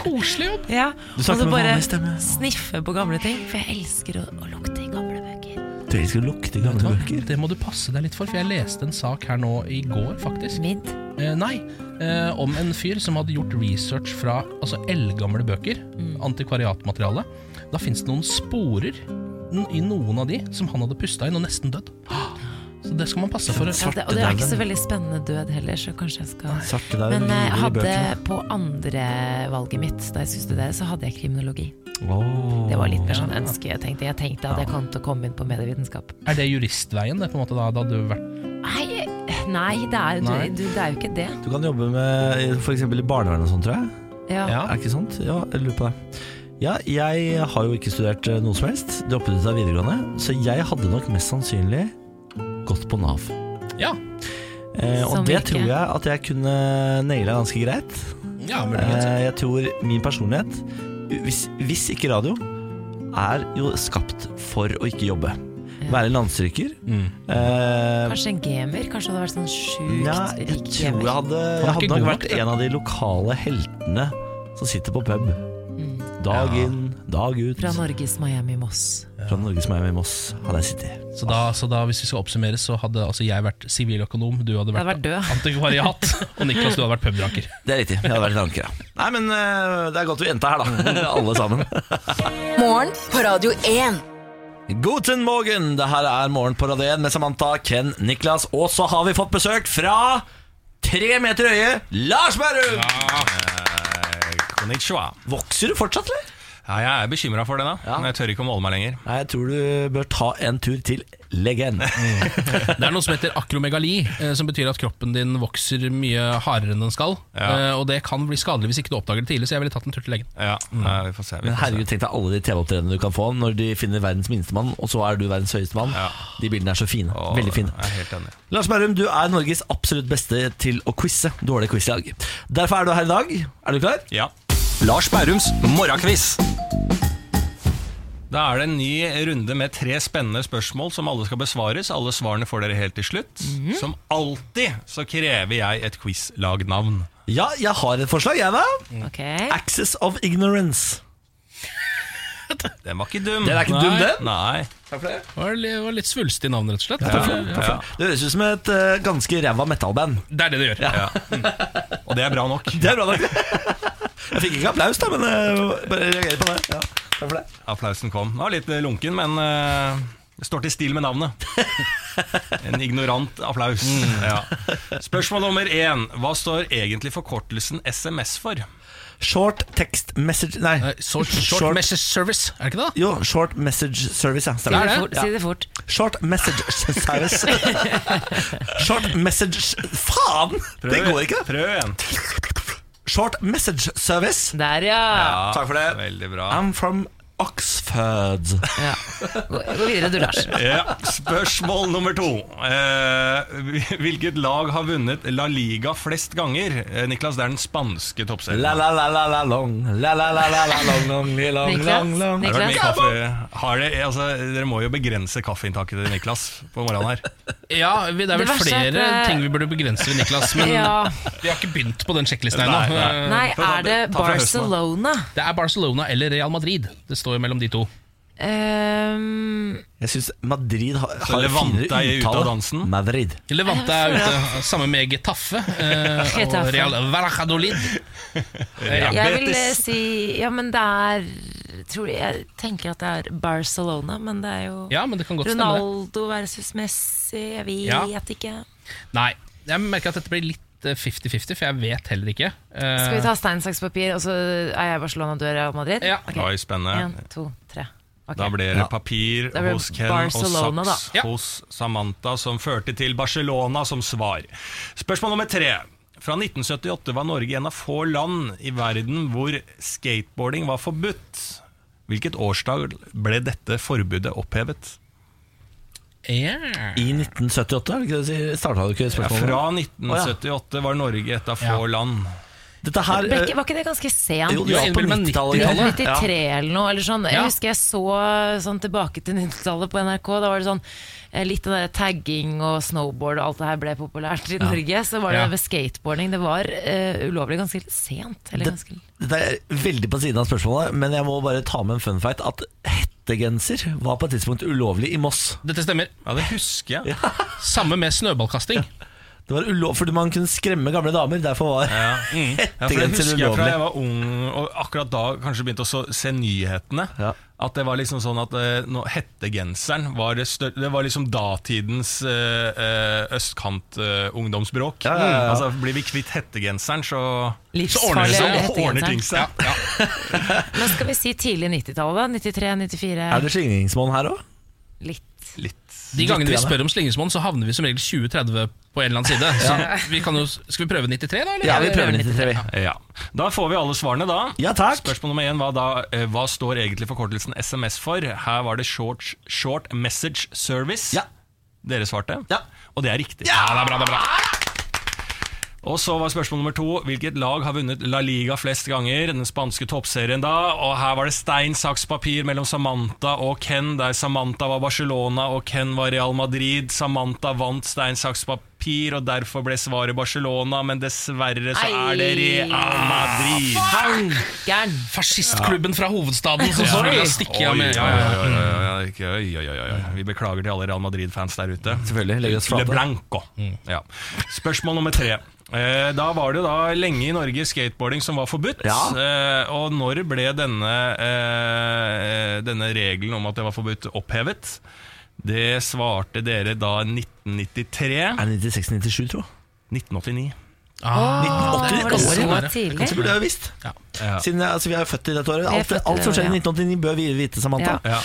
Speaker 2: Koselig jobb!
Speaker 3: ja,
Speaker 1: Du
Speaker 3: og
Speaker 1: snakker
Speaker 3: så
Speaker 1: med
Speaker 3: bare
Speaker 1: vanlig stemme.
Speaker 3: sniffe på gamle ting. For jeg elsker å, å lukte i gamle bøker.
Speaker 1: Dere skal lukte gamle bøker.
Speaker 2: Det må du passe deg litt for, for jeg leste en sak her nå i går, faktisk.
Speaker 3: Midd.
Speaker 2: Eh, nei, eh, om en fyr som hadde gjort research fra altså, eldgamle bøker, antikvariatmateriale. Da fins det noen sporer n- i noen av de som han hadde pusta inn og nesten dødd. Så det skal man passe for.
Speaker 3: Ja, det, og det er ikke så veldig spennende død heller, så kanskje jeg skal
Speaker 1: Svartedauden
Speaker 3: Men jeg
Speaker 1: hviler i
Speaker 3: hadde
Speaker 1: bøkene.
Speaker 3: på andre valget mitt da jeg skulle studere, så hadde jeg kriminologi.
Speaker 1: Åh.
Speaker 3: Det var litt mer sånn ønske jeg tenkte. Jeg tenkte at jeg kom til å komme inn på medievitenskap.
Speaker 2: Er det juristveien? Det, på en måte, da, da hadde du vært
Speaker 3: Nei, nei, det, er, du,
Speaker 2: Nei.
Speaker 3: du, det er jo ikke det.
Speaker 1: Du kan jobbe med for eksempel i barnevernet og sånn, tror jeg.
Speaker 3: Ja.
Speaker 2: Ja.
Speaker 1: Er ikke sant? Ja, jeg lurer på det. Ja, jeg har jo ikke studert eh, noe som helst. Droppet ut av videregående. Så jeg hadde nok mest sannsynlig gått på Nav.
Speaker 2: Ja.
Speaker 1: Eh, og
Speaker 3: Som
Speaker 1: det
Speaker 3: virke.
Speaker 1: tror jeg at jeg kunne naila ganske greit.
Speaker 2: Ja, muligens.
Speaker 1: Eh, jeg tror min personlighet, u- hvis, hvis ikke radio, er jo skapt for å ikke jobbe. Være landstryker.
Speaker 2: Mm.
Speaker 1: Eh,
Speaker 3: Kanskje en gamer? Kanskje du hadde vært sånn
Speaker 1: Ja,
Speaker 3: sjukt
Speaker 1: jeg
Speaker 3: rik
Speaker 1: tror jeg
Speaker 3: gamer?
Speaker 1: hadde,
Speaker 2: er
Speaker 1: jeg hadde
Speaker 2: ikke
Speaker 1: nok
Speaker 2: god
Speaker 1: vært
Speaker 2: nok, det.
Speaker 1: en av de lokale heltene som sitter på pub. Dag
Speaker 2: Ja.
Speaker 1: inn, Dag ut
Speaker 3: Fra Norges Miami-Moss.
Speaker 1: fra Norges Miami Moss hadde jeg sittet.
Speaker 2: Så da, så da hvis vi skal oppsummere, så hadde altså jeg vært siviløkonom, du
Speaker 3: Jeg hadde
Speaker 2: hadde vært
Speaker 3: vært død.
Speaker 2: antikvariat, og Niklas, du hadde vært pubranker.
Speaker 1: Det er riktig. Jeg hadde vært et anker, ja. Nei, men eh, det er godt vi endte her, da. Alle sammen.
Speaker 5: Morgen på Radio 1.
Speaker 1: Guten morgen! Det her er Morgen på Radio 1 med Samantha, Ken, Niklas, og så har vi fått besøk fra tre meter høye Lars Berrum! Eh,
Speaker 7: Konnichiwa.
Speaker 1: Vokser du fortsatt, eller?
Speaker 7: Ja, jeg er bekymra for det, da.
Speaker 1: Ja.
Speaker 7: Men jeg tør ikke å måle meg lenger.
Speaker 1: Nei, jeg tror du bør ta en tur til legenden.
Speaker 2: Det er noe som heter akromegali, eh, som betyr at kroppen din vokser mye hardere enn den skal.
Speaker 7: Ja.
Speaker 2: eh, Og det kan bli skadelig hvis ikke du oppdager det tidlig, så jeg ville tatt en tur til legen.
Speaker 7: Ja, nei, vi får se. Vi
Speaker 1: Mm. Men
Speaker 7: får se.
Speaker 1: herregud, tenk deg alle de TV-opptredenene du kan få når de finner verdens minste mann, og så er du verdens høyeste mann.
Speaker 7: Ja.
Speaker 1: De bildene er så fine.
Speaker 7: Å,
Speaker 1: Veldig fine.
Speaker 7: Jeg er helt enig.
Speaker 1: Lars Berrum, du er Norges absolutt beste til å quize. Du har det quiz i dag. Derfor er du her i dag. Er du klar?
Speaker 7: Ja. Lars Bærums morgenkviss. Da er det en ny runde med tre spennende spørsmål som alle skal besvares. Alle svarene får dere helt til slutt.
Speaker 1: Mhm.
Speaker 7: Som alltid så krever jeg et quiz-lagnavn.
Speaker 1: Ja, jeg har et forslag, jeg, da.
Speaker 3: Ok.
Speaker 1: Axis of Ignorance.
Speaker 7: Den var ikke dum.
Speaker 1: Den er ikke
Speaker 7: Nei.
Speaker 1: dum, den.
Speaker 7: Nei.
Speaker 2: Det var li- var litt svulstig navn, rett og slett.
Speaker 7: Ja.
Speaker 1: Det høres ut som et eh, ganske ræva metalband.
Speaker 2: Det er det det gjør.
Speaker 7: Ja. Og det er bra nok.
Speaker 1: Det er bra nok. jeg fikk ikke applaus, da, men eh, bare reagerer på det. Ja, takk for det.
Speaker 7: Applausen kom. Den var litt eh, lunken, men eh, det står til stil med navnet. En ignorant applaus.
Speaker 1: Mm.
Speaker 7: Ja. Spørsmål nummer én. Hva står egentlig forkortelsen SMS for?
Speaker 1: Short text message Nei.
Speaker 2: Eh, Short, short,
Speaker 1: Short-
Speaker 2: message service, er det ikke det? da?
Speaker 1: Jo, Short Message Service, ja.
Speaker 3: Si
Speaker 1: Stemmer.
Speaker 3: det
Speaker 2: det?
Speaker 3: fort. Si det fort.
Speaker 1: Short message service. Short message Faen! Det går ikke, da.
Speaker 7: Prøv igjen.
Speaker 1: Short message service.
Speaker 3: Der, ja.
Speaker 7: Ja,
Speaker 1: Takk for det.
Speaker 7: Veldig bra.
Speaker 1: I'm from Oxford.
Speaker 3: ja. Gå, gå videre du, Lars.
Speaker 7: Ja, spørsmål nummer to. Eh, hvilket lag har vunnet La Liga flest ganger? Eh, Niklas, det er den spanske toppserien.
Speaker 1: La la la la la long. La la la la la long long li, long
Speaker 3: Niklas?
Speaker 1: long long.
Speaker 7: Har dere vært mye
Speaker 3: Niklas?
Speaker 7: kaffe? Har dere, altså, dere må jo begrense kaffeinntaket til Niklas på morgenen her.
Speaker 2: Ja, vi- Det er
Speaker 3: Det
Speaker 2: vel
Speaker 3: verste er at,
Speaker 2: flere
Speaker 3: eh,
Speaker 2: ting vi burde begrense ved Niklas, men
Speaker 3: Ja.
Speaker 2: vi har ikke begynt på den sjekklisten
Speaker 7: Nei, nei.
Speaker 2: ennå. Eh,
Speaker 3: Nei,
Speaker 7: ta-
Speaker 3: er det
Speaker 7: ta fra høsten, da.
Speaker 3: Barcelona?
Speaker 2: Det er Barcelona eller Real Madrid. Det står jo mellom de to.
Speaker 3: Ehm,
Speaker 1: Jeg syns Madrid har, har
Speaker 7: Levante
Speaker 1: finere
Speaker 7: er ute av
Speaker 1: uttale.
Speaker 7: dansen.
Speaker 1: Madrid.
Speaker 2: Levante er ute, sammen med Getafe eh, og
Speaker 3: Getafe.
Speaker 2: Real Valladolid.
Speaker 3: jeg vil eh, si Ja, men det er tror jeg, jeg tenker at det er Barcelona, men det er jo
Speaker 2: Ja, men det kan godt stemme. det.
Speaker 3: Ronaldo versus Messi, jeg vet
Speaker 2: Ja.
Speaker 3: ikke.
Speaker 2: Nei, jeg merker at dette blir litt eh, 50-50, for jeg vet heller ikke. Eh,
Speaker 3: Skal vi ta stein, saks, papir, og så er jeg Barcelona, du er Real Madrid?
Speaker 2: Ja.
Speaker 3: Ok.
Speaker 7: Oi, spennende.
Speaker 3: En, to, tre. Ok.
Speaker 7: Da ble det papir
Speaker 3: Da ble det
Speaker 7: hos Ken
Speaker 3: Barcelona,
Speaker 7: og
Speaker 3: da.
Speaker 7: saks
Speaker 2: Ja.
Speaker 7: hos Samantha, som førte til Barcelona som svar. Spørsmål nummer tre. Fra 1978 var Norge en av få land i verden hvor skateboarding var forbudt. Hvilket årsdag ble dette forbudet opphevet?
Speaker 2: yeah.
Speaker 1: I 1978, er det ikke det du sier? Starta du ikke
Speaker 7: Ja,
Speaker 1: spørsmålet?
Speaker 7: fra 1978 var Norge et av få
Speaker 2: Ja.
Speaker 7: land.
Speaker 1: Dette her eh,
Speaker 3: Ble ikke, var ikke det ganske sent?
Speaker 1: Jo, det var på
Speaker 2: innbilt meg
Speaker 1: 90-tallet.
Speaker 3: 93
Speaker 1: Ja.
Speaker 3: eller noe. Eller sånn. Jeg
Speaker 2: Ja.
Speaker 3: husker jeg så sånn, tilbake til 90-tallet på NRK. Da var det sånn eh, Litt av det der tagging og snowboard og alt det her ble populært i Norge. Så var det
Speaker 2: Ja.
Speaker 3: det med skateboarding. Det var eh, ulovlig ganske sent. Eller ganske
Speaker 1: Dette er veldig på siden av spørsmålet, men jeg må bare ta med en fun fact at hettegenser var på et tidspunkt ulovlig i Moss.
Speaker 2: Dette stemmer.
Speaker 7: Ja, det husker jeg.
Speaker 2: Samme med snøballkasting.
Speaker 1: Det var ulov, fordi man kunne skremme gamle damer, derfor var
Speaker 7: Ja, for det
Speaker 1: hettegenser
Speaker 7: husker jeg fra
Speaker 1: ulovlig.
Speaker 7: jeg var ung og akkurat da kanskje begynte å så, se nyhetene.
Speaker 1: Ja.
Speaker 7: At det var liksom sånn at eh, nå, hettegenseren var det, stør, det var liksom datidens eh, østkant-ungdomsbråk.
Speaker 1: Ja, ja, ja.
Speaker 7: eh, Altså, blir vi kvitt hettegenseren, så
Speaker 3: livsfarlig.
Speaker 2: seg,
Speaker 3: eller
Speaker 7: så ordner
Speaker 3: hettegenseren.
Speaker 7: ting seg.
Speaker 3: Men skal vi si tidlig 90-tallet? 93-94?
Speaker 1: Er det slingringsmonn her òg?
Speaker 3: Litt.
Speaker 7: Litt.
Speaker 2: De gangene vi
Speaker 1: grann.
Speaker 2: spør om slingringsmonn, så havner vi som regel 20-30 på en eller annen side. Så vi kan jo, skal vi prøve 93, da? Eller?
Speaker 1: Ja, vi prøver 93, vi.
Speaker 7: Ja. Da får vi alle svarene, da.
Speaker 1: Ja, takk.
Speaker 7: Spørsmål nummer én var da eh, hva står egentlig forkortelsen SMS for? Her var det Short, short Message Service.
Speaker 1: Ja.
Speaker 7: Dere svarte,
Speaker 1: Ja.
Speaker 7: og det er riktig.
Speaker 2: Ja, det er bra, det er bra.
Speaker 7: Og så var spørsmål nummer to Hvilket lag har vunnet La Liga flest ganger? Den spanske toppserien da Og her var det stein, saks, papir mellom Samantha og Ken Der Samantha var Barcelona og Ken var Real Madrid Samantha vant stein, saks, papir papir, og derfor ble svaret Barcelona, men dessverre så
Speaker 3: Ei.
Speaker 7: er det Real Madrid.
Speaker 3: Gæren.
Speaker 2: Fascistklubben fra hovedstaden
Speaker 3: Ja.
Speaker 2: som skulle stikke av med
Speaker 7: Oi, oi, oi, oi, oi, oi, oi, oi, oi, oi. Vi beklager til alle Real Madrid-fans der ute.
Speaker 1: Selvfølgelig, legger oss flate.
Speaker 7: Le Blanco. Ja. Spørsmål nummer tre. Eh, Da var det da lenge i Norge skateboarding som var forbudt.
Speaker 1: Ja.
Speaker 7: Eh, Og når ble denne, eh, denne regelen om at det var forbudt, opphevet? Det svarte dere da 1993.
Speaker 1: Er det 96-97, tro?
Speaker 7: 1989.
Speaker 2: Ah.
Speaker 3: Åh, var det så
Speaker 2: Året.
Speaker 3: tidlig?
Speaker 1: Kanskje burde jeg jo visst.
Speaker 7: Ja.
Speaker 1: Siden jeg, altså, vi er jo født i dette året.
Speaker 3: er
Speaker 1: Alt,
Speaker 3: født i
Speaker 1: alt
Speaker 3: det
Speaker 1: som skjer i
Speaker 3: året,
Speaker 1: 1989, bør vi vite, Samantha.
Speaker 7: Ja.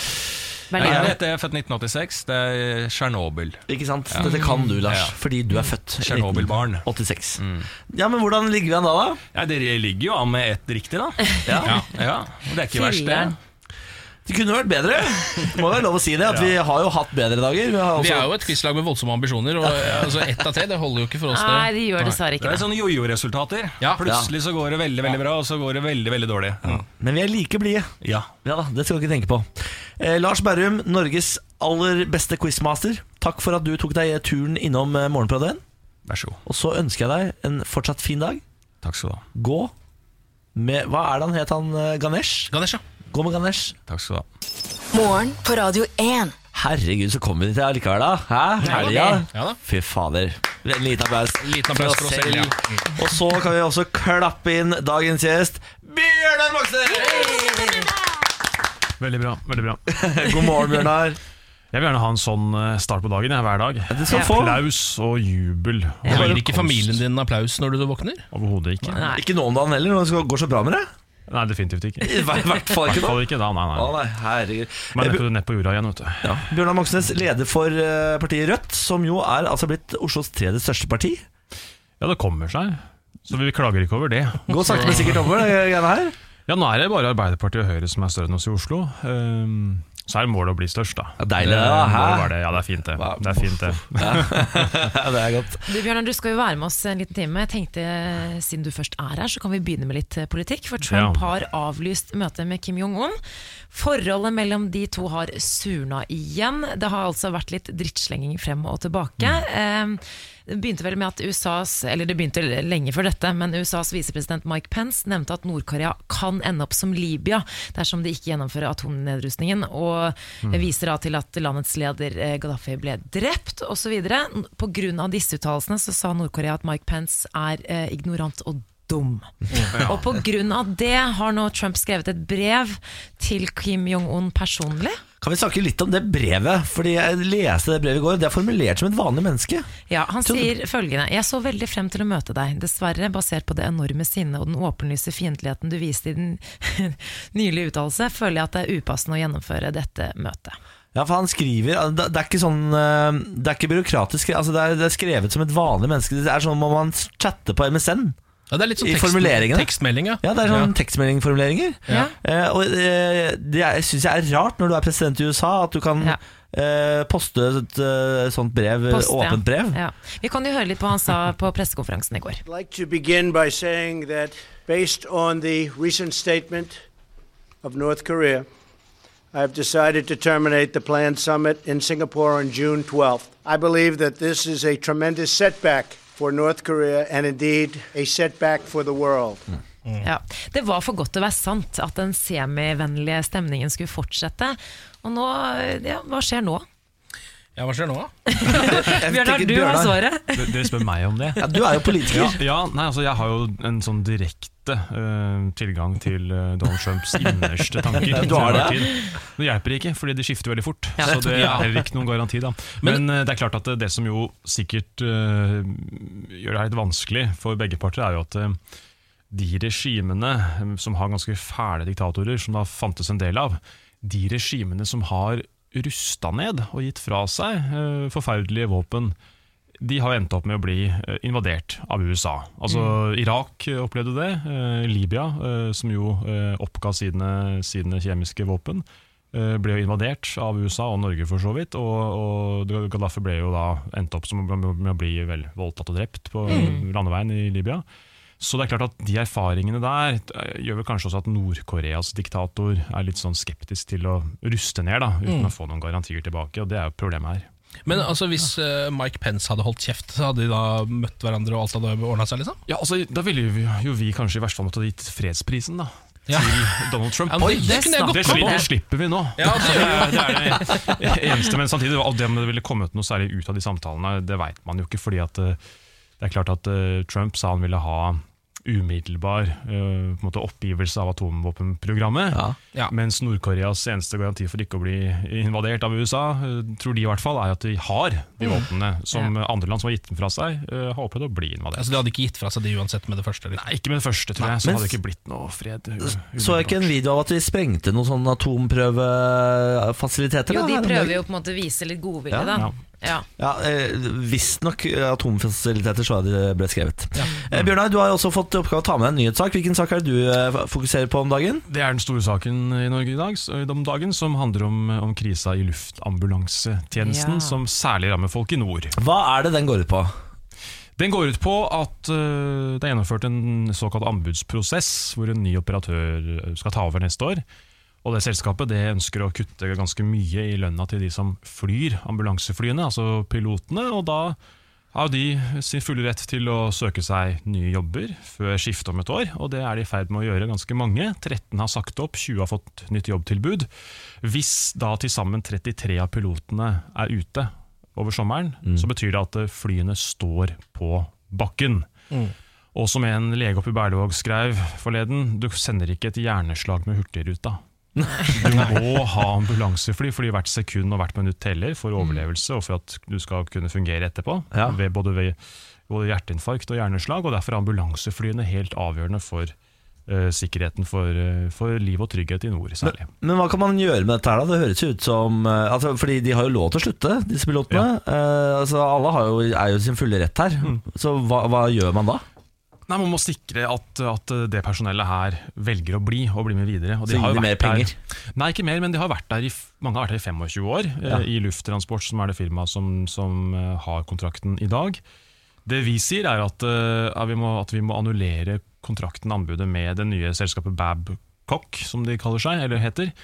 Speaker 7: Jeg
Speaker 3: Berlin.
Speaker 7: er rett, jeg er født 1986. Det er Tsjernobyl.
Speaker 1: Ikke sant? Dette kan du, Lars,
Speaker 7: Ja.
Speaker 1: fordi du er født i
Speaker 7: Tsjernobyl-barn. Mm.
Speaker 1: 1986. Ja, men hvordan ligger vi an da, da?
Speaker 7: Ja, dere ligger jo an med ett riktig, da. Ja. Ja. Det er ikke verst, det.
Speaker 3: Fireren.
Speaker 1: Det kunne vært bedre. Det må være lov å si det. At Vi har jo hatt bedre dager. Vi har
Speaker 2: Vi
Speaker 1: også
Speaker 2: er jo et quizlag med voldsomme ambisjoner, og eh, altså, ett av tre det holder jo ikke for oss.
Speaker 3: Nei,
Speaker 2: Det.
Speaker 3: de gjør dessverre
Speaker 7: Det
Speaker 3: ikke
Speaker 7: er
Speaker 3: det.
Speaker 7: sånne jojo-resultater.
Speaker 2: Ja.
Speaker 7: Plutselig så går det veldig veldig bra, og så går det veldig veldig dårlig.
Speaker 1: Men vi er like blide.
Speaker 7: Ja.
Speaker 1: Ja da, det skal du ikke tenke på. Eh, Lars Berrum, Norges aller beste quizmaster. Takk for at du tok deg turen innom eh, Morgenpradien.
Speaker 7: Vær så god.
Speaker 1: Og så ønsker jeg deg en fortsatt fin dag.
Speaker 7: Takk skal du ha.
Speaker 1: Gå med Hva er det han het, han eh, Ganesh?
Speaker 2: Ganesha.
Speaker 1: Gå med Ganesh.
Speaker 7: Takk skal du ha.
Speaker 5: Morgen på Radio 1.
Speaker 1: Herregud, så kom vi dit allikevel, da. Hæ? Helga?
Speaker 2: Ja da.
Speaker 1: Fy fader. En liten applaus.
Speaker 2: Liten applaus for oss selv, ja.
Speaker 1: Og så kan vi også klappe inn dagens gjest, Bjørnar Moxnes!
Speaker 8: Veldig bra. veldig bra Jeg
Speaker 1: God morgen, Bjørnar.
Speaker 8: vil gjerne ha en sånn eh, start på dagen jeg, hver dag.
Speaker 1: Du skal få.
Speaker 8: Applaus og jubel. og
Speaker 2: Gir
Speaker 8: velkomst.
Speaker 2: ikke familien din applaus når du våkner?
Speaker 8: Overhodet ikke.
Speaker 3: Nei.
Speaker 1: Ikke nå om dagen heller, når det skal- går så bra med deg.
Speaker 8: Nei, definitivt ikke.
Speaker 1: I hver- hvert fall
Speaker 8: I
Speaker 1: ikke
Speaker 8: hvert
Speaker 1: nå.
Speaker 8: fall ikke da, nei,
Speaker 1: Å
Speaker 8: nei.
Speaker 1: nei, herregud.
Speaker 8: Men
Speaker 1: Eh,
Speaker 8: nett på, nett på jorda igjen, vet du.
Speaker 1: Ja. Bjørnar Moxnes, leder for eh, partiet Rødt, som jo er altså blitt Oslos tredje største parti.
Speaker 8: Ja, det kommer seg. Så vi klager ikke over det.
Speaker 1: Gå sakte, men sikkert over det greiene her.
Speaker 8: Ja, Nå er det bare Arbeiderpartiet og Høyre som er større enn oss i Oslo. Ehm, så er målet å bli størst, da.
Speaker 1: Ja, deilig det, da.
Speaker 8: Eh,
Speaker 1: Hæ?
Speaker 8: må være det. Ja, det er fint, det.
Speaker 1: Hva-
Speaker 8: Det er fint det
Speaker 1: Ja, det er godt.
Speaker 3: Du Bjørnar, du skal jo være med oss en liten time. Jeg tenkte eh, Siden du først er her, så kan vi begynne med litt eh, politikk. For Trump
Speaker 8: Ja.
Speaker 3: har avlyst møtet med Kim Jong-un. Forholdet mellom de to har surna igjen. Det har altså vært litt drittslenging frem og tilbake. Eh, Det begynte vel med at USAs, eller det begynte lenge før dette, men USAs visepresident Mike Pence nevnte at Nord-Korea kan ende opp som Libya dersom de ikke gjennomfører atomnedrustningen, og viser da til at landets leder eh, Gaddafi ble drept osv. Pga. disse uttalelsene så sa Nord-Korea at Mike Pence er eh, ignorant og dum. Og pga. det har nå Trump skrevet et brev til Kim Jong-un personlig.
Speaker 1: Kan vi snakke litt om det brevet? Fordi jeg leste det brevet i går, og det er formulert som et vanlig menneske.
Speaker 3: Ja, Han
Speaker 1: Tror du-
Speaker 3: sier følgende Jeg så veldig frem til å møte deg. Dessverre, basert på det enorme sinnet og den åpenlyse fiendtligheten du viste i din nylige uttalelse, føler jeg at det er upassende å gjennomføre dette møtet.
Speaker 1: Ja, for han skriver altså, Det det er ikke sånn eh, Det er ikke byråkratisk. Altså, det, er, det er skrevet som et vanlig menneske. Det er sånn om man chatter på MSN.
Speaker 2: Ja, det er litt sånn
Speaker 1: I
Speaker 2: tekst,
Speaker 1: formuleringene.
Speaker 2: tekstmelding, ja.
Speaker 1: Ja, det er sånn tekstmeldingformuleringer.
Speaker 3: Ja.
Speaker 1: Eh, og eh, det er- jeg syns jeg er rart når du er president i USA, at du kan
Speaker 3: Ja.
Speaker 1: eh, poste et eh, sånt brev,
Speaker 3: Post, ja.
Speaker 1: åpent brev.
Speaker 3: Ja. Vi kan jo høre litt på hva han sa på pressekonferansen i går.
Speaker 9: I'd like to begin by saying that based on the recent statement of North Korea, I've decided to terminate the planned summit in Singapore on June 12th. I believe that this is a tremendous setback for North Korea and indeed a setback for the world.
Speaker 10: Hmm.
Speaker 1: Mm.
Speaker 3: Ja. Det var for godt til å være sant at den semivennlige stemningen skulle fortsette. Og nå, ja, hva skjer nå?
Speaker 2: ja. Hva skjer nå, da?
Speaker 3: Bjørnar, du har svaret.
Speaker 8: D- Dere spør meg om det?
Speaker 1: Ja, du er jo politiker.
Speaker 8: Ja, ja nei, altså jeg har jo en sånn direkte eh, tilgang til eh, Donald Trumps innerste tanker.
Speaker 1: Du har det, ja.
Speaker 8: Til enhver tid. Det hjelper ikke, fordi det skifter veldig fort. Så det er
Speaker 2: Ja.
Speaker 8: heller ikke noen garanti. da. Men eh, det er klart at det, det som jo sikkert eh, gjør det her litt vanskelig for begge parter, er jo at eh, de regimene eh, som har ganske fæle diktatorer, som det har fantes en del av, de regimene som har rusta ned og gitt fra seg eh, forferdelige våpen, de har endt opp med å bli eh, invadert av USA. Altså Irak eh, opplevde det, eh, Libya, eh, som jo eh, oppga sine, sine kjemiske våpen, eh, ble jo invadert av USA og Norge for så vidt. Og, og Gaddafi ble jo da endt opp som, med å bli vel voldtatt og drept på landeveien i Libya. Så det er klart at de erfaringene der eh, gjør vel kanskje også at Nord-Koreas diktator er litt sånn skeptisk til å ruste ned, da, uten å få noen garantier tilbake. Og det er jo problemet her.
Speaker 2: Men altså, hvis eh, Mike Pence hadde holdt kjeft, så hadde de da møtt hverandre og alt hadde ordna seg, liksom?
Speaker 8: Ja, altså, Da ville vi, jo vi kanskje i verste fall måtte ha gitt fredsprisen da
Speaker 2: Ja.
Speaker 8: til Donald Trump.
Speaker 2: Ja, men det- det kunne jeg
Speaker 8: det,
Speaker 2: godt
Speaker 8: slipper-
Speaker 2: komme på.
Speaker 8: det slipper vi nå.
Speaker 2: Ja, det gjør
Speaker 8: det, er det eneste, men samtidig, alt det om det ville kommet noe særlig ut av de samtalene, det veit man jo ikke. fordi at eh, det er klart at eh, Trump sa han ville ha umiddelbar eh, på en måte oppgivelse av atomvåpenprogrammet.
Speaker 1: Ja.
Speaker 2: Ja.
Speaker 8: Mens Nord-Koreas eneste garanti for ikke å bli invadert av USA, eh, tror de i hvert fall, er at de har de
Speaker 2: Mm.
Speaker 8: våpnene som eh, andre land som har gitt dem fra seg, eh, har opplevd å bli invadert.
Speaker 2: Altså, de hadde ikke gitt fra seg det uansett med det første? Liksom.
Speaker 8: Nei, ikke med det første, tror jeg. Så
Speaker 1: men-
Speaker 8: hadde det ikke blitt noe fred. u-
Speaker 1: Så jeg ikke en video av at de sprengte noen sånne atomprøvefasiliteter?
Speaker 3: Jo,
Speaker 1: da,
Speaker 3: de
Speaker 1: her om
Speaker 3: prøver
Speaker 1: dagen?
Speaker 3: jo på en måte å vise litt godvilje,
Speaker 1: Ja,
Speaker 3: da. Ja.
Speaker 1: Ja, eh, Visstnok eh, atomfasiliteter, så det ble skrevet. Eh, Bjørnar, du har jo også fått i oppgave å ta med deg en nyhetssak. Hvilken sak er det du eh, fokuserer på om dagen?
Speaker 8: Det er den store saken i Norge i dag, s- om dagen, som handler om, om krisa i luftambulansetjenesten,
Speaker 3: Ja.
Speaker 8: som særlig rammer folk i nord.
Speaker 1: Hva er det den går ut på?
Speaker 8: Den går ut på at øh, det er gjennomført en såkalt anbudsprosess, hvor en ny operatør øh, skal ta over neste år. Og det selskapet det ønsker å kutte ganske mye i lønna til de som flyr ambulanseflyene, altså pilotene. Og da har de sin fulle rett til å søke seg nye jobber før skiftet om et år. Og det er de i ferd med å gjøre ganske mange. 13 har sagt opp, 20 har fått nytt jobbtilbud. Hvis da til sammen 33 av pilotene er ute over sommeren, så betyr det at eh, flyene står på bakken. Og som en lege oppe i Berlevåg skrev forleden, du sender ikke et hjerneslag med Hurtigruta. Du må ha ambulansefly, fordi hvert sekund og hvert minutt teller for overlevelse og for at du skal kunne fungere etterpå,
Speaker 1: Ja.
Speaker 8: ved både ved både hjerteinfarkt og hjerneslag. Og derfor er ambulanseflyene helt avgjørende for eh, sikkerheten for, eh, for liv og trygghet i nord, særlig.
Speaker 1: Men hva kan man gjøre med dette her da? Det høres jo ut som eh, altså, Fordi de har jo lov til å slutte, disse pilotene. Eh, altså, alle har jo, er jo i sin fulle rett her.
Speaker 3: Mm.
Speaker 1: Så hva, hva gjør man da?
Speaker 8: Nei, Man må sikre at, at det personellet her velger å bli og bli med videre. Og
Speaker 1: Så gir de mer
Speaker 8: vært der-
Speaker 1: penger?
Speaker 8: Nei, ikke mer, men de har vært der i, f- mange har vært der i 25 år. eh,
Speaker 1: Ja.
Speaker 8: I Lufttransport, som er det firmaet som, som eh, har kontrakten i dag. Det vi sier, er at, eh, at, vi, må, at vi må annullere kontrakten, anbudet, med det nye selskapet Babcock, som de kaller seg, eller heter.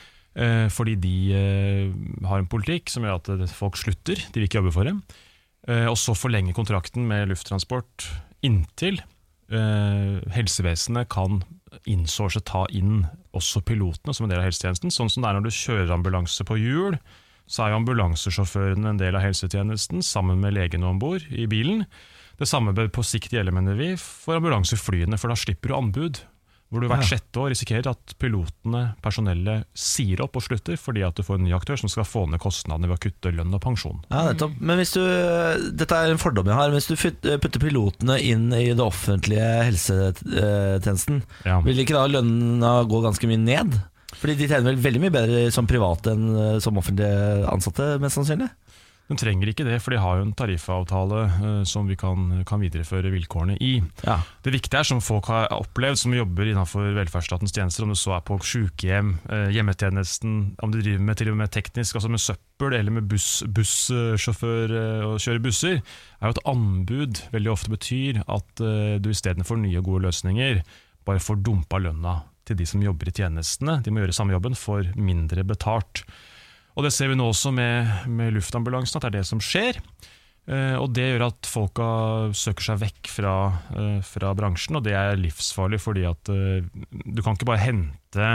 Speaker 8: eh, Fordi de eh, har en politikk som gjør at eh, folk slutter, de vil ikke jobbe for dem. Eh, Og så forlenge kontrakten med Lufttransport inntil eh, helsevesenet kan insource, ta inn også pilotene som en del av helsetjenesten. Sånn som det er når du kjører ambulanse på hjul, så er jo ambulansesjåføren en del av helsetjenesten sammen med legene om bord i bilen. Det samme bør på sikt gjelde, mener vi, for ambulanseflyene, for da slipper du anbud. Hvor du hvert sjette år risikerer at pilotene, personellet, sier opp og slutter fordi at du får en ny aktør som skal få ned kostnadene ved å kutte lønn og pensjon.
Speaker 1: Ja, nettopp. Men hvis du, dette er en fordom jeg har. Hvis du fut- putter pilotene inn i det offentlige helsetjenesten,
Speaker 8: Ja.
Speaker 1: vil ikke da lønna gå ganske mye ned? Fordi de tjener vel veldig mye bedre som private enn eh, som offentlige ansatte, mest sannsynlig?
Speaker 8: De trenger ikke det, for de har jo en tariffavtale eh, som vi kan, kan videreføre vilkårene i.
Speaker 1: Ja.
Speaker 8: Det viktige er, som folk har opplevd, som jobber innenfor velferdsstatens tjenester, om du så er på sykehjem, eh, hjemmetjenesten, om du driver med, til og med teknisk, altså med søppel eller med buss- bussjåfør eh, og kjører busser, er jo at anbud veldig ofte betyr at eh, du istedenfor nye, gode løsninger, bare får dumpa lønna til de som jobber i tjenestene. De må gjøre samme jobben for mindre betalt. Og det ser vi nå også med, med luftambulansen, at det er det som skjer. Eh, og det gjør at folka søker seg vekk fra, eh, fra bransjen, og det er livsfarlig fordi at eh, du kan ikke bare hente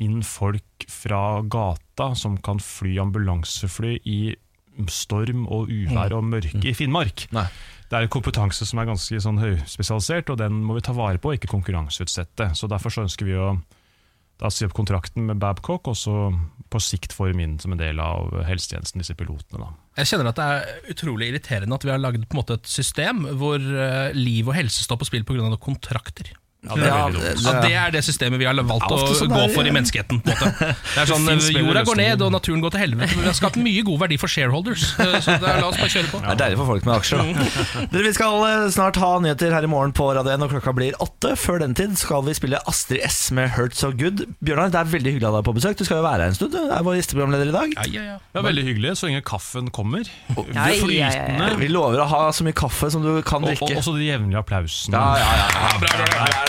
Speaker 8: inn folk fra gata som kan fly ambulansefly i storm og uvær og mørke i Finnmark.
Speaker 1: Nei.
Speaker 8: Det er kompetanse som er ganske sånn høyspesialisert, og den må vi ta vare på, ikke konkurranseutsette. Så Derfor så ønsker vi å da si opp kontrakten med Babcock, og så på sikt få dem inn som en del av helsetjenesten, disse pilotene. da.
Speaker 2: Jeg kjenner at det er utrolig irriterende at vi har lagd på en måte et system hvor eh, liv og helse står på spill pga. kontrakter.
Speaker 8: Ja, det er veldig dumt.
Speaker 2: At det er det systemet vi har valgt
Speaker 1: Det
Speaker 2: å
Speaker 1: er ofte sånn
Speaker 2: gå
Speaker 1: det er.
Speaker 2: for i menneskeheten. På en måte. Det er sånn,
Speaker 8: Det finnes bedre
Speaker 2: Jorda går
Speaker 8: løsninger.
Speaker 2: ned, og naturen går til helvete. Men vi har skapt mye god verdi for shareholders, eh, så det er, la oss bare kjøre på.
Speaker 1: Det er deilig for folk med aksjer, da. Dere, vi skal eh, snart ha nyheter her i morgen på Radio 1, og klokka blir åtte. Før den tid skal vi spille Astrid S med 'Hurt So Good'. Bjørnar, det er veldig hyggelig å ha deg på besøk. Du skal jo være her en stund. Du er vår gjesteprogramleder i dag.
Speaker 2: Ja, ja, ja.
Speaker 8: Det er veldig hyggelig, så lenge kaffen kommer.
Speaker 3: Ja, ja, ja, ja.
Speaker 1: Vi lover å ha så mye kaffe som du kan
Speaker 8: Og, og
Speaker 1: drikke.
Speaker 8: også de jevnlige applausene.
Speaker 1: Ja, ja, ja.
Speaker 2: Bra, bra, bra.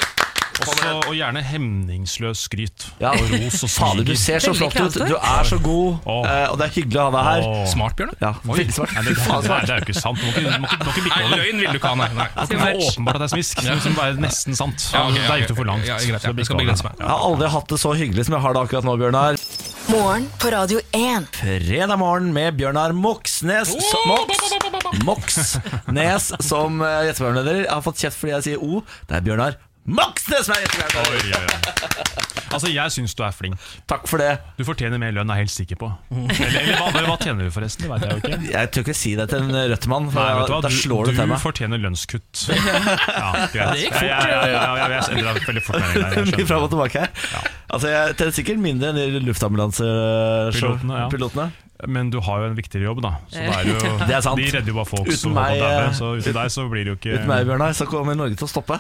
Speaker 8: Også, og gjerne hemningsløs skryt.
Speaker 1: Ja.
Speaker 8: Og ros og
Speaker 1: Fader, du ser så
Speaker 8: Veldig
Speaker 1: flott ut.
Speaker 8: kravstor.
Speaker 1: Du er så god,
Speaker 8: Åh.
Speaker 1: eh, og det er hyggelig å ha deg her.
Speaker 8: Åh. Smart, Bjørn,
Speaker 1: Ja,
Speaker 8: Oi.
Speaker 1: veldig smart.
Speaker 8: Nei, det,
Speaker 1: Faen,
Speaker 8: det,
Speaker 1: smart.
Speaker 8: er- det er jo ikke sant. Du må ikke, du må ikke, du må ikke bikke
Speaker 2: Nei,
Speaker 8: over.
Speaker 2: løgn vil du ikke ha, nei. nei.
Speaker 8: Det er åpenbart at det er smisk. Det må være nesten sant.
Speaker 2: Ja, ok,
Speaker 8: Det er
Speaker 2: ja,
Speaker 8: gikk du for langt.
Speaker 2: ja, ja, greit,
Speaker 8: så det
Speaker 2: ja. Jeg skal
Speaker 8: bikker
Speaker 2: begrense
Speaker 8: over.
Speaker 2: meg.
Speaker 1: Jeg har aldri hatt det så hyggelig som jeg har det akkurat nå, Bjørnar.
Speaker 5: Morgen på Radio 1.
Speaker 1: Fredag morgen med Bjørnar Moxnes som- Mox, Moxnes som eh, gjesteprogramleder. Jeg har fått kjeft fordi jeg sier O. Det er Bjørnar Moxnes som
Speaker 8: Oi,
Speaker 1: er gjesteprogramleder!
Speaker 8: oi, oi. Altså, jeg syns du er flink.
Speaker 1: Takk for det.
Speaker 8: Du fortjener mer lønn, er jeg helt sikker på.
Speaker 2: Mm.
Speaker 8: Eller, eller hva, hva tjener du, forresten? Det vet jeg jo ikke.
Speaker 1: Jeg tør ikke si det til en rødt-mann, for
Speaker 8: Nei, vet du hva?
Speaker 1: da slår det
Speaker 8: du,
Speaker 1: til
Speaker 8: du
Speaker 1: meg.
Speaker 8: fortjener lønnskutt. Ja, greit.
Speaker 2: Det gikk fort,
Speaker 8: Ja, ja, ja, ja, ja, jeg endra veldig fort. med en gang, jeg
Speaker 1: Mye fram
Speaker 8: skjønner.
Speaker 1: og tilbake her. Altså, jeg tjener sikkert mindre enn de
Speaker 8: Pilotene, ja.
Speaker 1: luftambulansepilotene.
Speaker 8: Men du har jo en viktigere jobb, da. Så det er jo,
Speaker 1: Det er sant.
Speaker 8: De redder jo bare folk
Speaker 1: Uten
Speaker 8: som
Speaker 1: meg,
Speaker 8: holder
Speaker 1: eh,
Speaker 8: dæven, så uten deg så blir det jo ikke
Speaker 1: Uten meg, Bjørnar, så kommer Norge til å stoppe.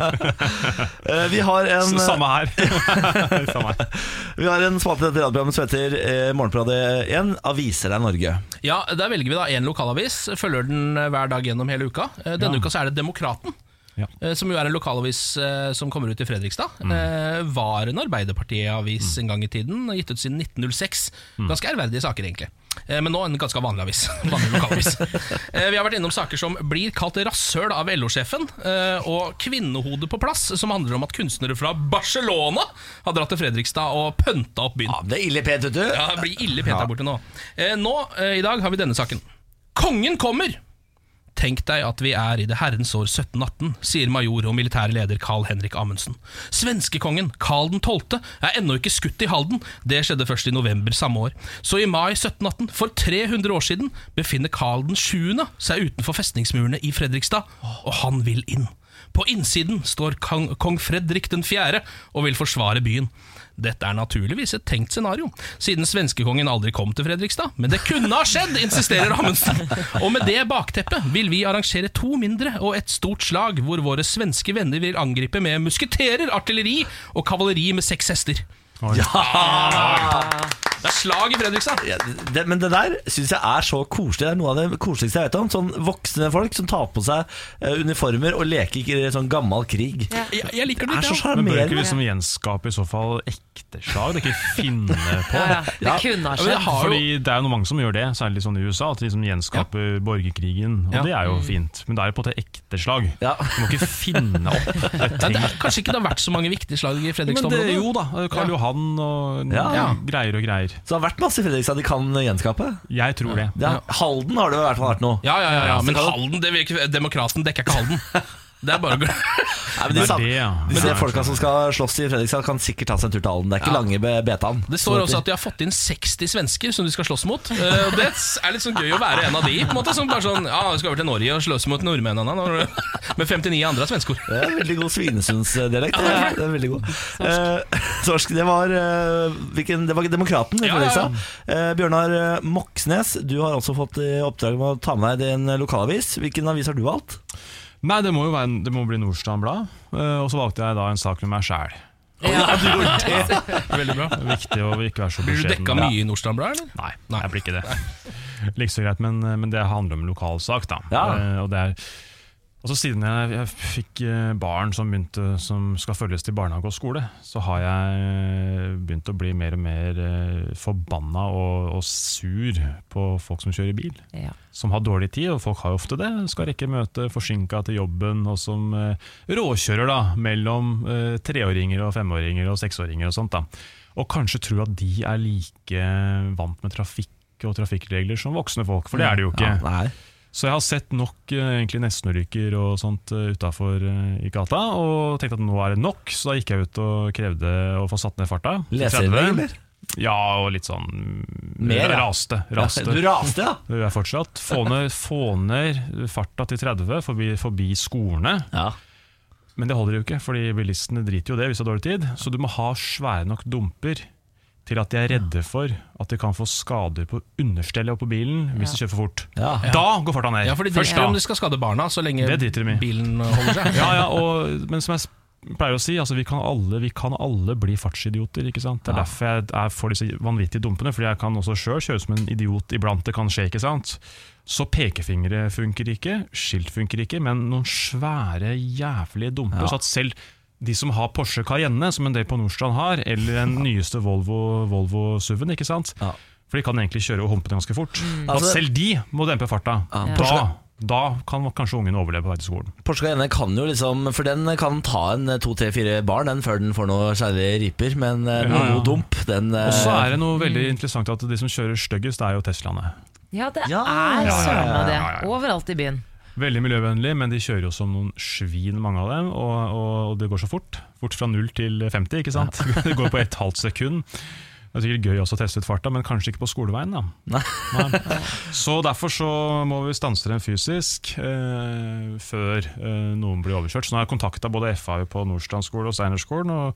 Speaker 1: Eh, vi har en
Speaker 8: Så Samme her. Samme her.
Speaker 1: Vi har en spalte i dette radioprogrammet som heter eh, Morgenpradet 1. Aviser er Norge.
Speaker 2: Ja, Der velger vi da én lokalavis, følger den eh, hver dag gjennom hele uka. Eh, Denne uka så er det Demokraten,
Speaker 8: Ja.
Speaker 2: eh, som jo er en lokalavis eh, som kommer ut i Fredrikstad. Eh, Var en Arbeiderparti-avis en gang i tiden, og gitt ut siden 1906. Ganske ærverdige saker, egentlig. Eh, Men nå en ganske vanlig avis. Vanlig lokalavis. Eh, Vi har vært innom saker som 'Blir kalt rasshøl av LO-sjefen' eh, og 'Kvinnehodet på plass', som handler om at kunstnere fra Barcelona har dratt til Fredrikstad og pønta opp byen.
Speaker 1: Ja, det er ille pent, vet du.
Speaker 2: Ja, det blir ille pent der borte nå. Eh, nå eh, i dag har vi denne saken. Kongen kommer! Tenk deg at vi er i det herrens år 1718, sier major og militær leder Carl-Henrik Amundsen. Svenskekongen, Carl 12., er ennå ikke skutt i Halden. Det skjedde først i november samme år. Så i mai 1718, for 300 år siden, befinner Carl 7. seg utenfor festningsmurene i Fredrikstad, og han vil inn. På innsiden står kong, kong Fredrik 4. og vil forsvare byen. Dette er naturligvis et tenkt scenario, siden svenskekongen aldri kom til Fredrikstad. Men det kunne ha skjedd, insisterer Amundsen. Og med det bakteppet vil vi arrangere to mindre og et stort slag, hvor våre svenske venner vil angripe med musketerer, artilleri og kavaleri med seks hester. Det er slag i Fredrikstad!
Speaker 1: Ja, det, men det der syns jeg er så koselig. Det er noe av det koseligste jeg vet om. Sånn voksne folk som tar på seg eh, uniformer og leker ikke sånn gammel krig.
Speaker 2: Jeg, jeg liker
Speaker 1: Det
Speaker 8: Men bør
Speaker 1: er så
Speaker 2: det. ja.
Speaker 8: ikke
Speaker 1: sjarmerende.
Speaker 8: vi liksom gjenskape i så fall ekte slag? Det er ikke finne på.
Speaker 3: Ja, ja. Det kunne ha
Speaker 2: Ja, men jeg
Speaker 3: skjedd.
Speaker 2: har jo
Speaker 8: Fordi Det er jo noen mange som gjør det, særlig sånn i USA. At de liksom gjenskaper borgerkrigen. Og
Speaker 2: Ja.
Speaker 8: det er jo fint, men det er jo på en måte ekte slag.
Speaker 1: Ja.
Speaker 8: Du må ikke finne opp.
Speaker 2: Nei, det er, kanskje ikke det har vært så mange viktige slag i
Speaker 8: Men det,
Speaker 2: Fredrikstad-området?
Speaker 8: jo da, eh, Karl Johan og
Speaker 1: Ja.
Speaker 8: ja. greier og greier.
Speaker 1: Så det har vært masse i Fredrikstad de kan gjenskape.
Speaker 8: Jeg tror det.
Speaker 1: Det er, Halden har det i hvert fall vært noe.
Speaker 2: Ja, ja, ja, ja, men Halden, det vil ikke, Demokraten dekker ikke Halden. Det er bare å glemme.
Speaker 1: Nei, men
Speaker 8: Det
Speaker 1: de
Speaker 8: er
Speaker 1: sam-
Speaker 8: det, ja.
Speaker 1: de
Speaker 8: Men
Speaker 1: ser
Speaker 8: det-
Speaker 1: folka som skal slåss i Fredrikstad, kan sikkert ta seg en tur til Halden. Det er ikke lange be betaen.
Speaker 2: Det står også at de har fått inn 60 svensker som de skal slåss mot. Eh, Og Det er litt sånn gøy å være en av de. På en måte, som bare sånn, ja, Vi skal over til Norge og slåss mot nordmennene når- med 59 andre svensker.
Speaker 1: Det er en veldig god Svinesundsdialekt. Det er- det er veldig god. Eh, Sorsk. Det var, eh, hvilken, det var Demokraten i
Speaker 2: Ja, ja, ja.
Speaker 1: Fredrikstad. Eh, Bjørnar eh, Moxnes, du har altså fått i oppdrag med å ta med deg din lokalavis. Hvilken avis har du valgt?
Speaker 8: Nei, det må jo være, en- det må bli Nordstrand Blad. Eh, Og så valgte jeg da en sak med meg sjæl.
Speaker 2: Veldig bra.
Speaker 8: Viktig å ikke være så
Speaker 2: Blir du
Speaker 8: beskjeden.
Speaker 2: dekka mye i Nordstrand Blad, eller?
Speaker 8: Nei, jeg blir ikke det. Like så greit, men, men det handler om lokalsak, da.
Speaker 1: Ja.
Speaker 8: Eh, og det er, altså siden jeg, jeg fikk eh, barn som, begynte, som skal følges til barnehage og skole, så har jeg eh, begynt å bli mer og mer eh, forbanna og, og sur på folk som kjører bil.
Speaker 3: Ja.
Speaker 8: Som har dårlig tid, og folk har jo ofte det. Skal rekke møte, forsinka til jobben, og som eh, råkjører da, mellom eh, treåringer og femåringer og seksåringer og sånt. da. Og kanskje tror at de er like eh, vant med trafikk og trafikkregler som voksne folk, for det er de jo ikke.
Speaker 1: Ja, nei.
Speaker 8: Så jeg har sett nok eh, egentlig nestenulykker og sånt uh, utafor i gata, og tenkte at nå er det nok, så da gikk jeg ut og krevde å få satt ned farta.
Speaker 1: Leser
Speaker 8: 30.
Speaker 1: du det, eller?
Speaker 8: Ja, og litt sånn mm,
Speaker 1: Mer, ja.
Speaker 8: raste. raste.
Speaker 1: Du raste, ja?
Speaker 8: Det gjør jeg fortsatt. Få ned, få ned farta til 30, forbi, forbi skolene.
Speaker 1: Ja.
Speaker 8: Men det holder jo ikke, fordi bilistene driter jo det hvis de har dårlig tid. Så du må ha svære nok dumper til at de er redde for at de kan få skader på understellet og på bilen hvis de kjører for fort.
Speaker 1: Ja.
Speaker 8: Da går farta ned!
Speaker 2: Ja, for de
Speaker 8: Først
Speaker 2: driter
Speaker 8: da.
Speaker 2: om de skal skade barna, så lenge
Speaker 8: Det driter de i.
Speaker 2: bilen holder seg.
Speaker 8: Ja, ja, og, men som jeg pleier å si, altså vi kan alle, vi kan alle bli fartsidioter. ikke sant? Det er
Speaker 11: Ja.
Speaker 8: derfor jeg er for disse vanvittige dumpene, fordi jeg kan også sjøl kjøre som en idiot iblant. Det kan skje, ikke sant? Så pekefingre funker ikke, skilt funker ikke, men noen svære, jævlige dumper.
Speaker 11: Ja.
Speaker 8: Så at selv de som har Porsche Cayenne, som en del på Nordstrand har, eller den nyeste Volvo, Volvo SUV-en, ikke sant? For de kan egentlig kjøre og humpe det ganske fort. At
Speaker 1: Altså-
Speaker 8: selv de må dempe farta. Da,
Speaker 1: Porsche-
Speaker 8: da kan kanskje ungen overleve på vei til skolen.
Speaker 1: Porsche Cayenne kan jo liksom For den kan ta en eh, to, tre, fire barn Den før den får noe særlig riper Men eh, noe
Speaker 8: Ja, ja.
Speaker 1: god dump den, eh,
Speaker 8: Og så er det noe veldig interessant at de som kjører styggest, det er jo Teslaene.
Speaker 3: Ja, det
Speaker 1: Ja.
Speaker 8: Ja,
Speaker 3: er
Speaker 8: ja,
Speaker 3: søren
Speaker 8: ja,
Speaker 3: meg det.
Speaker 8: ja, ja, ja.
Speaker 3: Overalt i byen.
Speaker 8: Veldig miljøvennlig, men de kjører jo som noen svin, mange av dem. Og, og, og det går så fort. Fort fra 0 til 50, ikke sant? Det går på et halvt sekund. Det er sikkert gøy også å teste ut farta, men kanskje ikke på skoleveien, da. Nei. Så derfor så må vi stanse dem fysisk eh, før eh, noen blir overkjørt. Så nå har jeg kontakta både FAU på Nordstrand skole og Steinerskolen. Og,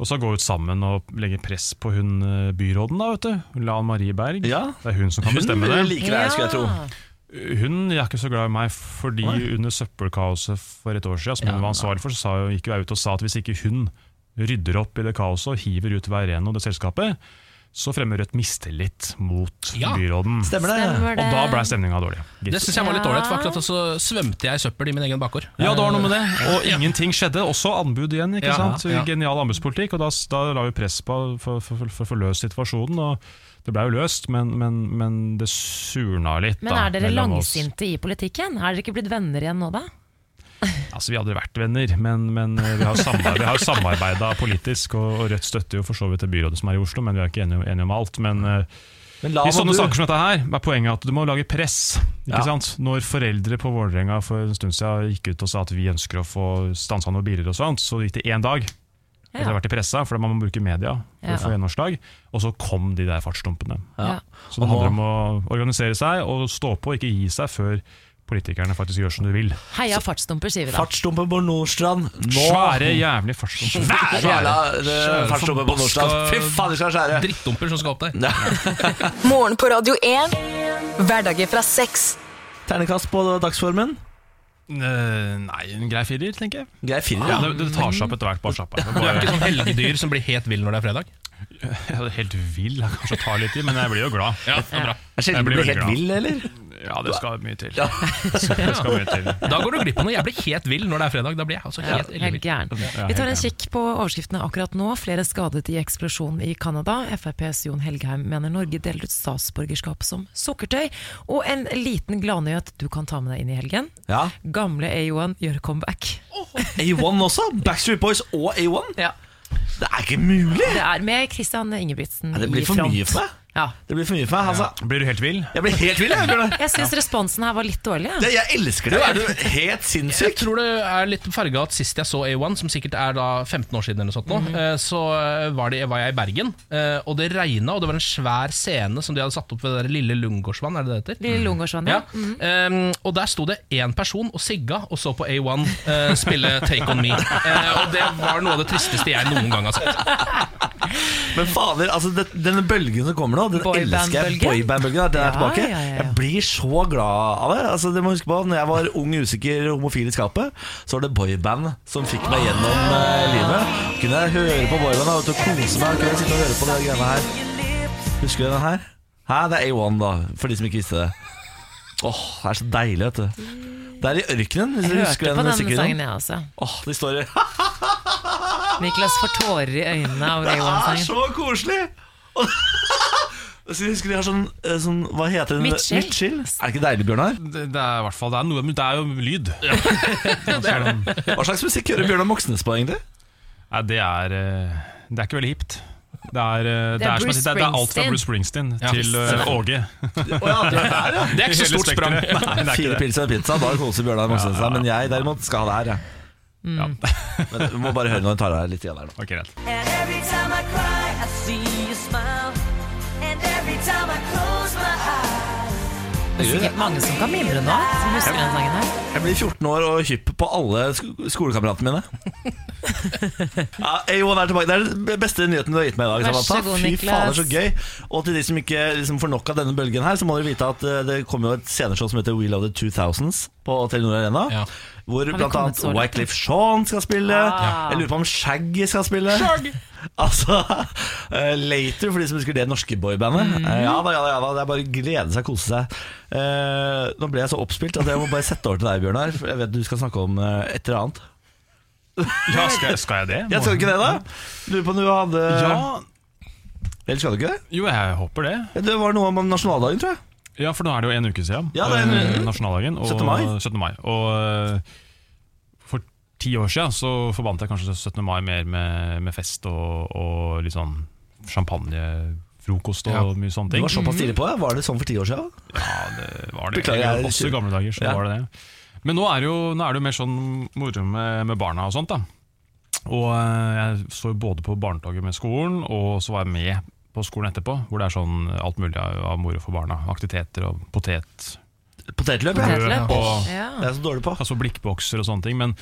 Speaker 8: og så gå ut sammen og legge press på hun eh, byråden, da, vet du. Lan Marie Berg. Det er hun som kan
Speaker 1: Hun
Speaker 8: bestemme det.
Speaker 1: liker deg, skulle jeg tro. Ja.
Speaker 8: Hun er ikke så glad i meg, fordi under søppelkaoset for et år siden, som hun var ansvarlig for, så sa hun, gikk hun ut og sa at hvis ikke hun rydder opp i det kaoset og hiver ut hver en og det selskapet, så fremmer Rødt mistillit mot
Speaker 2: Ja.
Speaker 8: byråden.
Speaker 2: Stemmer det. Stemmer det.
Speaker 8: Og da ble stemninga dårlig. gitt.
Speaker 2: Det syns jeg var litt ålreit, for akkurat så svømte jeg i søppel i min egen bakgård.
Speaker 8: Ja, det var noe med det. Og ingenting skjedde. Også anbud igjen. ikke
Speaker 2: Ja,
Speaker 8: sant?
Speaker 2: ja.
Speaker 8: Genial anbudspolitikk. Og da, da la vi press på for, for, for, for å få løst situasjonen. Og det ble jo løst, men, men, men det surna litt.
Speaker 3: Men
Speaker 8: da,
Speaker 3: er dere
Speaker 8: mellom oss.
Speaker 3: langsinte i politikken? Er dere ikke blitt venner igjen nå, da?
Speaker 8: Altså, Vi hadde vært venner, men, men eh, vi har samarbeida samarbeida politisk. Og, og Rødt støtter jo for så vidt det byrådet som er i Oslo, men vi er ikke enige, enige om alt. Men, eh,
Speaker 1: la
Speaker 8: i
Speaker 1: nå
Speaker 8: sånne
Speaker 1: du-
Speaker 8: saker som dette her er poenget at du må lage press. ikke
Speaker 1: Ja.
Speaker 8: sant? Når foreldre på Vålerenga for en stund siden gikk ut og sa at vi ønsker å få stansa noen biler, og sånt, så gikk det én dag.
Speaker 1: Ja.
Speaker 8: Det har vært i pressa, for man må bruke media for
Speaker 1: Ja.
Speaker 8: å få gjennomslag. Og så kom de der fartsdumpene.
Speaker 1: Ja.
Speaker 8: Så det
Speaker 1: Og nå-
Speaker 8: handler om å organisere seg og stå på, ikke gi seg før politikerne faktisk gjør som du vil.
Speaker 3: Heia fartsdumper, sier vi da.
Speaker 1: Fartsdumper på Nordstrand nå.
Speaker 8: Svære jævlig fartsdumper.
Speaker 1: Svære jævla eh, fartsdumper på Nordstrand Fy faen, det skal skjære
Speaker 2: Drittdumper som skal opp der
Speaker 5: Morgen på Radio 1. Hverdager fra seks.
Speaker 1: Ternekast på dagsformen
Speaker 8: Eh, Nei, en grei firer, tenker jeg.
Speaker 1: Grei firer,
Speaker 8: ja.
Speaker 1: ja.
Speaker 8: det, det tar seg opp etter hvert. Bare slapp av.
Speaker 2: Du er ikke sånn helgedyr som blir helt vill når det er fredag?
Speaker 8: Jeg er helt vill. Jeg kanskje tar litt i, men jeg blir jo glad.
Speaker 2: Ja, det er bra.
Speaker 1: Er sjelden du blir helt vill, eller?
Speaker 8: Ja, det skal mye til.
Speaker 1: Ja.
Speaker 8: Det skal, det skal mye til.
Speaker 2: Da går du glipp av noe. Jeg blir helt vill når det er fredag. Da blir jeg altså helt
Speaker 3: Helt helt
Speaker 2: ellevill.
Speaker 3: gæren. Vi tar en kikk på overskriftene akkurat nå. Flere skadet i eksplosjon i Canada. FrPs Jon Helgheim mener Norge deler ut statsborgerskap som sukkertøy. Og en liten gladnyhet du kan ta med deg inn i helgen.
Speaker 1: Ja
Speaker 3: Gamle A1 gjør comeback.
Speaker 1: A1 også Backstreet Boys og A1 Det er ikke mulig
Speaker 3: Det er med Christian Ingebrigtsen
Speaker 1: Ja, det blir
Speaker 3: i
Speaker 1: for
Speaker 3: front.
Speaker 1: mye for meg.
Speaker 3: Ja.
Speaker 1: Det blir for mye for meg altså.
Speaker 8: Blir du helt vill?
Speaker 1: Jeg blir helt vill, jeg Bjørnar.
Speaker 3: Jeg syns responsen her var litt dårlig.
Speaker 1: Det- Jeg elsker det, er du helt
Speaker 2: Jeg
Speaker 1: sinnssyk?
Speaker 2: tror det er litt farga at sist jeg så A1, som sikkert er da 15 år siden, eller noe sånt nå, eh, så eh, var, det, var jeg i Bergen, eh, og det regna, og det var en svær scene som de hadde satt opp ved det der Lille Lungegårdsvann, er det det heter?
Speaker 3: Lille Lungegårdsvann, ja.
Speaker 2: ja. Eh, og der sto det én person og sigga og så på A1 eh, spille Take On Me. Eh, og det var noe av det tristeste jeg noen gang har sett.
Speaker 1: Men fader, altså det, denne bølgen som kommer nå, den
Speaker 2: Boyband-bølgen.
Speaker 1: elsker jeg. Boyband-bølgen, at den er
Speaker 2: Ja,
Speaker 1: tilbake.
Speaker 2: ja, ja, ja.
Speaker 1: Jeg blir så glad av det. Altså, det må huske på, når jeg var ung, usikker homofil i skapet, så var det boyband som fikk meg gjennom eh, livet. Kunne jeg høre på boyband og kose meg, kunne jeg sitte og høre på de greiene her. Husker du den her? Hæ, det er A1, da, for de som ikke visste det. Åh, det er så deilig, vet du. Det er i ørkenen, hvis
Speaker 3: Jeg
Speaker 1: du
Speaker 3: hørte
Speaker 1: husker
Speaker 3: på
Speaker 1: den
Speaker 3: den sangen,
Speaker 1: musikkvideoen.
Speaker 3: jeg også.
Speaker 1: Åh, de står i
Speaker 3: Niklas får tårer i øynene av
Speaker 1: Det er
Speaker 3: A1-sangen.
Speaker 1: Ah, så koselig! Så jeg husker de har sånn, eh, sånn Hva heter den?
Speaker 3: Midtskill.
Speaker 1: Er det ikke deilig, Bjørnar?
Speaker 8: Det, det er i hvert fall det er noe, men det er jo lyd.
Speaker 1: Hva slags musikk hører Bjørnar Moxnes på, egentlig?
Speaker 8: Nei, det er eh, Det er ikke veldig hipt. Det er, eh, det, er, som
Speaker 1: Bruce
Speaker 8: jeg sier, det, er, det er alt fra Bruce Springsteen
Speaker 1: Ja.
Speaker 8: til eh, Åge.
Speaker 1: ja, det er det.
Speaker 8: Det er ikke så stort sprang. Nei, det er ikke
Speaker 1: Fire
Speaker 8: det.
Speaker 1: pils og en pizza, da koser Bjørnar Moxnes seg. Men jeg derimot skal ha det her, jeg.
Speaker 3: Ja. Mm.
Speaker 1: Men vi må bare høre når hun tar av litt igjen her nå.
Speaker 8: Okay, rett.
Speaker 12: And every time I cry, I see you smile. And every time I close my eyes.
Speaker 3: Det er sikkert mange som kan mimre nå, som husker den sangen her.
Speaker 1: Jeg blir 14 år og hypp på alle sk skolekammeratene mine. Ja, A1 er tilbake. Det er den beste nyheten du har gitt meg i dag.
Speaker 3: Vær så
Speaker 1: Samantha.
Speaker 3: god,
Speaker 1: Fy faen, det er så
Speaker 3: Niklas.
Speaker 1: gøy. Og til de som ikke liksom, får nok av denne bølgen her, så må dere vite at eh, det kommer jo et sceneshow som heter We Love the 2000s på Telenor Arena. Hvor
Speaker 8: vi
Speaker 1: blant
Speaker 8: kommet
Speaker 1: annet
Speaker 8: så langt,
Speaker 1: Wycliffe Shaun skal spille.
Speaker 8: Ah.
Speaker 1: Jeg lurer på om Shaggy skal spille.
Speaker 8: Shaggy!
Speaker 1: Altså, eh, Later, for de som husker det norske boybandet.
Speaker 8: Mhm.
Speaker 1: Eh, ja da, ja da, ja da. Det er bare å glede seg, kose seg. Eh, nå ble jeg så oppspilt at jeg må bare sette over til deg, Bjørnar. For jeg vet du skal snakke om eh, et eller annet.
Speaker 8: Ja, skal, skal jeg det?
Speaker 1: Jeg skal ikke det, da? Lurer på om du hadde
Speaker 8: Ja.
Speaker 1: Eller skal du ikke det?
Speaker 8: Jo, jeg håper det.
Speaker 1: Det var noe om nasjonaldagen, tror jeg.
Speaker 8: Ja, for nå er det jo en uke siden.
Speaker 1: Ja, det er en-
Speaker 8: eh, nasjonaldagen. Og,
Speaker 1: 17. mai.
Speaker 8: 17. mai. Og eh, for ti år siden så forbandt jeg kanskje 17. mai mer med, med fest og, og litt sånn champagnefrokost og
Speaker 1: Ja.
Speaker 8: mye sånne ting.
Speaker 1: Du var såpass tidlig på det? Var det sånn for ti år siden?
Speaker 8: Ja, det var det.
Speaker 1: Beklager, jeg er
Speaker 8: Også i
Speaker 1: ikke-
Speaker 8: gamle dager, så
Speaker 1: Ja.
Speaker 8: var det det. Men nå er det jo, nå er det jo mer sånn moro med, med barna og sånt, da. Og eh, jeg så jo både på barnetoget med skolen, og så var jeg med på skolen etterpå, hvor det er sånn alt mulig av av moro for barna. Aktiviteter og potet...
Speaker 1: Potetløp,
Speaker 8: ja.
Speaker 1: ja. Potetløp.
Speaker 8: Og,
Speaker 1: Ja. Det er så dårlig på.
Speaker 8: Altså blikkbokser og sånne ting. Men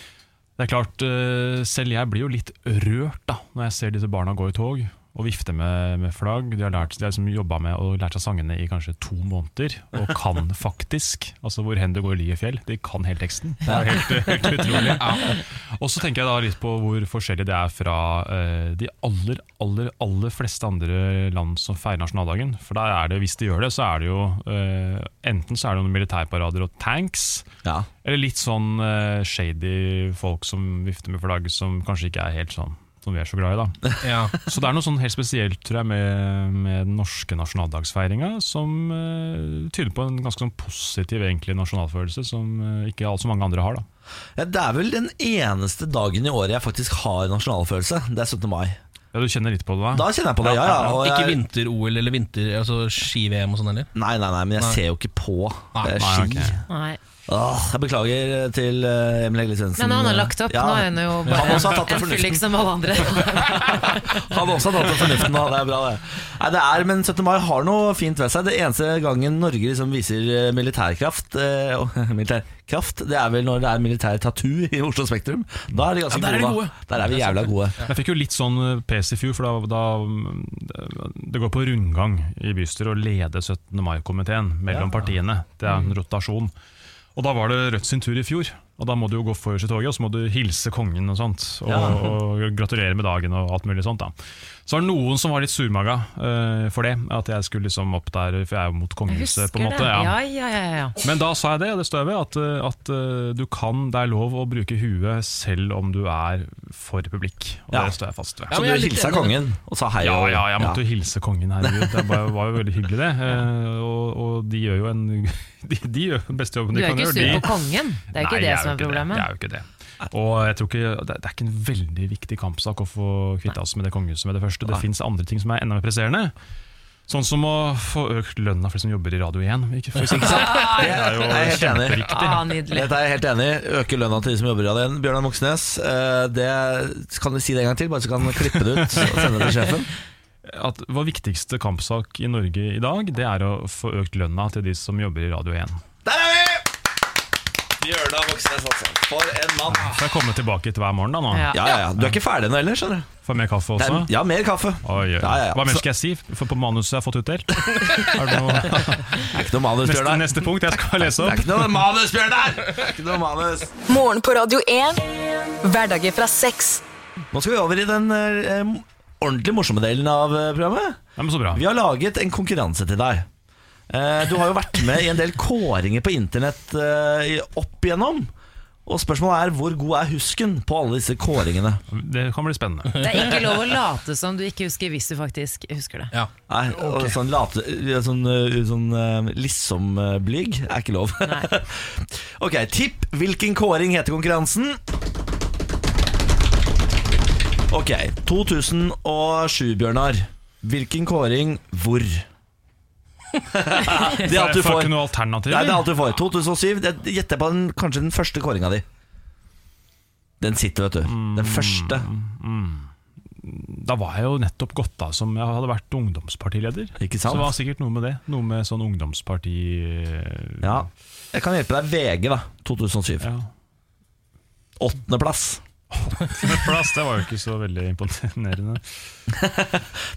Speaker 8: det er klart, eh, selv jeg blir jo litt rørt da, når jeg ser disse barna gå i tog og vifte med, med flagg. De har, lært, de har liksom jobba med og lært seg sangene i kanskje to måneder, og kan faktisk. Altså hvor hen det går lie fjell. De kan hele teksten. Det er helt, helt utrolig. Og så tenker jeg da litt på hvor forskjellig det er fra eh, de aller, aller, aller fleste andre land som feirer nasjonaldagen. For der er det, hvis de gjør det, så er det jo eh, enten så er det noen militærparader og tanks, eller litt sånn eh, shady folk som vifter med flagg, som kanskje ikke er helt sånn som vi er så glad i, da. Så det er noe sånn helt spesielt tror jeg, med, med den norske nasjonaldagsfeiringa, som eh, tyder på en ganske sånn positiv egentlig, nasjonalfølelse, som eh, ikke alt så mange andre har. da
Speaker 1: Ja, det er vel den eneste dagen i året jeg faktisk har nasjonalfølelse. Det er 17. mai.
Speaker 8: Ja, Du kjenner litt på det, da?
Speaker 1: Da kjenner jeg på det, ja. ja, og jeg,
Speaker 2: Ikke vinter-OL eller vinter, altså ski-VM og sånn heller?
Speaker 1: Nei, nei, nei, men jeg
Speaker 2: Nei.
Speaker 1: ser jo ikke på
Speaker 2: Nei,
Speaker 1: eh,
Speaker 2: nei,
Speaker 1: ski.
Speaker 2: ok.
Speaker 3: Nei.
Speaker 1: Åh, jeg beklager til eh, Emil Egil Svendsen.
Speaker 3: Men han har lagt opp.
Speaker 1: Ja.
Speaker 3: Nå er hun jo
Speaker 1: Han også
Speaker 3: bare
Speaker 1: har tatt det
Speaker 3: en
Speaker 1: fornuften.
Speaker 3: fyllik som alle andre.
Speaker 1: Han har også tatt av fornuften, da. Det er bra, det. Nei, det er, men 17. mai har noe fint ved seg. Det eneste gangen Norge liksom viser eh, militærkraft eh, og- Militærkraft, det er vel når det er militær tattoo i Oslo Spektrum. Da er de ganske
Speaker 8: Ja, der er de
Speaker 1: gode,
Speaker 8: gode.
Speaker 1: da. Der er vi jævla gode.
Speaker 8: Jeg fikk jo litt sånn eh, pes i fjor, for da, da mm, Det går på rundgang i bystyret å lede 17. mai-komiteen mellom
Speaker 1: Ja.
Speaker 8: partiene. Det er en rotasjon. Og da var det Rødt sin tur i fjor. Og da må du jo gå forrest i toget, og så må du hilse kongen og sånt. Og,
Speaker 1: Ja.
Speaker 8: og gratulere med dagen og alt mulig sånt. da Så var det noen som var litt surmaga eh, for det. At jeg skulle liksom opp der, for jeg er jo mot kongehuset, på en måte.
Speaker 3: Ja, ja, ja, ja.
Speaker 8: Men da sa jeg det, og det står jeg ved, at, uh, at uh, du kan, det er lov å bruke huet selv om du er for republikk. Og
Speaker 1: Ja.
Speaker 8: det står jeg fast ved.
Speaker 1: Ja, Så men jeg du er litt hilsa enig. kongen og sa hei,
Speaker 8: Ja,
Speaker 1: og-
Speaker 8: ja jeg måtte
Speaker 1: ja.
Speaker 8: jo hilse kongen, herregud. Det var, var jo veldig hyggelig, det. Eh, og, og de gjør jo en De, de gjør den beste jobben
Speaker 3: Du
Speaker 8: de
Speaker 3: er
Speaker 8: kan
Speaker 3: ikke
Speaker 8: gjøre.
Speaker 3: sur
Speaker 8: de-
Speaker 3: på kongen. Det er jo
Speaker 8: Nei,
Speaker 3: ikke det
Speaker 8: jeg jo
Speaker 3: som er
Speaker 8: ikke Det.
Speaker 3: problemet.
Speaker 8: Jeg er jo ikke det. Og jeg tror ikke, det det er ikke en veldig viktig kampsak å få kvitte oss med det kongehuset med det første. Det
Speaker 1: Nei.
Speaker 8: fins andre ting som er enda mer presserende. Sånn som å få økt lønna for de som jobber i Radio 1. Ikke, for eksempel.
Speaker 1: Det
Speaker 8: det
Speaker 1: er
Speaker 8: er jo
Speaker 1: jeg helt enig i.
Speaker 8: kjempeviktig.
Speaker 3: Ah, nydelig.
Speaker 1: Dette er jeg helt enig i. Øke lønna til de som jobber i radioen. Bjørnar Moxnes, eh, det kan du si det en gang til, bare så kan han klippe det ut og sende det til sjefen.
Speaker 8: At Vår viktigste kampsak i Norge i dag, det er å få økt lønna til de som jobber i Radio 1.
Speaker 1: Der er vi! Bjørnar Moxnes, altså. For en mann.
Speaker 8: Får jeg komme tilbake hit hver morgen da nå?
Speaker 1: Ja, ja, ja. Du er ikke ferdig nå heller, skjønner du.
Speaker 8: Får jeg mer kaffe
Speaker 1: Det
Speaker 8: også?
Speaker 1: er- Ja, mer kaffe.
Speaker 8: Oi, oi.
Speaker 1: Ja, ja, ja.
Speaker 8: Hva mer
Speaker 1: Så-
Speaker 8: skal jeg si? For på manuset jeg har fått utdelt? Er det noe?
Speaker 1: Det er ikke noe manus,
Speaker 8: Neste,
Speaker 1: Bjørnar.
Speaker 8: neste punkt jeg skal lese
Speaker 1: Det
Speaker 8: opp.
Speaker 1: er ikke noe manus, Bjørnar! Det er Ikke noe manus.
Speaker 5: Morgen på Radio 1. Hverdager fra seks.
Speaker 1: Nå skal vi over i den eh, em, ordentlig morsomme delen av eh, programmet.
Speaker 8: Ja, men så bra.
Speaker 1: Vi har laget en konkurranse til deg. Eh, Du har jo vært med i en del kåringer på internett eh, i- opp igjennom. Og spørsmålet er hvor god er husken på alle disse kåringene?
Speaker 8: Det kan bli spennende.
Speaker 3: Det er ikke lov å late som du ikke husker hvis du faktisk husker det.
Speaker 1: Nei, og sånn, late, sånn, eh, sånn eh, lissom-blyg er ikke lov. ok, tipp hvilken kåring heter konkurransen. Ok, 2007, Bjørnar. Hvilken kåring hvor? det er alt du
Speaker 8: Får jeg
Speaker 1: får.
Speaker 8: ikke noe alternativ?
Speaker 1: Nei, det er alt du får. 2007, det gjetter jeg på den, kanskje den første kåringa di. Den sitter, vet du.
Speaker 8: Mm.
Speaker 1: Den første.
Speaker 8: Da var jeg jo nettopp gått av som jeg hadde vært ungdomspartileder.
Speaker 1: Ikke
Speaker 8: Så
Speaker 1: sant?
Speaker 8: det var sikkert noe med det. Noe med sånn ungdomsparti eh,
Speaker 1: Ja. Jeg kan hjelpe deg. VG, da. 2007.
Speaker 8: Ja.
Speaker 1: Åttendeplass.
Speaker 8: Med plass, det var jo ikke så veldig imponerende.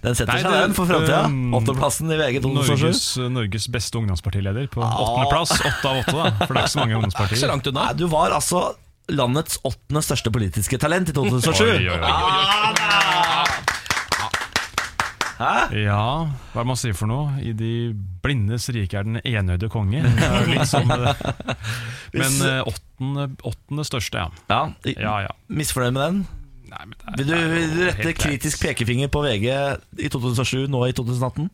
Speaker 1: Den setter seg, den, for fremtiden.
Speaker 8: um,
Speaker 1: Åttendeplassen i VG 2007.
Speaker 8: Norges, Norges beste ungdomspartileder på
Speaker 1: Ah.
Speaker 8: åttendeplass. Åtte av åtte, da. For det er ikke så mange ungdomspartier.
Speaker 1: Nei, du var altså landets åttende største politiske talent i 2007.
Speaker 8: Oi, oi, oi, oi.
Speaker 1: Ah,
Speaker 8: Ja, hva er det man sier for noe? I de blindes rike er den enøyde konge. Det er jo litt som det. Men
Speaker 1: Hvis-
Speaker 8: eh, åttende, åttende største,
Speaker 1: ja. i-
Speaker 8: ja, ja.
Speaker 1: Misfornøyd med den? vil du, vil du rette
Speaker 8: helt greit.
Speaker 1: kritisk pekefinger på VG i 2007, nå i 2018?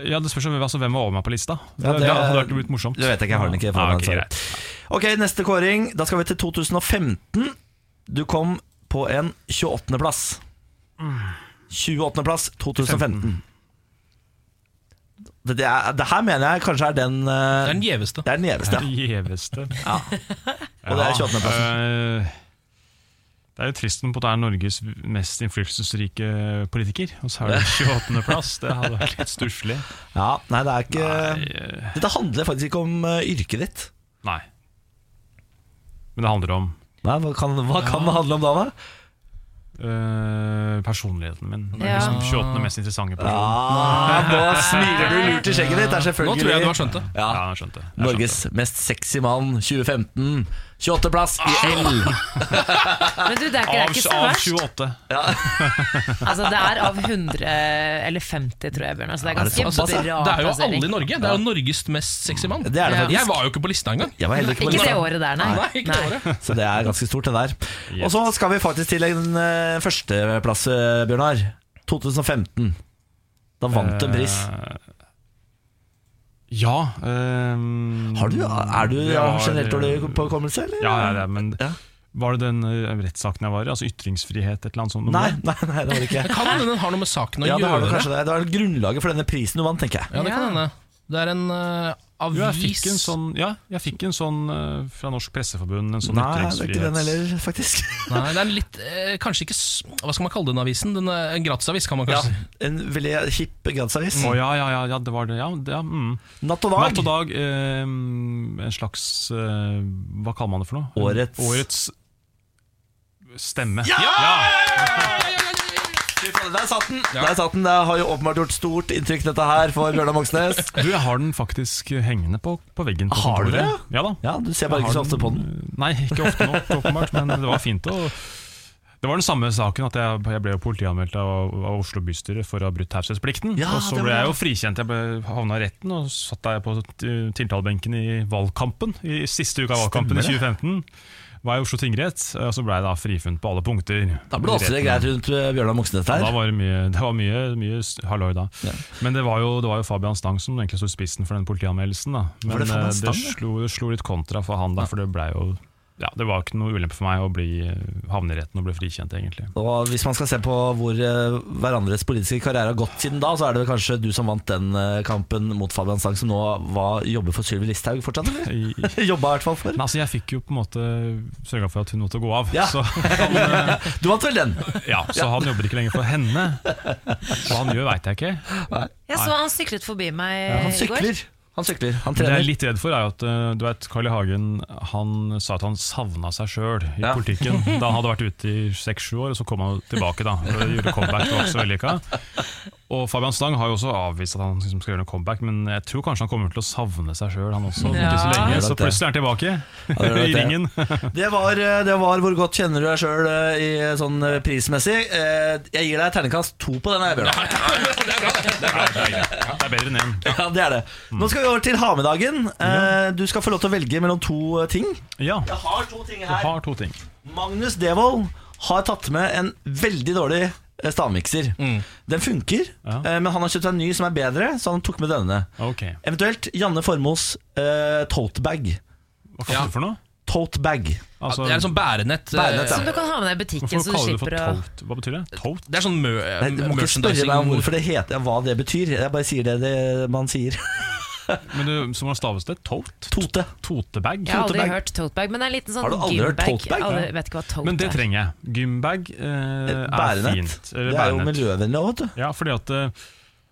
Speaker 8: Ja, Det spørs om- altså, hvem var over meg på lista. Det,
Speaker 1: Ja,
Speaker 8: det,
Speaker 1: det-
Speaker 8: hadde vært litt morsomt.
Speaker 1: Det vet jeg ikke, jeg har den ikke
Speaker 8: Ja,
Speaker 1: foran
Speaker 8: ok,
Speaker 1: meg,
Speaker 8: greit.
Speaker 1: sorry. Ok, neste kåring. Da skal vi til 2015. Du kom på en 28. plass. 28. plass 2015. Det, det, er, det her mener jeg kanskje er den Det er
Speaker 2: den gjeveste.
Speaker 1: Det er den gjeveste.
Speaker 8: Den gjeveste.
Speaker 1: Ja. Og det er 28. plassen.
Speaker 8: eh, det er jo trist når det er Norges mest innflytelsesrike politiker, og så er det 28. plass. Det hadde vært litt stusslig.
Speaker 1: Ja, nei, det er ikke Dette handler faktisk ikke om eh, yrket ditt.
Speaker 8: Nei. Men det handler om
Speaker 1: Nei, Hva kan, hva kan det handle om da, da?
Speaker 8: eh, personligheten min. Den
Speaker 3: Ja.
Speaker 8: Liksom 28. mest interessante person.
Speaker 1: Ja, nå smiler du lurt i skjegget ditt. Det er selvfølgelig
Speaker 2: Nå tror jeg du har skjønt det.
Speaker 1: Ja.
Speaker 8: Ja, jeg skjønte. Jeg
Speaker 1: Norges mest sexy mann 2015. 28. plass i L.
Speaker 3: Men du, det er ikke, det er
Speaker 8: Av,
Speaker 3: ikke så
Speaker 8: av
Speaker 3: verst.
Speaker 8: 28.
Speaker 3: Altså, det er av 100 eller 50, tror jeg, Bjørnar. Så det er altså,
Speaker 1: Er det
Speaker 3: ganske
Speaker 1: såpass, ja?
Speaker 3: bra
Speaker 2: Det er jo
Speaker 3: plassering.
Speaker 2: alle i Norge. Det er jo Norges mest sexy mann.
Speaker 1: Det er det faktisk.
Speaker 2: Jeg var jo ikke på lista engang.
Speaker 1: Jeg var heller ikke på
Speaker 3: Ikke det
Speaker 1: lista.
Speaker 3: året der, nei.
Speaker 2: Nei, ikke det året.
Speaker 1: Så det er ganske stort, det der.
Speaker 8: Yes.
Speaker 1: Og så skal vi faktisk til en eh, førsteplass, eh, Bjørnar. 2015. Da vant du en pris.
Speaker 8: Eh, ja. ehm,
Speaker 1: Har du, er du
Speaker 8: vi
Speaker 1: av
Speaker 8: har-
Speaker 1: generelt dårlig påkommelse, eller?
Speaker 8: Ja, ja, ja, men
Speaker 1: Ja.
Speaker 8: var det den eh, rettssaken jeg var i? Altså ytringsfrihet, et eller annet sånt?
Speaker 1: Nei, nei, nei, det var det ikke.
Speaker 2: Det kan hende den har noe med saken å
Speaker 1: Ja, det har
Speaker 2: gjøre.
Speaker 1: du kanskje det. Det var grunnlaget for denne prisen du vant, tenker jeg.
Speaker 2: Ja, det kan hende. Det er en eh, avis
Speaker 8: Jo, jeg fikk en sånn, ja, jeg fikk en sånn eh, fra Norsk Presseforbund. En sånn
Speaker 1: Nei, det er ikke
Speaker 8: ytringsfrihets...
Speaker 1: den heller, faktisk.
Speaker 2: Nei, det er en litt eh, Kanskje ikke s- Hva skal man kalle den avisen? Den, er- en gratisavis, kan man
Speaker 1: Ja,
Speaker 2: kanskje si.
Speaker 1: en veldig kjipp
Speaker 8: Å
Speaker 1: gratisavis.
Speaker 8: ja, ja, ja, ja, det var det. Ja, det ja, mm.
Speaker 1: Natt og dag.
Speaker 8: Natt og dag. ehm, en slags eh, Hva kaller man det for noe?
Speaker 1: Årets-
Speaker 8: Årets stemme.
Speaker 1: Ja!
Speaker 8: Ja!
Speaker 1: Fy faen, Der satt den! Der satt den. Det har jo åpenbart gjort stort inntrykk, dette her, for Bjørnar Moxnes.
Speaker 8: Du, jeg har den faktisk hengende på, på veggen. På
Speaker 1: Har du
Speaker 8: kontoret.
Speaker 1: det?
Speaker 8: Ja da.
Speaker 1: Ja, du ser bare
Speaker 8: Jeg
Speaker 1: ikke så
Speaker 8: har
Speaker 1: ofte på den.
Speaker 8: Nei, ikke ofte nok, åpenbart, men det var fint å det var den samme saken at jeg, jeg ble jo politianmeldt av, av Oslo bystyre for å ha brutt taushetsplikten.
Speaker 1: Ja,
Speaker 8: og så
Speaker 1: det
Speaker 8: ble jeg
Speaker 1: var det.
Speaker 8: jo frikjent. Jeg ble havna i retten og satt der på t- tiltalebenken i valgkampen. I siste uka av valgkampen i 2015 var jeg i Oslo tingrett, eh, og så ble jeg da frifunnet på alle punkter.
Speaker 1: Da blåste det greit rundt eh, Bjørnar Moxnes
Speaker 8: Ja,
Speaker 1: der.
Speaker 8: Da var det mye, det var mye, mye s- halloi da. Men det var, jo, det var jo Fabian Stang som egentlig sto i spissen for den politianmeldelsen. Da. Men
Speaker 1: Var det
Speaker 8: eh,
Speaker 1: Fabian
Speaker 8: det,
Speaker 1: Stang, ja?
Speaker 8: slo, det slo litt kontra for han, da, for det ble jo ja, Det var ikke noe ulempe for meg å bli eh, havne i retten og bli frikjent, egentlig.
Speaker 1: Og hvis man skal se på hvor eh, hverandres politiske karriere har gått siden da, så er det vel kanskje du som vant den eh, kampen mot Fabian Stang, som nå var, jobber for Sylvi Listhaug fortsatt, eller?
Speaker 8: I, i-
Speaker 1: Jobba i hvert fall for.
Speaker 8: men altså, jeg fikk jo på en måte sørga for at hun måtte gå av.
Speaker 1: Ja.
Speaker 8: Så,
Speaker 1: Du vant vel den?
Speaker 8: ja, så han jobber ikke lenger for henne. Hva han gjør, veit jeg ikke.
Speaker 3: Jeg så han syklet forbi meg
Speaker 1: Han
Speaker 3: i går.
Speaker 1: sykler. Han sykler, han
Speaker 8: Det jeg er
Speaker 1: trener.
Speaker 8: litt redd for, er jo at eh, du vet, Carl I. Hagen han sa at han savna seg sjøl i
Speaker 1: Ja.
Speaker 8: politikken. Da han hadde vært ute i seks-sju år, og så kom han jo tilbake. da og Gjorde comeback, det var ikke så vellykka. Og Fabian Stang har jo også avvist at han liksom skal gjøre noe comeback, men jeg tror kanskje han kommer til å savne seg sjøl, han også. om Ikke så
Speaker 1: Ja.
Speaker 8: lenge, så plutselig er han tilbake
Speaker 1: det er
Speaker 8: i
Speaker 1: det.
Speaker 8: ringen.
Speaker 1: Det var, eh, det var hvor godt kjenner du deg sjøl sånn eh, prismessig. Eh, Jeg gir deg terningkast to på den, her, Bjørnar.
Speaker 8: Det er bedre enn én.
Speaker 1: Ja, det er det. Nå skal vi over til ha-med-dagen. Eh, Du skal få lov til å velge mellom to eh, ting.
Speaker 8: Ja,
Speaker 1: Jeg har to ting
Speaker 8: du har to ting.
Speaker 1: Magnus Devold har tatt med en veldig dårlig eh, stavmikser. Den funker,
Speaker 8: Ja.
Speaker 1: eh, men han har kjøpt seg en ny som er bedre, så han tok med denne.
Speaker 8: Ok,
Speaker 1: Eventuelt Janne Formoes eh, totebag.
Speaker 8: Hva kalte du for noe?
Speaker 1: Totebag.
Speaker 8: Altså,
Speaker 2: Det er en sånn bærenett. eh,
Speaker 1: Bærenett, ja.
Speaker 3: Som du kan ha med deg i butikken,
Speaker 8: hvorfor
Speaker 3: så du
Speaker 8: kaller du det for
Speaker 3: slipper å
Speaker 8: tolt? Hva betyr det? Tolt?
Speaker 2: Det er sånn mø
Speaker 1: Nei, du må ikke spørre
Speaker 2: merchandising-
Speaker 1: meg om hvorfor det heter, hva det betyr. Jeg bare sier det, det man sier.
Speaker 8: Men du, som har staves det? Tolt?
Speaker 1: Tote.
Speaker 8: Totebag?
Speaker 3: Jeg har aldri
Speaker 1: Tote bag.
Speaker 3: hørt tote bag, men det er en liten sånn
Speaker 1: Har du aldri hørt
Speaker 3: gymbag.
Speaker 1: tote bag?
Speaker 3: Aldri- Vet ikke hva tote
Speaker 8: Men det
Speaker 3: er.
Speaker 8: trenger jeg. Gymbag eh, er
Speaker 1: Bærenett.
Speaker 8: fint. Eller
Speaker 1: Det er jo
Speaker 8: bærenett.
Speaker 1: miljøvennlig òg, vet du.
Speaker 8: Ja, fordi at eh,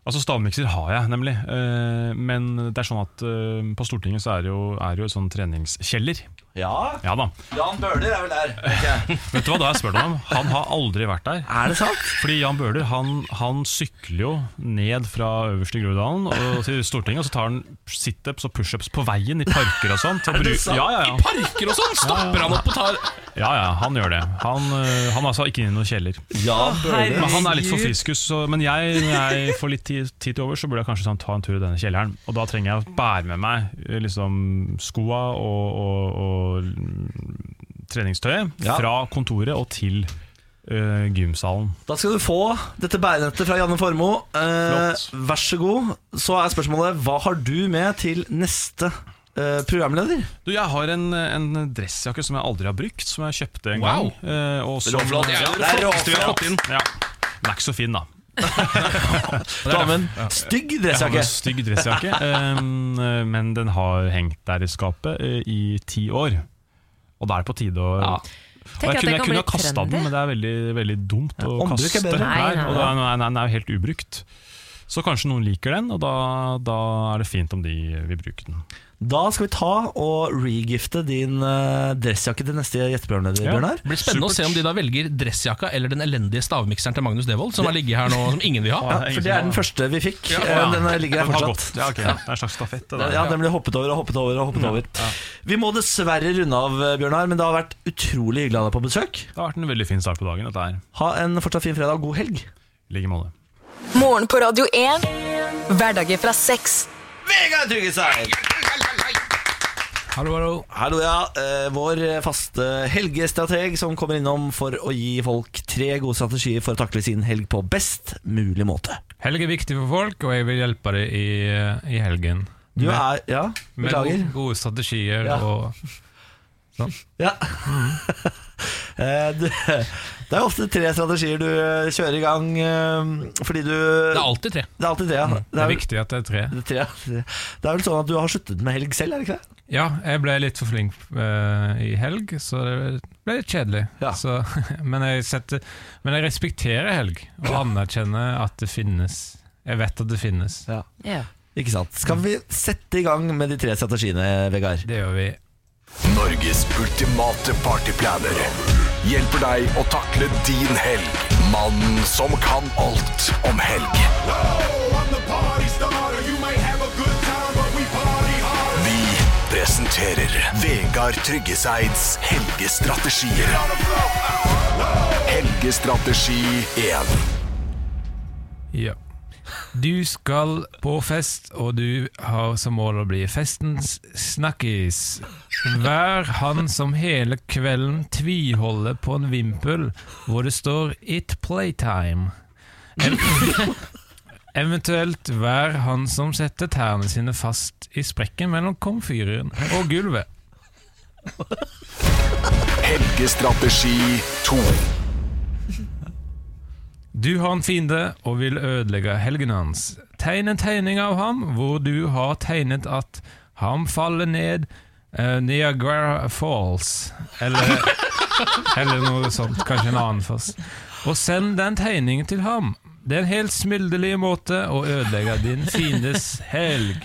Speaker 8: Altså Stavmikser har jeg, nemlig. Eh, men det er sånn at eh, på Stortinget så er det jo, er det jo et sånn treningskjeller.
Speaker 1: Ja.
Speaker 8: Ja da.
Speaker 1: Jan Bøhler er vel der.
Speaker 8: Vet du hva da jeg spør deg om? Han har aldri vært der.
Speaker 1: Er det sant?
Speaker 8: Fordi Jan Bøhler han, han sykler jo ned fra øverste Groruddalen og til Stortinget, og så tar han situps og pushups på veien i parker og sånt. Og
Speaker 2: Er det
Speaker 8: bru-
Speaker 2: sant?
Speaker 8: Ja, ja, ja.
Speaker 2: I parker og sånn? Stopper han opp og tar
Speaker 8: Ja, ja, han gjør det. Han, øh, han er altså ikke inne i noen kjeller.
Speaker 1: Jan Bøhler.
Speaker 8: Men han er litt for friskus, så, men jeg, når jeg får litt tid, tid til over, så burde jeg kanskje sånn, ta en tur i denne kjelleren. Og da trenger jeg å bære med meg eh, liksom, skoa og, og, og mm, treningstøyet
Speaker 1: Ja.
Speaker 8: fra kontoret og til eh, gymsalen.
Speaker 1: Da skal du få dette bærenettet fra Janne Formoe. Eh, vær så god. Så er spørsmålet hva har du med til neste eh, programleder?
Speaker 8: Du, Jeg har en, en dressjakke som jeg aldri har brukt, som jeg kjøpte en
Speaker 1: Wow.
Speaker 8: gang. eh, og som-
Speaker 1: Råflott. Det er jo det Det er flotteste vi har råflott. fått inn.
Speaker 8: Ja. Den er ikke så fin, da.
Speaker 1: Damen, stygg
Speaker 8: Jeg har
Speaker 1: dressjakke.
Speaker 8: en Stygg dressjakke, em, eh, men den har hengt der i skapet eh, i ti år. Og da er det på tide å Og
Speaker 3: Tenk
Speaker 8: jeg
Speaker 3: at
Speaker 8: kunne,
Speaker 3: det
Speaker 8: jeg
Speaker 3: kan
Speaker 8: kunne
Speaker 3: bli
Speaker 8: ha kasta
Speaker 3: trendy.
Speaker 8: den, men det er veldig, veldig dumt å
Speaker 1: ombruk er
Speaker 8: kaste.
Speaker 1: bedre.
Speaker 3: Nei, nei,
Speaker 8: og da, nei, nei, den er jo helt ubrukt. Så kanskje noen liker den, og da, da er det fint om de vil bruke den.
Speaker 1: Da skal vi ta og regifte din eh, dressjakke til neste gjetteprogramleder, Bjørnar.
Speaker 2: Det blir spennende å se om de da velger dressjakka eller den elendige stavmikseren til Magnus Devold, som har ligget her nå, som ingen vil ha.
Speaker 1: Ja, for det er den første vi fikk. Eh,
Speaker 2: Ja.
Speaker 1: Den ligger her
Speaker 8: Den har gått.
Speaker 1: fortsatt.
Speaker 8: Ja, ok. Det er en slags stafett. det der.
Speaker 1: Ja, den ble hoppet over og hoppet over. og hoppet over Vi må dessverre runde av, eh, Bjørnar, men det har vært utrolig hyggelig å ha deg på besøk.
Speaker 8: Det har vært en veldig fin start på dagen, dette her.
Speaker 1: Ha en fortsatt fin fredag og god helg.
Speaker 8: I like måte.
Speaker 5: Morgen på Radio 1. Hverdager fra seks.
Speaker 1: Vegard Tryggeseid!
Speaker 2: Hallo, hallo.
Speaker 1: Hallo, ja. Eh, Vår faste helgestrateg som kommer innom for å gi folk tre gode strategier for å takle sin helg på best mulig måte.
Speaker 11: Helg er viktig for folk, og jeg vil hjelpe deg i, eh, i helgen.
Speaker 1: Du er Ja,
Speaker 11: Med
Speaker 1: beklager.
Speaker 11: gode- gode strategier
Speaker 1: Ja.
Speaker 11: og sånn.
Speaker 1: Ja. Eh, du- Det er ofte tre strategier du eh, kjører i gang eh, fordi du Det
Speaker 2: er alltid tre.
Speaker 1: Det er alltid tre, ja.
Speaker 11: Det er viktig at det er tre.
Speaker 1: Det er, tre. det er vel sånn at du har sluttet med helg selv, er det ikke det?
Speaker 11: Ja, jeg ble litt for flink eh, i helg, så det ble litt kjedelig. Så, men, jeg setter, men jeg respekterer helg, og anerkjenner at det finnes. Jeg vet at det finnes.
Speaker 3: Ja.
Speaker 1: Ikke sant. Skal vi sette i gang med de tre strategiene, Vegard?
Speaker 11: Det gjør vi.
Speaker 13: Norges ultimate partyplaner hjelper deg å takle din helg. Mannen som kan alt om helg. Vi presenterer Vegard Tryggeseids helgestrategier. Helgestrategi 1.
Speaker 11: Ja. Du skal på fest, og du har som mål å bli festens snakkis. Vær han som hele kvelden tviholder på en vimpel hvor det står 'It playtime'. Ev- Eventuelt vær han som setter tærne sine fast i sprekken mellom komfyren og gulvet.
Speaker 13: Helgestrategi 2.
Speaker 11: Du har en fiende og vil ødelegge helgen hans. Tegn en tegning av ham hvor du har tegnet at ham faller ned eh, Niagara Falls. Eller, eller noe sånt. Kanskje en annen først. Og send den tegningen til ham. Det er en helt smilderlig måte å ødelegge din fiendes helg.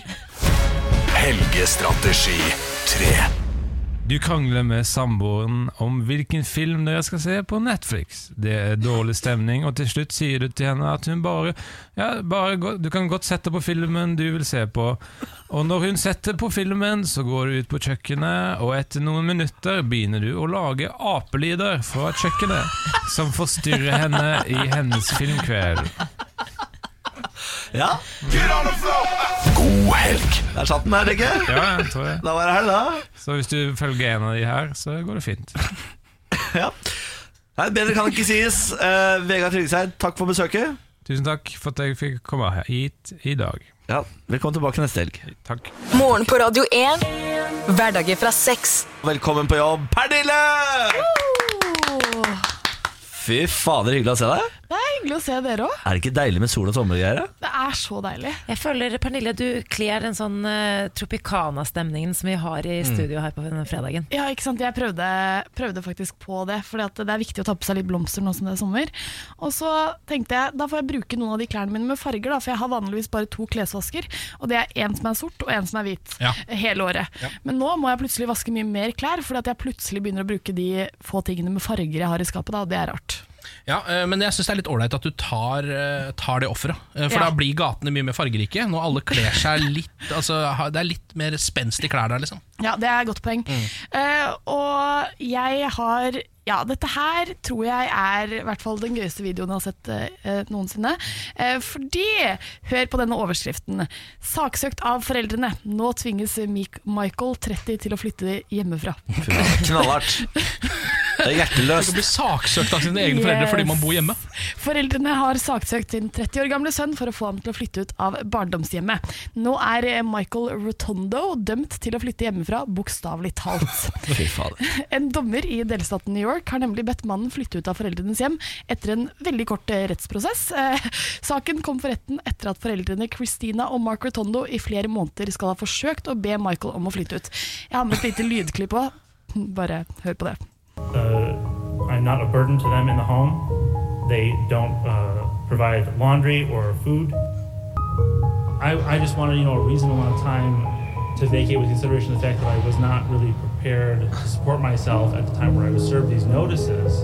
Speaker 13: Helgestrategi 3.
Speaker 11: Du krangler med samboeren om hvilken film dere skal se på Netflix. Det er dårlig stemning, og til slutt sier du til henne at hun bare, ja, bare gå- Du kan godt sette på filmen du vil se på. Og når hun setter på filmen, så går du ut på kjøkkenet, og etter noen minutter begynner du å lage apelyder fra kjøkkenet, som forstyrrer henne i hennes filmkveld.
Speaker 1: Ja.
Speaker 13: God helg.
Speaker 1: Der satt den her, tenker jeg.
Speaker 11: Ja, jeg tror jeg.
Speaker 1: Da var det helg, da.
Speaker 11: Så hvis du følger en av de her, så går det fint.
Speaker 1: Ja. Nei, bedre kan det ikke sies. Eh, Vegard Tryggeseid, takk for besøket.
Speaker 11: Tusen takk for at jeg fikk komme her hit i dag.
Speaker 1: Ja, Velkommen tilbake neste helg.
Speaker 11: Takk.
Speaker 5: Morgen på Radio 1. Hverdager fra seks.
Speaker 1: Velkommen på jobb, Pernille! Fy fader, hyggelig å se deg.
Speaker 4: Det er hyggelig å se dere òg.
Speaker 1: Er det ikke deilig med sol og sommergreier? da?
Speaker 4: Det er så deilig.
Speaker 3: Jeg føler, Pernille, du kler den sånn eh, Tropicana-stemningen som vi har i
Speaker 4: Mm.
Speaker 3: studio her på denne fredagen.
Speaker 4: Ja, ikke sant? Jeg prøvde, prøvde faktisk på det, for det er viktig å ta på seg litt blomster nå som det er sommer. Og så tenkte jeg, da får jeg bruke noen av de klærne mine med farger, da, for jeg har vanligvis bare to klesvasker, og det er en som er sort og en som er hvit,
Speaker 12: Ja.
Speaker 4: hele året.
Speaker 12: Ja.
Speaker 4: Men nå må jeg plutselig vaske mye mer klær, fordi at jeg plutselig begynner å bruke de få tingene med farger jeg har i skapet, da, og det er rart.
Speaker 2: Ja, eh, Men jeg syns det er litt ålreit at du tar, eh, tar det offeret. Eh, For
Speaker 4: Ja.
Speaker 2: da blir gatene mye mer fargerike. Når alle kler seg litt altså, ha- Det er litt mer spenst i klær der, liksom.
Speaker 4: Ja, det er et godt poeng.
Speaker 2: Mm.
Speaker 4: Eh, og jeg har Ja, dette her tror jeg er i hvert fall den gøyeste videoen jeg har sett eh, noensinne. Eh, fordi Hør på denne overskriften. 'Saksøkt av foreldrene. Nå tvinges Mik Michael 30 til å flytte hjemmefra'.
Speaker 1: Knallhardt. Det er hjerteløst.
Speaker 2: Blir saksøkt av sine egne
Speaker 4: Yes.
Speaker 2: foreldre fordi man bor hjemme.
Speaker 4: Foreldrene har saksøkt sin 30 år gamle sønn for å få ham til å flytte ut av barndomshjemmet. Nå er eh, Michael Rotondo dømt til å flytte hjemmefra, bokstavelig talt.
Speaker 1: Fy fader.
Speaker 4: En dommer i delstaten New York har nemlig bedt mannen flytte ut av foreldrenes hjem etter en veldig kort eh, rettsprosess. Eh, saken kom for retten etter at foreldrene Christina og Mark Rotondo i flere måneder skal ha forsøkt å be Michael om å flytte ut. Jeg har med et lite lydklipp òg. Bare hør på det.
Speaker 10: Uh, I'm not a burden to them in the home. They don't uh, provide laundry or food. I, I just wanted, you know, a reasonable amount of time to vacate with consideration of the fact that I was not really prepared to support myself at the time where I was served these notices.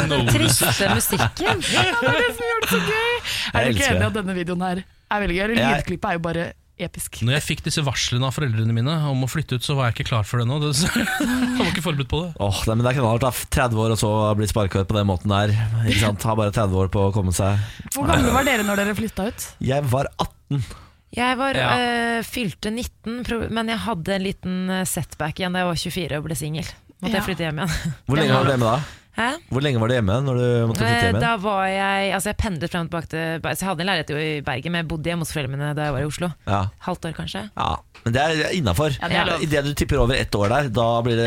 Speaker 4: Ja, det er det som gjør det så gøy! Er
Speaker 2: Jeg
Speaker 4: du ikke enig
Speaker 2: elsker
Speaker 4: i
Speaker 2: det.
Speaker 4: at denne videoen her er veldig gøy? Eller
Speaker 2: Jeg-
Speaker 4: Lydklippet er jo bare episk.
Speaker 2: Når jeg fikk disse varslene av foreldrene mine om å flytte ut, så var jeg ikke klar for det nå. Det- Jeg var ikke forberedt på det.
Speaker 1: Åh, nei, men Det er knallhardt. da. 30 år og så bli sparka ut på den måten der. Ikke sant? Har bare 30 år på å komme seg
Speaker 4: Hvor gamle var dere når dere flytta ut?
Speaker 1: Jeg var 18.
Speaker 3: Jeg var,
Speaker 1: Ja.
Speaker 3: eh, fylte 19, pro- men jeg hadde en liten eh, setback igjen da jeg var 24 og ble singel. Måtte jeg
Speaker 12: Ja.
Speaker 3: flytte hjem igjen.
Speaker 1: Hvor lenge var du hjemme da?
Speaker 3: Hæ?
Speaker 1: Hvor lenge var du hjemme når du måtte flytte
Speaker 3: Eh,
Speaker 1: hjem
Speaker 3: Da
Speaker 1: igjen?
Speaker 3: var jeg Altså jeg pendlet frem og tilbake til Bergen. Så jeg hadde en leilighet jo i Bergen, men jeg bodde hjemme hos foreldrene mine da jeg var i Oslo.
Speaker 1: Ja.
Speaker 3: Halvt år, kanskje.
Speaker 1: ja. Men det er innafor.
Speaker 3: Ja, det er lov.
Speaker 1: Idet du tipper over ett år der, da blir det,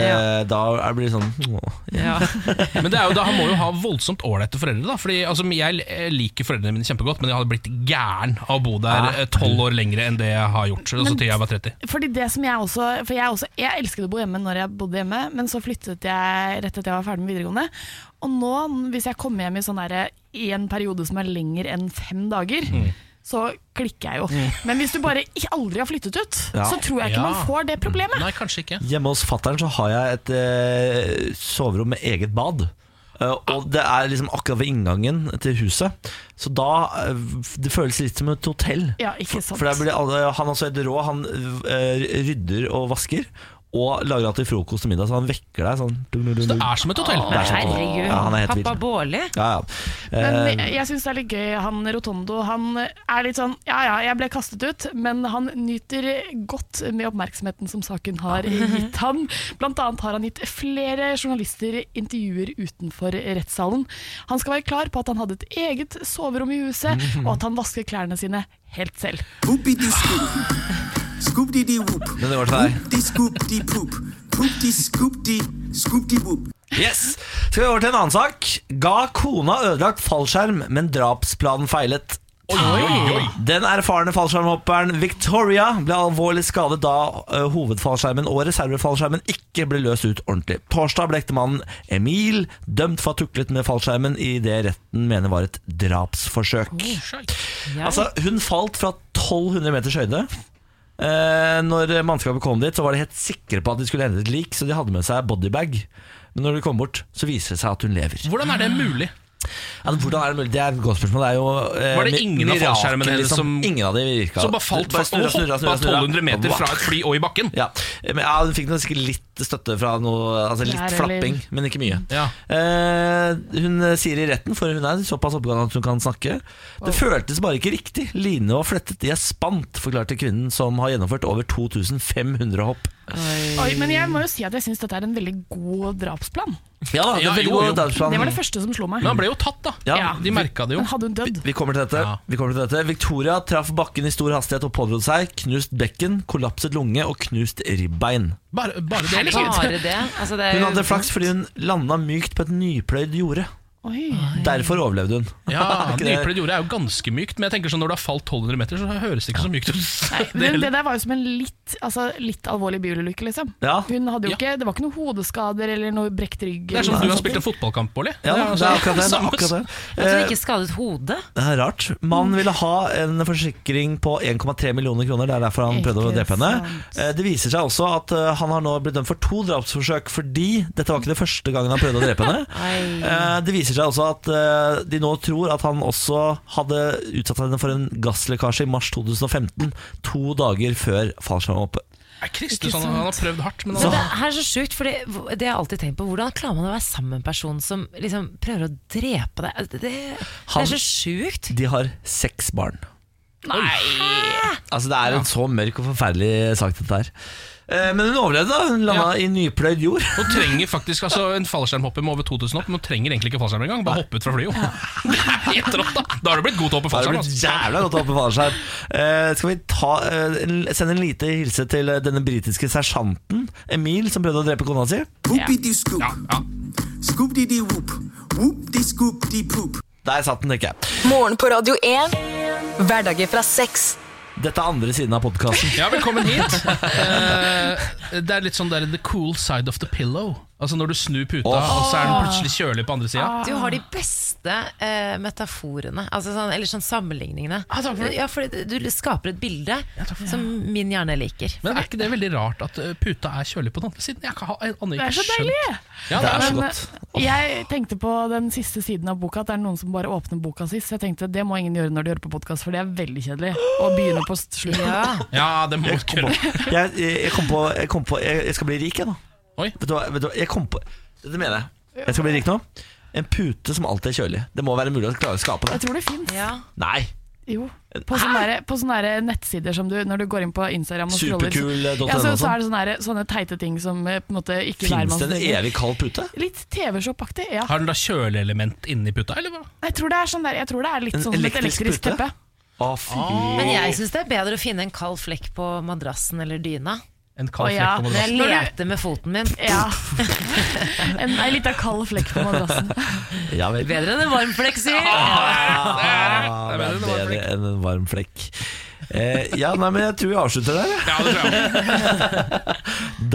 Speaker 1: da er- blir det sånn åh.
Speaker 2: Men det er jo da, han må jo ha voldsomt ålreite foreldre. da Fordi altså, Jeg eh, liker foreldrene mine kjempegodt, men jeg hadde blitt gæren av å bo der eh, tolv år lengre enn det jeg har gjort. Altså
Speaker 4: Ah. Men-
Speaker 2: til jeg var 30
Speaker 4: Fordi det som jeg også For jeg, også, jeg elsket å bo hjemme når jeg bodde hjemme, men så flyttet jeg rett etter jeg var ferdig med videregående. Og nå, hvis jeg kommer hjem i, sånn derre- i en periode som er lenger enn fem dager,
Speaker 12: Mm.
Speaker 4: så klikker jeg jo.
Speaker 1: Mm.
Speaker 4: Men hvis du bare i- aldri har flyttet ut,
Speaker 1: Ja.
Speaker 4: så tror jeg ikke
Speaker 1: Ja.
Speaker 4: man får det problemet.
Speaker 2: Nei, kanskje ikke
Speaker 1: Hjemme hos fattern så har jeg et eh, soverom med eget bad. Eh, og det er liksom akkurat ved inngangen til huset. Så da eh, Det føles litt som et hotell.
Speaker 4: Ja, ikke sant.
Speaker 1: For der blir alle, Han er også helt rå. Han eh, rydder og vasker. Og lager alltid frokost og middag, så han vekker deg sånn. Så
Speaker 2: det er som et hotell?
Speaker 1: er som et hotell.
Speaker 3: Herregud.
Speaker 1: Ja, han er helt
Speaker 3: Pappa
Speaker 1: vild.
Speaker 3: Bårli.
Speaker 1: Ja, ja.
Speaker 4: Men
Speaker 1: Eh,
Speaker 4: jeg- jeg syns det er litt gøy. Han Rotondo han er litt sånn Ja ja, jeg ble kastet ut, men han nyter godt med oppmerksomheten som saken har gitt han. Blant annet har han gitt flere journalister intervjuer utenfor rettssalen. Han skal være klar på at han hadde et eget soverom i huset, og at han vasker klærne sine helt selv.
Speaker 1: Men det var sånn til deg. Yes! Skal vi over til en annen sak. Ga kona ødelagt fallskjerm, men drapsplanen feilet. Den erfarne fallskjermhopperen Victoria ble alvorlig skadet da eh, hovedfallskjermen og reservefallskjermen ikke ble løst ut ordentlig. Torsdag ble ektemannen Emil dømt for å ha tuklet med fallskjermen i det retten mener var et drapsforsøk. Altså, hun falt fra 1200 meters høyde. Eh, når mannskapet kom dit, så var de helt sikre på at de skulle hente et lik, så de hadde med seg bodybag. Men når de kom bort, så viser det seg at hun lever.
Speaker 2: Hvordan er det mulig?
Speaker 1: Ja, men hvordan er det mulig? Det er et godt spørsmål. Det er jo, eh,
Speaker 2: Var det
Speaker 1: mi-
Speaker 2: ingen av
Speaker 1: mirakel,
Speaker 2: fallskjermene hennes som-
Speaker 1: Ingen av de virka.
Speaker 2: Som bare falt fast og hoppa 1200 meter fra et fly og i bakken?
Speaker 1: Ja, men ja, Hun fikk nok sikkert litt støtte fra noe Altså litt
Speaker 2: Lær eller-
Speaker 1: flapping, men ikke mye. Eh, hun sier i retten, for hun er såpass oppegående at hun kan snakke Det føltes bare ikke riktig. Line var flettet i et spant, forklarte kvinnen som har gjennomført over 2500 hopp.
Speaker 4: Oi, men jeg må jo si at jeg syns dette er en veldig god drapsplan.
Speaker 1: Ja da, det er veldig god drapsplan.
Speaker 4: Det var det første som slo meg.
Speaker 1: Men han ble
Speaker 2: jo tatt, da.
Speaker 1: Ja, de merka
Speaker 4: Men hadde hun dødd?
Speaker 1: Vi kommer til dette. Vi kommer til dette. Victoria traff bakken i stor hastighet og pådro seg knust bekken, kollapset lunge og knust ribbein.
Speaker 2: Bare, bare det,
Speaker 3: Bare
Speaker 2: liksom.
Speaker 4: Eh,
Speaker 3: det. Altså, det er
Speaker 1: Hun
Speaker 3: jo-
Speaker 1: hadde flaks fordi hun landa mykt på et nypløyd jorde.
Speaker 4: Oi.
Speaker 1: Derfor overlevde hun.
Speaker 2: Ja,
Speaker 1: Er ikke det-
Speaker 2: Nyplet jorde er jo ganske mykt, men jeg tenker sånn når du har falt 1200 meter, så høres det ikke så mykt ut. Det
Speaker 4: Men
Speaker 2: hele-
Speaker 4: det der var jo som en litt, altså, litt alvorlig bilulykke, liksom.
Speaker 2: Ja.
Speaker 4: Hun hadde jo
Speaker 2: Ah, Ja.
Speaker 4: ikke, det var ikke noen hodeskader eller noe brekt rygg.
Speaker 2: Det er sånn som
Speaker 4: eller
Speaker 2: om du har
Speaker 4: sånne
Speaker 2: spilt en
Speaker 4: ting.
Speaker 2: fotballkamp, Bård.
Speaker 1: Ja, det er akkurat det. det, er akkurat det.
Speaker 3: At hun
Speaker 1: Eh,
Speaker 3: ikke skadet hodet.
Speaker 1: Det er rart.
Speaker 3: Mm.
Speaker 1: Mannen ville ha en forsikring på 1,3 millioner kroner. Det er derfor han prøvde å
Speaker 3: Ikke
Speaker 1: drepe henne.
Speaker 3: sant.
Speaker 1: Eh, Det viser seg også at eh, han har nå blitt dømt for to drapsforsøk, fordi dette var ikke det første gangen han prøvde å drepe henne. Eh, Det viser seg også at eh, de nå tror at han også hadde utsatt henne for en gasslekkasje i mars 2015, to dager før fallskjermhoppet.
Speaker 2: Er Kristiansand, sånn, han har prøvd hardt, men
Speaker 3: Men
Speaker 2: han
Speaker 3: det her er så sjukt, for det har jeg alltid tenkt på. Hvordan klarer man å være sammen med en person som liksom prøver å drepe deg? Altså, Det, det, det
Speaker 1: Han-
Speaker 3: er så sjukt.
Speaker 1: De har seks barn.
Speaker 3: Nei!
Speaker 1: Altså Det er en så mørk og forferdelig sak, dette her. Eh, Men hun overlevde, da. Hun landa i nypløyd jord.
Speaker 2: Hun trenger faktisk altså, en fallskjermhopper med over 2000 opp, men hun trenger egentlig ikke fallskjerm engang. Bare hoppe ut fra flyet. jo. Det er helt rått, da. Da har du blitt god til å hoppe
Speaker 1: Da har det
Speaker 2: fallskjerm.
Speaker 1: blitt
Speaker 2: altså.
Speaker 1: jævla godt å hoppe fallskjerm. Eh, skal vi ta, eh, en- sende en lite hilse til eh, denne britiske sersjanten Emil, som prøvde å drepe kona si?
Speaker 14: Whoopity-scoop. Scoop-dee-dee-whoop. Whoop-dee-scoop-dee-poop.
Speaker 1: Der satt den, tenker jeg.
Speaker 5: Morgen på Radio 1. Hverdager fra seks.
Speaker 1: Dette er andre siden av podkasten.
Speaker 2: Ja, velkommen hit. Eh, det er litt sånn der the cool side of the pillow. Altså Når du snur puta,
Speaker 3: Åh.
Speaker 2: og så er den plutselig kjølig på andre sida.
Speaker 4: Ah.
Speaker 3: Du har de beste eh, metaforene, altså sånn, eller sånn sammenligningene. Ja, for det- du skaper et bilde som min hjerne liker.
Speaker 2: Men er ikke det veldig rart at eh, puta er kjølig på den andre siden? Jeg kan ha, jeg, aner
Speaker 4: Det
Speaker 2: ikke
Speaker 4: er så
Speaker 2: skjønt.
Speaker 4: deilig!
Speaker 2: Ja, det er sånn. så
Speaker 4: Men,
Speaker 2: godt.
Speaker 4: eh, Jeg tenkte på den siste siden av boka at det er noen som bare åpner boka sist. Jeg tenkte det må ingen gjøre når de hører på podkast, for det er veldig kjedelig å begynne på s- slutten.
Speaker 2: Ja, det må du gjøre.
Speaker 1: Jeg, jeg, jeg kom på, jeg, kom på jeg, jeg skal bli rik, jeg nå.
Speaker 2: Oi.
Speaker 1: Vet du hva, vet du, hva, jeg kom på Det mener jeg. Jeg skal bli rik nå. En pute som alltid er kjølig. Det må være mulig å klare å skape
Speaker 4: Jeg
Speaker 1: det.
Speaker 4: tror det fins.
Speaker 1: Nei.
Speaker 4: Jo. På sånne, der, på sånne der nettsider som du Når du går inn på Instagram og scroller, så-
Speaker 2: eh,
Speaker 1: Superkul.no
Speaker 4: ja, så,
Speaker 1: og
Speaker 4: så
Speaker 1: sånn.
Speaker 4: er det sånne, der, sånne teite ting som eh, på en måte ikke
Speaker 1: Fins det en
Speaker 4: hvermannsdriver.
Speaker 1: evig kald pute?
Speaker 4: Litt TV-shop-aktig, ja.
Speaker 2: Har den da kjøleelement inni puta, eller hva?
Speaker 4: Jeg tror det er, sånn der, jeg tror det er litt
Speaker 2: En
Speaker 4: sånn som et
Speaker 2: elektrisk
Speaker 4: elektrisk
Speaker 2: pute?
Speaker 4: teppe.
Speaker 1: Å, fy.
Speaker 3: Ah. Men jeg syns det er bedre å finne en kald flekk på madrassen eller dyna.
Speaker 2: En
Speaker 4: kald Å, ja. flekk på madrassen.
Speaker 3: Når jeg leter med foten min.
Speaker 4: Ja. En, en lita kald flekk på madrassen.
Speaker 1: Ja vel.
Speaker 3: Bedre enn en varm flekk, sier jeg.
Speaker 1: Ah, det er bedre enn en varm flekk. Eh, ja, nei, men jeg tror vi avslutter der. jeg.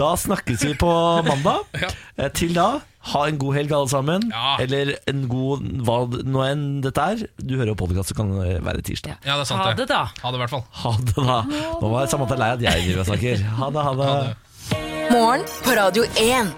Speaker 1: Da snakkes vi på mandag. Eh, Til da, ha en god helg alle sammen. Eller en god hva nå enn dette er. Du hører jo podkast, så kan det være tirsdag.
Speaker 2: Ja, det er sant
Speaker 3: Ha det, da.
Speaker 2: Ha det i hvert fall.
Speaker 1: Ha det, da. Nå var Samantha lei at jeg driver og snakker. Ha det, ha det.
Speaker 5: Morgen på Radio 1.